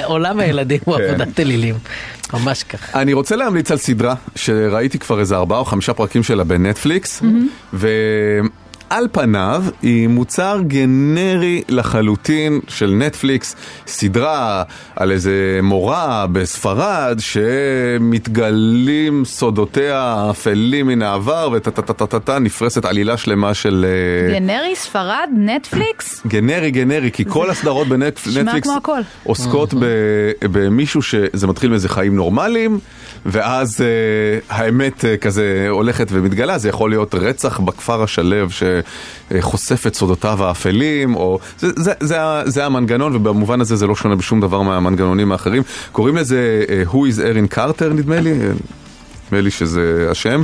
S4: עולם הילדים הוא
S3: כן.
S4: עבודת אלילים, ממש ככה.
S3: אני רוצה להמליץ על סדרה שראיתי כבר איזה ארבעה או חמישה פרקים שלה בנטפליקס, ועל פניו היא מוצר גנרי לחלוטין של נטפליקס, סדרה על איזה מורה בספרד שמתגלים סודותיה האפלים מן העבר וטה-טה-טה-טה, נפרסת עלילה שלמה של... אה,
S5: גנרי, ספרד, נטפליקס?
S3: גנרי גנרי, כי כל הסדרות
S5: נשמע
S3: בנטפליקס
S5: כמו הכל.
S3: עוסקות ב- במישהו שזה מתחיל מאיזה חיים נורמליים, ואז אה, האמת אה, כזה הולכת ומתגלה, זה יכול להיות רצח בכפר השלו שחושף את סודותיו האפלים, או... זה, זה, זה, ה- זה המנגנון, ובמובן הזה זה לא שונה בשום דבר מהמנגנונים האחרים. קוראים לזה אה, Who is Erin Carter נדמה לי. אה, נדמה לי שזה השם,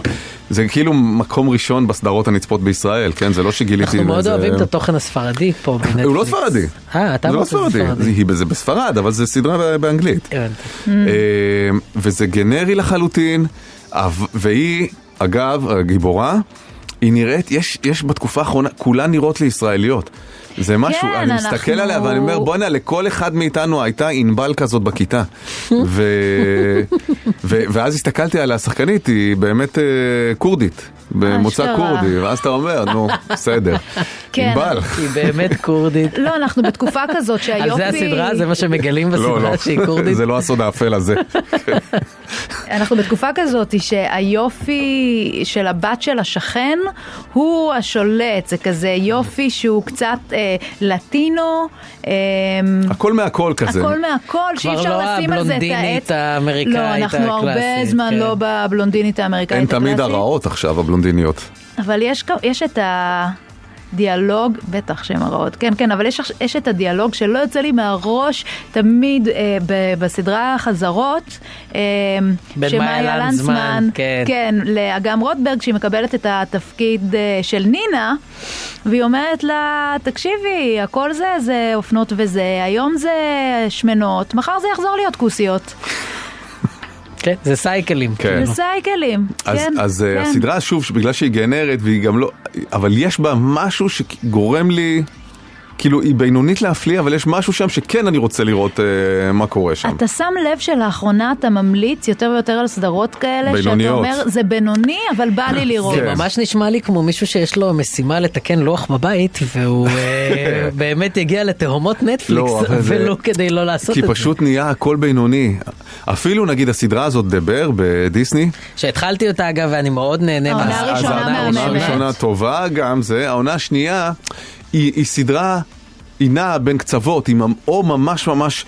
S3: זה כאילו מקום ראשון בסדרות הנצפות בישראל, כן? זה לא שגיליתי...
S4: אנחנו מאוד
S3: איזה-
S4: אוהבים את התוכן הספרדי פה בנטפליקס.
S3: אה, הוא לא ספרדי.
S4: אה, אתה
S3: זה לא
S4: אמרת שזה
S3: ספרדי. זה- היא- זה בספרד, אבל זה סדרה באנגלית.
S4: הבנתי.
S3: אה, וזה גנרי לחלוטין, אב- והיא, אגב, הגיבורה, היא נראית, יש, יש בתקופה האחרונה, כולן נראות לי ישראליות. זה
S4: כן,
S3: משהו, אני
S5: אנחנו-
S3: מסתכל עליה ואני אומר, בואנה, לכל אחד מאיתנו הייתה ענבל כזאת בכיתה. ו... ו... ואז הסתכלתי על השחקנית, היא באמת אה, כורדית, במוצא
S5: אשכרה.
S3: כורדי, ואז אתה אומר, נו, בסדר,
S5: כן.
S3: ענבל.
S4: היא באמת כורדית.
S5: לא, אנחנו בתקופה כזאת שהיופי...
S4: על זה הסדרה, זה מה שמגלים
S3: לא, לא,
S4: בסדרה שהיא כורדית.
S3: זה לא הסוד האפל הזה.
S5: אנחנו בתקופה כזאת שהיופי של הבת של השכן הוא השולט, זה כזה יופי שהוא קצת אה, לטינו, אה,
S3: הכל מהכל כזה.
S5: הכל מהכל, שאי
S4: כבר
S5: אפשר
S4: לא
S5: לשים על זה את העץ.
S4: הבלונדינית האמריקאית
S5: לא, אנחנו הרבה
S4: הקלאסית,
S5: זמן
S4: כן.
S5: לא בבלונדינית האמריקאית
S3: הן תמיד
S5: הקלאסית.
S3: הרעות עכשיו, הבלונדיניות.
S5: אבל יש, כ- יש את הדיאלוג, בטח שהן הרעות, כן, כן, אבל יש, יש את הדיאלוג שלא יוצא לי מהראש תמיד אה, ב, בסדרה החזרות. אה,
S4: בין
S5: שמאיה
S4: מאיה לנדסמן, כן.
S5: כן, לאגם רוטברג, שהיא מקבלת את התפקיד אה, של נינה, והיא אומרת לה, תקשיבי, הכל זה, זה אופנות וזה, היום זה שמנות, מחר זה יחזור להיות כוסיות.
S4: כן, זה סייקלים.
S3: כן.
S5: זה סייקלים,
S3: אז,
S5: כן.
S3: אז
S5: כן.
S3: כן. הסדרה, שוב, בגלל שהיא גנרית והיא גם לא... אבל יש בה משהו שגורם לי כאילו, היא בינונית להפליא, אבל יש משהו שם שכן אני רוצה לראות אה, מה קורה שם.
S5: אתה שם לב שלאחרונה אתה ממליץ יותר ויותר על סדרות כאלה, שאתה
S3: בינוניות. כן.
S5: אומר, זה בינוני, אבל בא לי לראות.
S4: זה ממש נשמע לי כמו מישהו שיש לו משימה לתקן לוח בבית, והוא אה, באמת יגיע לתהומות נטפליקס,
S3: לא, אבל זה-
S4: ולא כדי לא לעשות
S3: כי
S4: את זה.
S3: פשוט נהיה הכל בינוני. אפילו נגיד הסדרה הזאת, דבר, בדיסני,
S4: שהתחלתי אותה אגב, ואני מאוד נהנה
S5: העונה
S4: מה-
S5: הראשונה
S4: אז העונה
S3: העונה
S5: מהממת.
S3: הראשונה טובה גם זה, העונה השנייה היא, היא סדרה, היא נעה בין קצוות, היא ממ- או ממש ממש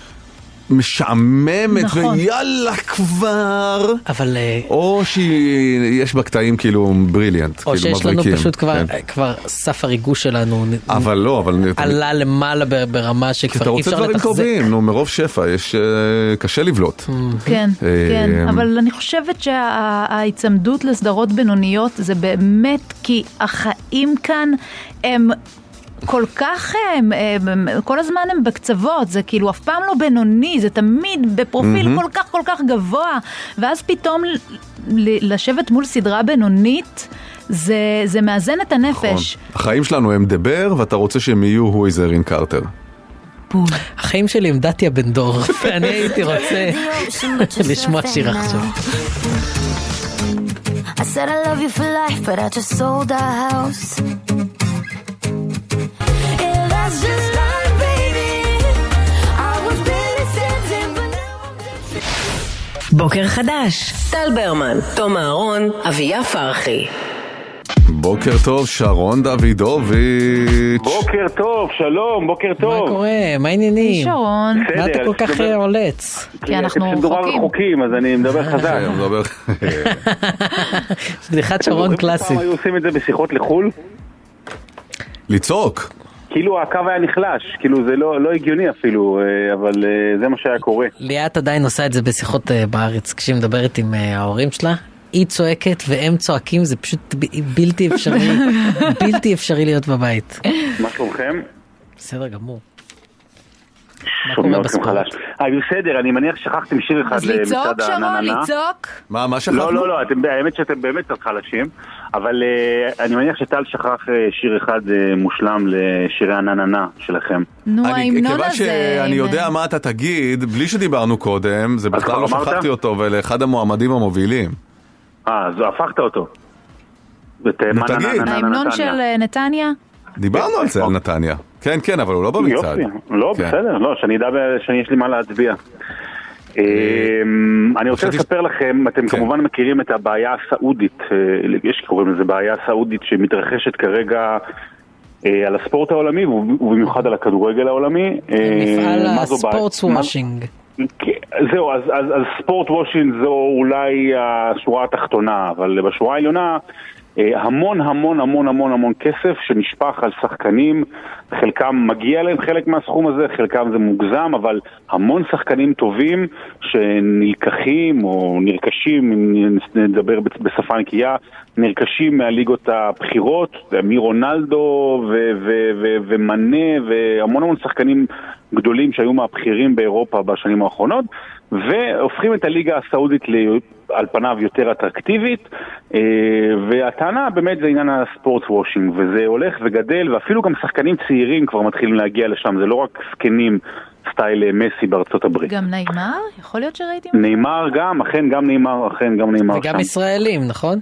S3: משעממת
S5: נכון.
S3: ויאללה כבר,
S4: אבל אה,
S3: או שיש בה קטעים כאילו בריליאנט,
S4: או
S3: כאילו מבריקים.
S4: שיש לנו פשוט כבר, אה,
S3: כן.
S4: כבר סף הריגוש שלנו נ-
S3: אבל לא, אבל...
S4: עלה למעלה ב- ברמה
S3: כי אתה
S4: שכבר אי
S3: רוצה
S4: אפשר
S3: דברים
S4: לתחזק. Mm.
S3: טובים, נו, מרוב שפע, יש... אה, קשה לבלוט.
S5: כן,
S3: אה,
S5: כן, אבל אני חושבת שההיצמדות לסדרות בינוניות זה באמת כי החיים כאן הם... כל כך הם, הם, הם, כל הזמן הם בקצוות, זה כאילו אף פעם לא בינוני, זה תמיד בפרופיל כל כך כל כך גבוה, ואז פתאום ל- ל- לשבת מול סדרה בינונית, זה, זה מאזן את הנפש.
S3: נכון. החיים שלנו הם דבר, ואתה רוצה שהם יהיו הוא איזה רין קרטר.
S5: בול.
S4: החיים שלי הם דתיה בן דור, ואני הייתי רוצה לשמוע שיר עכשיו.
S12: I said I love you for life, but I just sold our house. Yeah, that's just life, baby. I was barely standing, but now I'm just-
S2: בוקר חדש, טל ברמן, תום אהרון, אביה פרחי.
S3: בוקר טוב, שרון דוידוביץ'.
S8: בוקר טוב, שלום, בוקר
S4: מה
S8: טוב.
S4: קורה? מה העניינים?
S5: שרון,
S4: מה אתה
S8: בסדר,
S4: כל כך
S8: בסדר.
S4: אה, עולץ?
S5: כי אנחנו
S8: אתם מדובר
S5: רחוקים.
S8: רחוקים, אז אני מדבר חזק.
S3: אני מדבר-
S4: בדיחת שרון קלאסית.
S8: פעם היו עושים את זה בשיחות לחו"ל?
S3: לצעוק.
S8: כאילו הקו היה נחלש, כאילו זה לא לא הגיוני אפילו, אה, אבל אה, זה מה שהיה קורה.
S4: ליאת עדיין עושה את זה בשיחות אה, בארץ, כשהיא מדברת עם אה, ההורים שלה. היא צועקת והם צועקים, זה פשוט ב- בלתי אפשרי, בלתי אפשרי להיות בבית.
S8: מה שלומכם?
S4: בסדר גמור.
S8: שומע
S4: קורה
S8: אתכם
S4: בספורט?
S8: חלש. אה, בסדר, אני מניח ששכחתם שיר אחד
S5: אז לצעוק,
S8: למצעד
S5: שרון,
S8: העננה.
S5: לצעוק.
S3: מה, מה שכחנו?
S8: לא, לא, לא, אתם- האמת שאתם באמת קצת חלשים, אבל אה, אני מניח שטל שכח אה, שיר אחד אה, מושלם לשירי הנננה שלכם.
S5: נו,
S3: נכון. אני-
S5: ההמנון
S3: כיוון
S5: הזה.
S3: שאני אה, יודע מה אתה תגיד, בלי שדיברנו קודם, זה בכלל
S8: כבר
S3: לא
S8: אמרת?
S3: שכחתי אותו, ולאחד המועמדים המובילים.
S8: אה, אז הפכת אותו. את, אה,
S3: נו,
S8: מה,
S3: תגיד.
S8: נננה, נננה,
S5: ההמנון
S8: נתניה.
S5: של אה, נתניה?
S3: דיברנו על זה על נתניה. כן, כן, אבל הוא לא במצעד.
S8: יופי, לא,
S3: כן.
S8: בסדר, לא, שאני אדע ב- שאני יש לי מה להצביע. אה, אני רוצה
S3: חשבתי ש-
S8: לספר לכם, אתם
S3: כן.
S8: כמובן מכירים את הבעיה הסעודית, אה, יש שקוראים לזה בעיה סעודית שמתרחשת כרגע אה, על הספורט העולמי וב- ובמיוחד על הכדורגל העולמי. אה,
S4: מפעל
S8: מה זו בעיה-
S4: הספורטס
S8: מה-
S4: וושינג.
S8: כן, זהו, אז, אז, אז ספורט וושינג זו אולי השורה התחתונה, אבל בשורה העליונה אה, המון המון המון המון המון כסף שנשפך על שחקנים, חלקם מגיע להם חלק מהסכום הזה, חלקם זה מוגזם, אבל המון שחקנים טובים שנלקחים או נרכשים, אם נדבר בצ- בשפה נקייה, נרכשים מהליגות הבכירות, מרונלדו ו- ו- ו- ומנה והמון המון שחקנים גדולים שהיו מהבכירים באירופה בשנים האחרונות, והופכים את הליגה הסעודית ל... על פניו יותר אטרקטיבית, אה, והטענה באמת זה עניין הספורט וושינג, וזה הולך וגדל, ואפילו גם שחקנים צעירים כבר מתחילים להגיע לשם, זה לא רק זקנים סטייל אה, מסי בארצות הברית.
S5: גם נעימה? יכול להיות שראיתי משהו.
S8: נאמר גם, אכן גם נאמר, אכן גם נאמר שם.
S4: וגם ישראלים, נכון?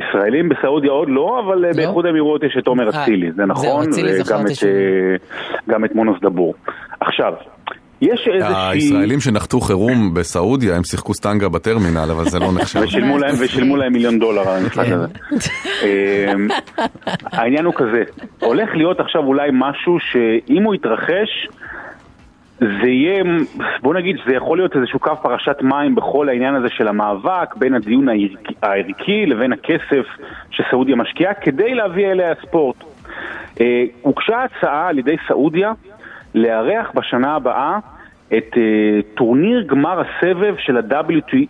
S8: אה, ישראלים בסעודיה עוד לא, אבל אה, באיחוד האמירויות יש את עומר
S4: אה,
S8: אצילי, זה
S4: זהו,
S8: נכון,
S4: אצילי זכרתי
S8: וגם את,
S4: שהוא-
S8: אה, גם את מונוס דבור. עכשיו, יש איזושהי...
S3: אה, הישראלים שנחתו חירום בסעודיה, הם שיחקו סטנגה בטרמינל, אבל זה לא נחשב. כן.
S8: ושילמו להם, ושילמו להם מיליון דולר על המשחק הזה. אמ, העניין הוא כזה, הולך להיות עכשיו אולי משהו שאם הוא יתרחש, זה יהיה, בוא נגיד שזה יכול להיות איזשהו קו פרשת מים בכל העניין הזה של המאבק בין הדיון הערכי, הערכי לבין הכסף שסעודיה משקיעה כדי להביא אליה ספורט. אה, הוגשה הצעה על ידי סעודיה לארח בשנה הבאה את אה, טורניר גמר הסבב של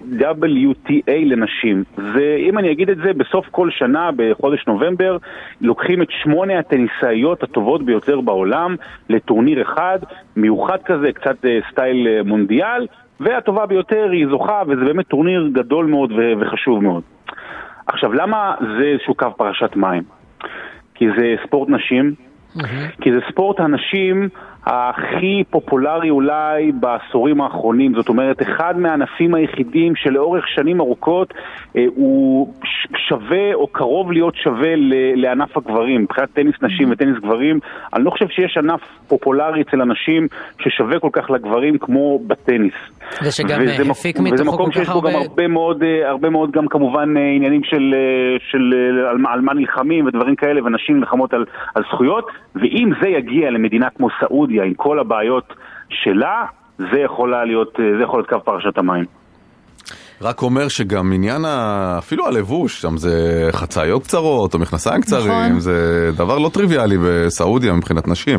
S8: ה-WTA לנשים. זה, אם אני אגיד את זה, בסוף כל שנה, בחודש נובמבר, לוקחים את שמונה הטניסאיות הטובות ביותר בעולם לטורניר אחד, מיוחד כזה, קצת אה, סטייל אה, מונדיאל, והטובה ביותר היא זוכה, וזה באמת טורניר גדול מאוד ו- וחשוב מאוד. עכשיו, למה זה איזשהו קו פרשת מים? כי זה ספורט נשים,
S5: אוקיי.
S8: כי זה ספורט הנשים הכי פופולרי אולי בעשורים האחרונים. זאת אומרת, אחד מהענפים היחידים שלאורך שנים ארוכות אה, הוא ש- שווה או קרוב להיות שווה ל- לענף הגברים, מבחינת טניס נשים וטניס גברים. אני לא חושב שיש ענף פופולרי אצל הנשים ששווה כל כך לגברים כמו בטניס.
S4: ושגם
S8: וזה
S4: אה,
S8: מק-
S4: הפיק מתוכו כל
S8: וזה מקום שיש
S4: כך
S8: בו
S4: הרבה...
S8: גם הרבה מאוד, אה, הרבה מאוד גם כמובן אה, עניינים של, אה, של אה, על, מה- על מה נלחמים ודברים כאלה, ונשים נלחמות על, על זכויות, ואם זה יגיע למדינה כמו סעודיה עם כל הבעיות שלה, זה יכול היה להיות, אה, זה יכול להיות קו פרשת המים.
S3: רק אומר שגם עניין, ה... אפילו הלבוש, שם זה חצאיות קצרות או מכנסיים קצרים,
S5: נכון.
S3: זה דבר לא טריוויאלי בסעודיה מבחינת נשים.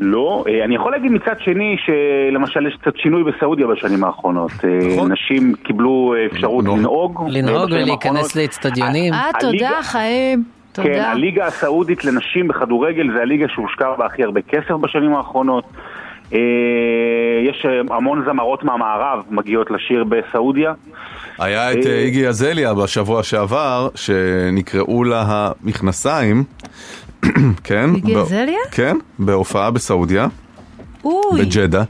S8: לא, אה, אני יכול להגיד מצד שני שלמשל יש קצת שינוי בסעודיה בשנים האחרונות. אה, נשים קיבלו אה, אפשרות לנהוג.
S4: לנהוג
S8: ובשנים האחרונות-
S4: ולהיכנס לאצטדיונים.
S5: אה, תודה,
S8: הליגה-
S5: חיים.
S8: כן,
S5: תודה.
S8: הליגה הסעודית לנשים בכדורגל זה הליגה שהושקע בה הכי הרבה כסף בשנים האחרונות. אה, יש אה, המון זמרות מהמערב מגיעות לשיר בסעודיה.
S3: היה את אה, איגי אזליה בשבוע שעבר, שנקראו לה המכנסיים, כן?
S5: איגי
S3: ב-
S5: אזליה?
S3: כן, בהופעה בסעודיה,
S5: אוי,
S3: בג'דה,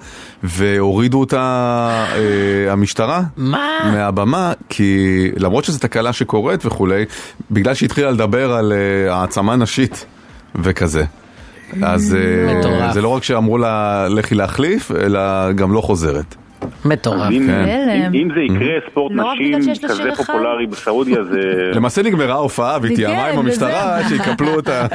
S3: והורידו אותה אה, המשטרה
S4: מה?
S3: מהבמה, כי למרות שזו תקלה שקורית וכולי, בגלל שהיא התחילה לדבר על אה, העצמה נשית וכזה. אז אה,
S4: מטורף.
S3: זה לא רק שאמרו לה לכי להחליף, אלא גם לא חוזרת.
S8: אה.
S4: מטורף.
S8: אם,
S3: כן.
S8: אם, אם זה יקרה, ספורט
S5: לא רק
S8: נשים
S5: בגלל שיש לה
S8: כזה
S5: שיר אחד.
S8: פופולרי בסעודיה זה...
S3: למעשה נגמרה ההופעה והיא תיאמה
S5: כן,
S3: עם המשטרה
S5: וזה-
S3: שיקפלו אותה.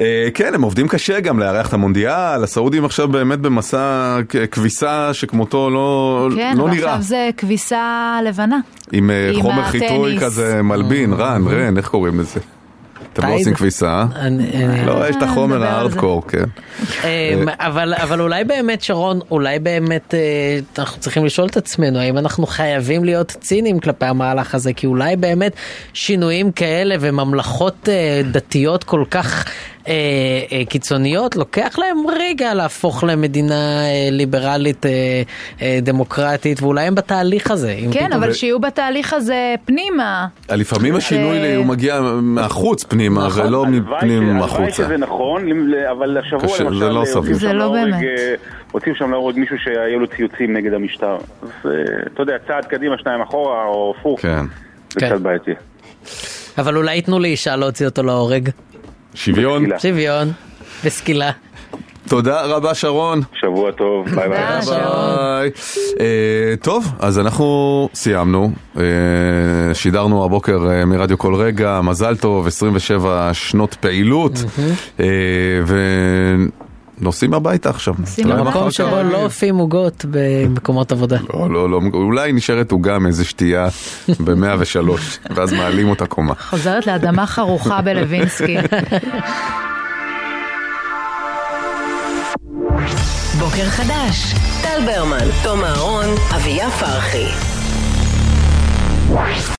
S3: אה, כן, הם עובדים קשה גם לארח את המונדיאל, הסעודים עכשיו באמת במסע כ- כביסה שכמותו לא,
S5: כן,
S3: לא נראה,
S5: ועכשיו זה כביסה לבנה.
S3: עם אה,
S5: עם
S3: חומר
S5: הטניס.
S3: חיטוי
S8: Mm-hmm.
S3: כזה מלבין, רן, רן, איך קוראים לזה? אתם לא
S4: טייד?
S3: עושים כביסה, אה?
S4: אני- אני-
S3: לא, יש את החומר
S5: נדבר על זה.
S3: הארדקור, כן.
S8: אה,
S4: אמ, אבל אבל אולי באמת שרון אולי באמת אה, אנחנו צריכים לשאול את עצמנו האם אנחנו חייבים להיות ציניים כלפי המהלך הזה כי אולי באמת שינויים כאלה וממלכות אה, דתיות כל כך אה, אה, קיצוניות לוקח להם רגע להפוך למדינה אה, ליברלית אה, אה, דמוקרטית ואולי הם בתהליך הזה. אם
S5: כן,
S4: פתאום-
S5: אבל שיהיו בתהליך הזה פנימה.
S3: לפעמים השינוי
S5: זה-
S3: הוא מגיע מהחוץ פנימה ולא
S8: נכון. הלוואי ש-
S3: מפנים
S8: הלוואי
S3: החוצה.
S8: שזה נכון, למ- אבל השבוע
S3: קשה,
S8: למשל... אה,
S3: זה לא
S8: הוציאו
S3: סביר.
S8: שם
S5: זה לא
S8: להורג,
S5: באמת.
S8: אה, הוציאו שם להורג מישהו שהיו לו ציוצים נגד המשטר. אז אה, אתה יודע, צעד קדימה, שניים אחורה, או הפוך.
S3: כן.
S8: זה
S4: כן.
S8: קצת בעייתי.
S4: אבל אולי ייתנו לאישה להוציא אותו להורג.
S3: שוויון.
S8: בתפילה.
S4: שוויון. בסקילה.
S3: תודה רבה שרון.
S8: שבוע טוב, ביי ביי.
S5: תודה.
S3: ביי. אה, טוב, אז אנחנו סיימנו. אה, שידרנו הבוקר אה, מרדיו כל רגע, מזל טוב, 27 שנות פעילות. אה, ונוסעים הביתה עכשיו.
S5: נוסעים
S3: אולי
S5: הביתה.
S3: מחר
S4: מקום
S5: ממש,
S4: שבו
S5: אה,
S4: לא אופים עוגות במקומות עבודה.
S3: לא, לא, לא, אולי נשארת עוגה מאיזה שתייה ב-103, ואז מעלים אותה קומה.
S5: חוזרת לאדמה חרוכה בלווינסקי.
S2: בוקר חדש, טל ברמן, תום אהרון, אביה פרחי.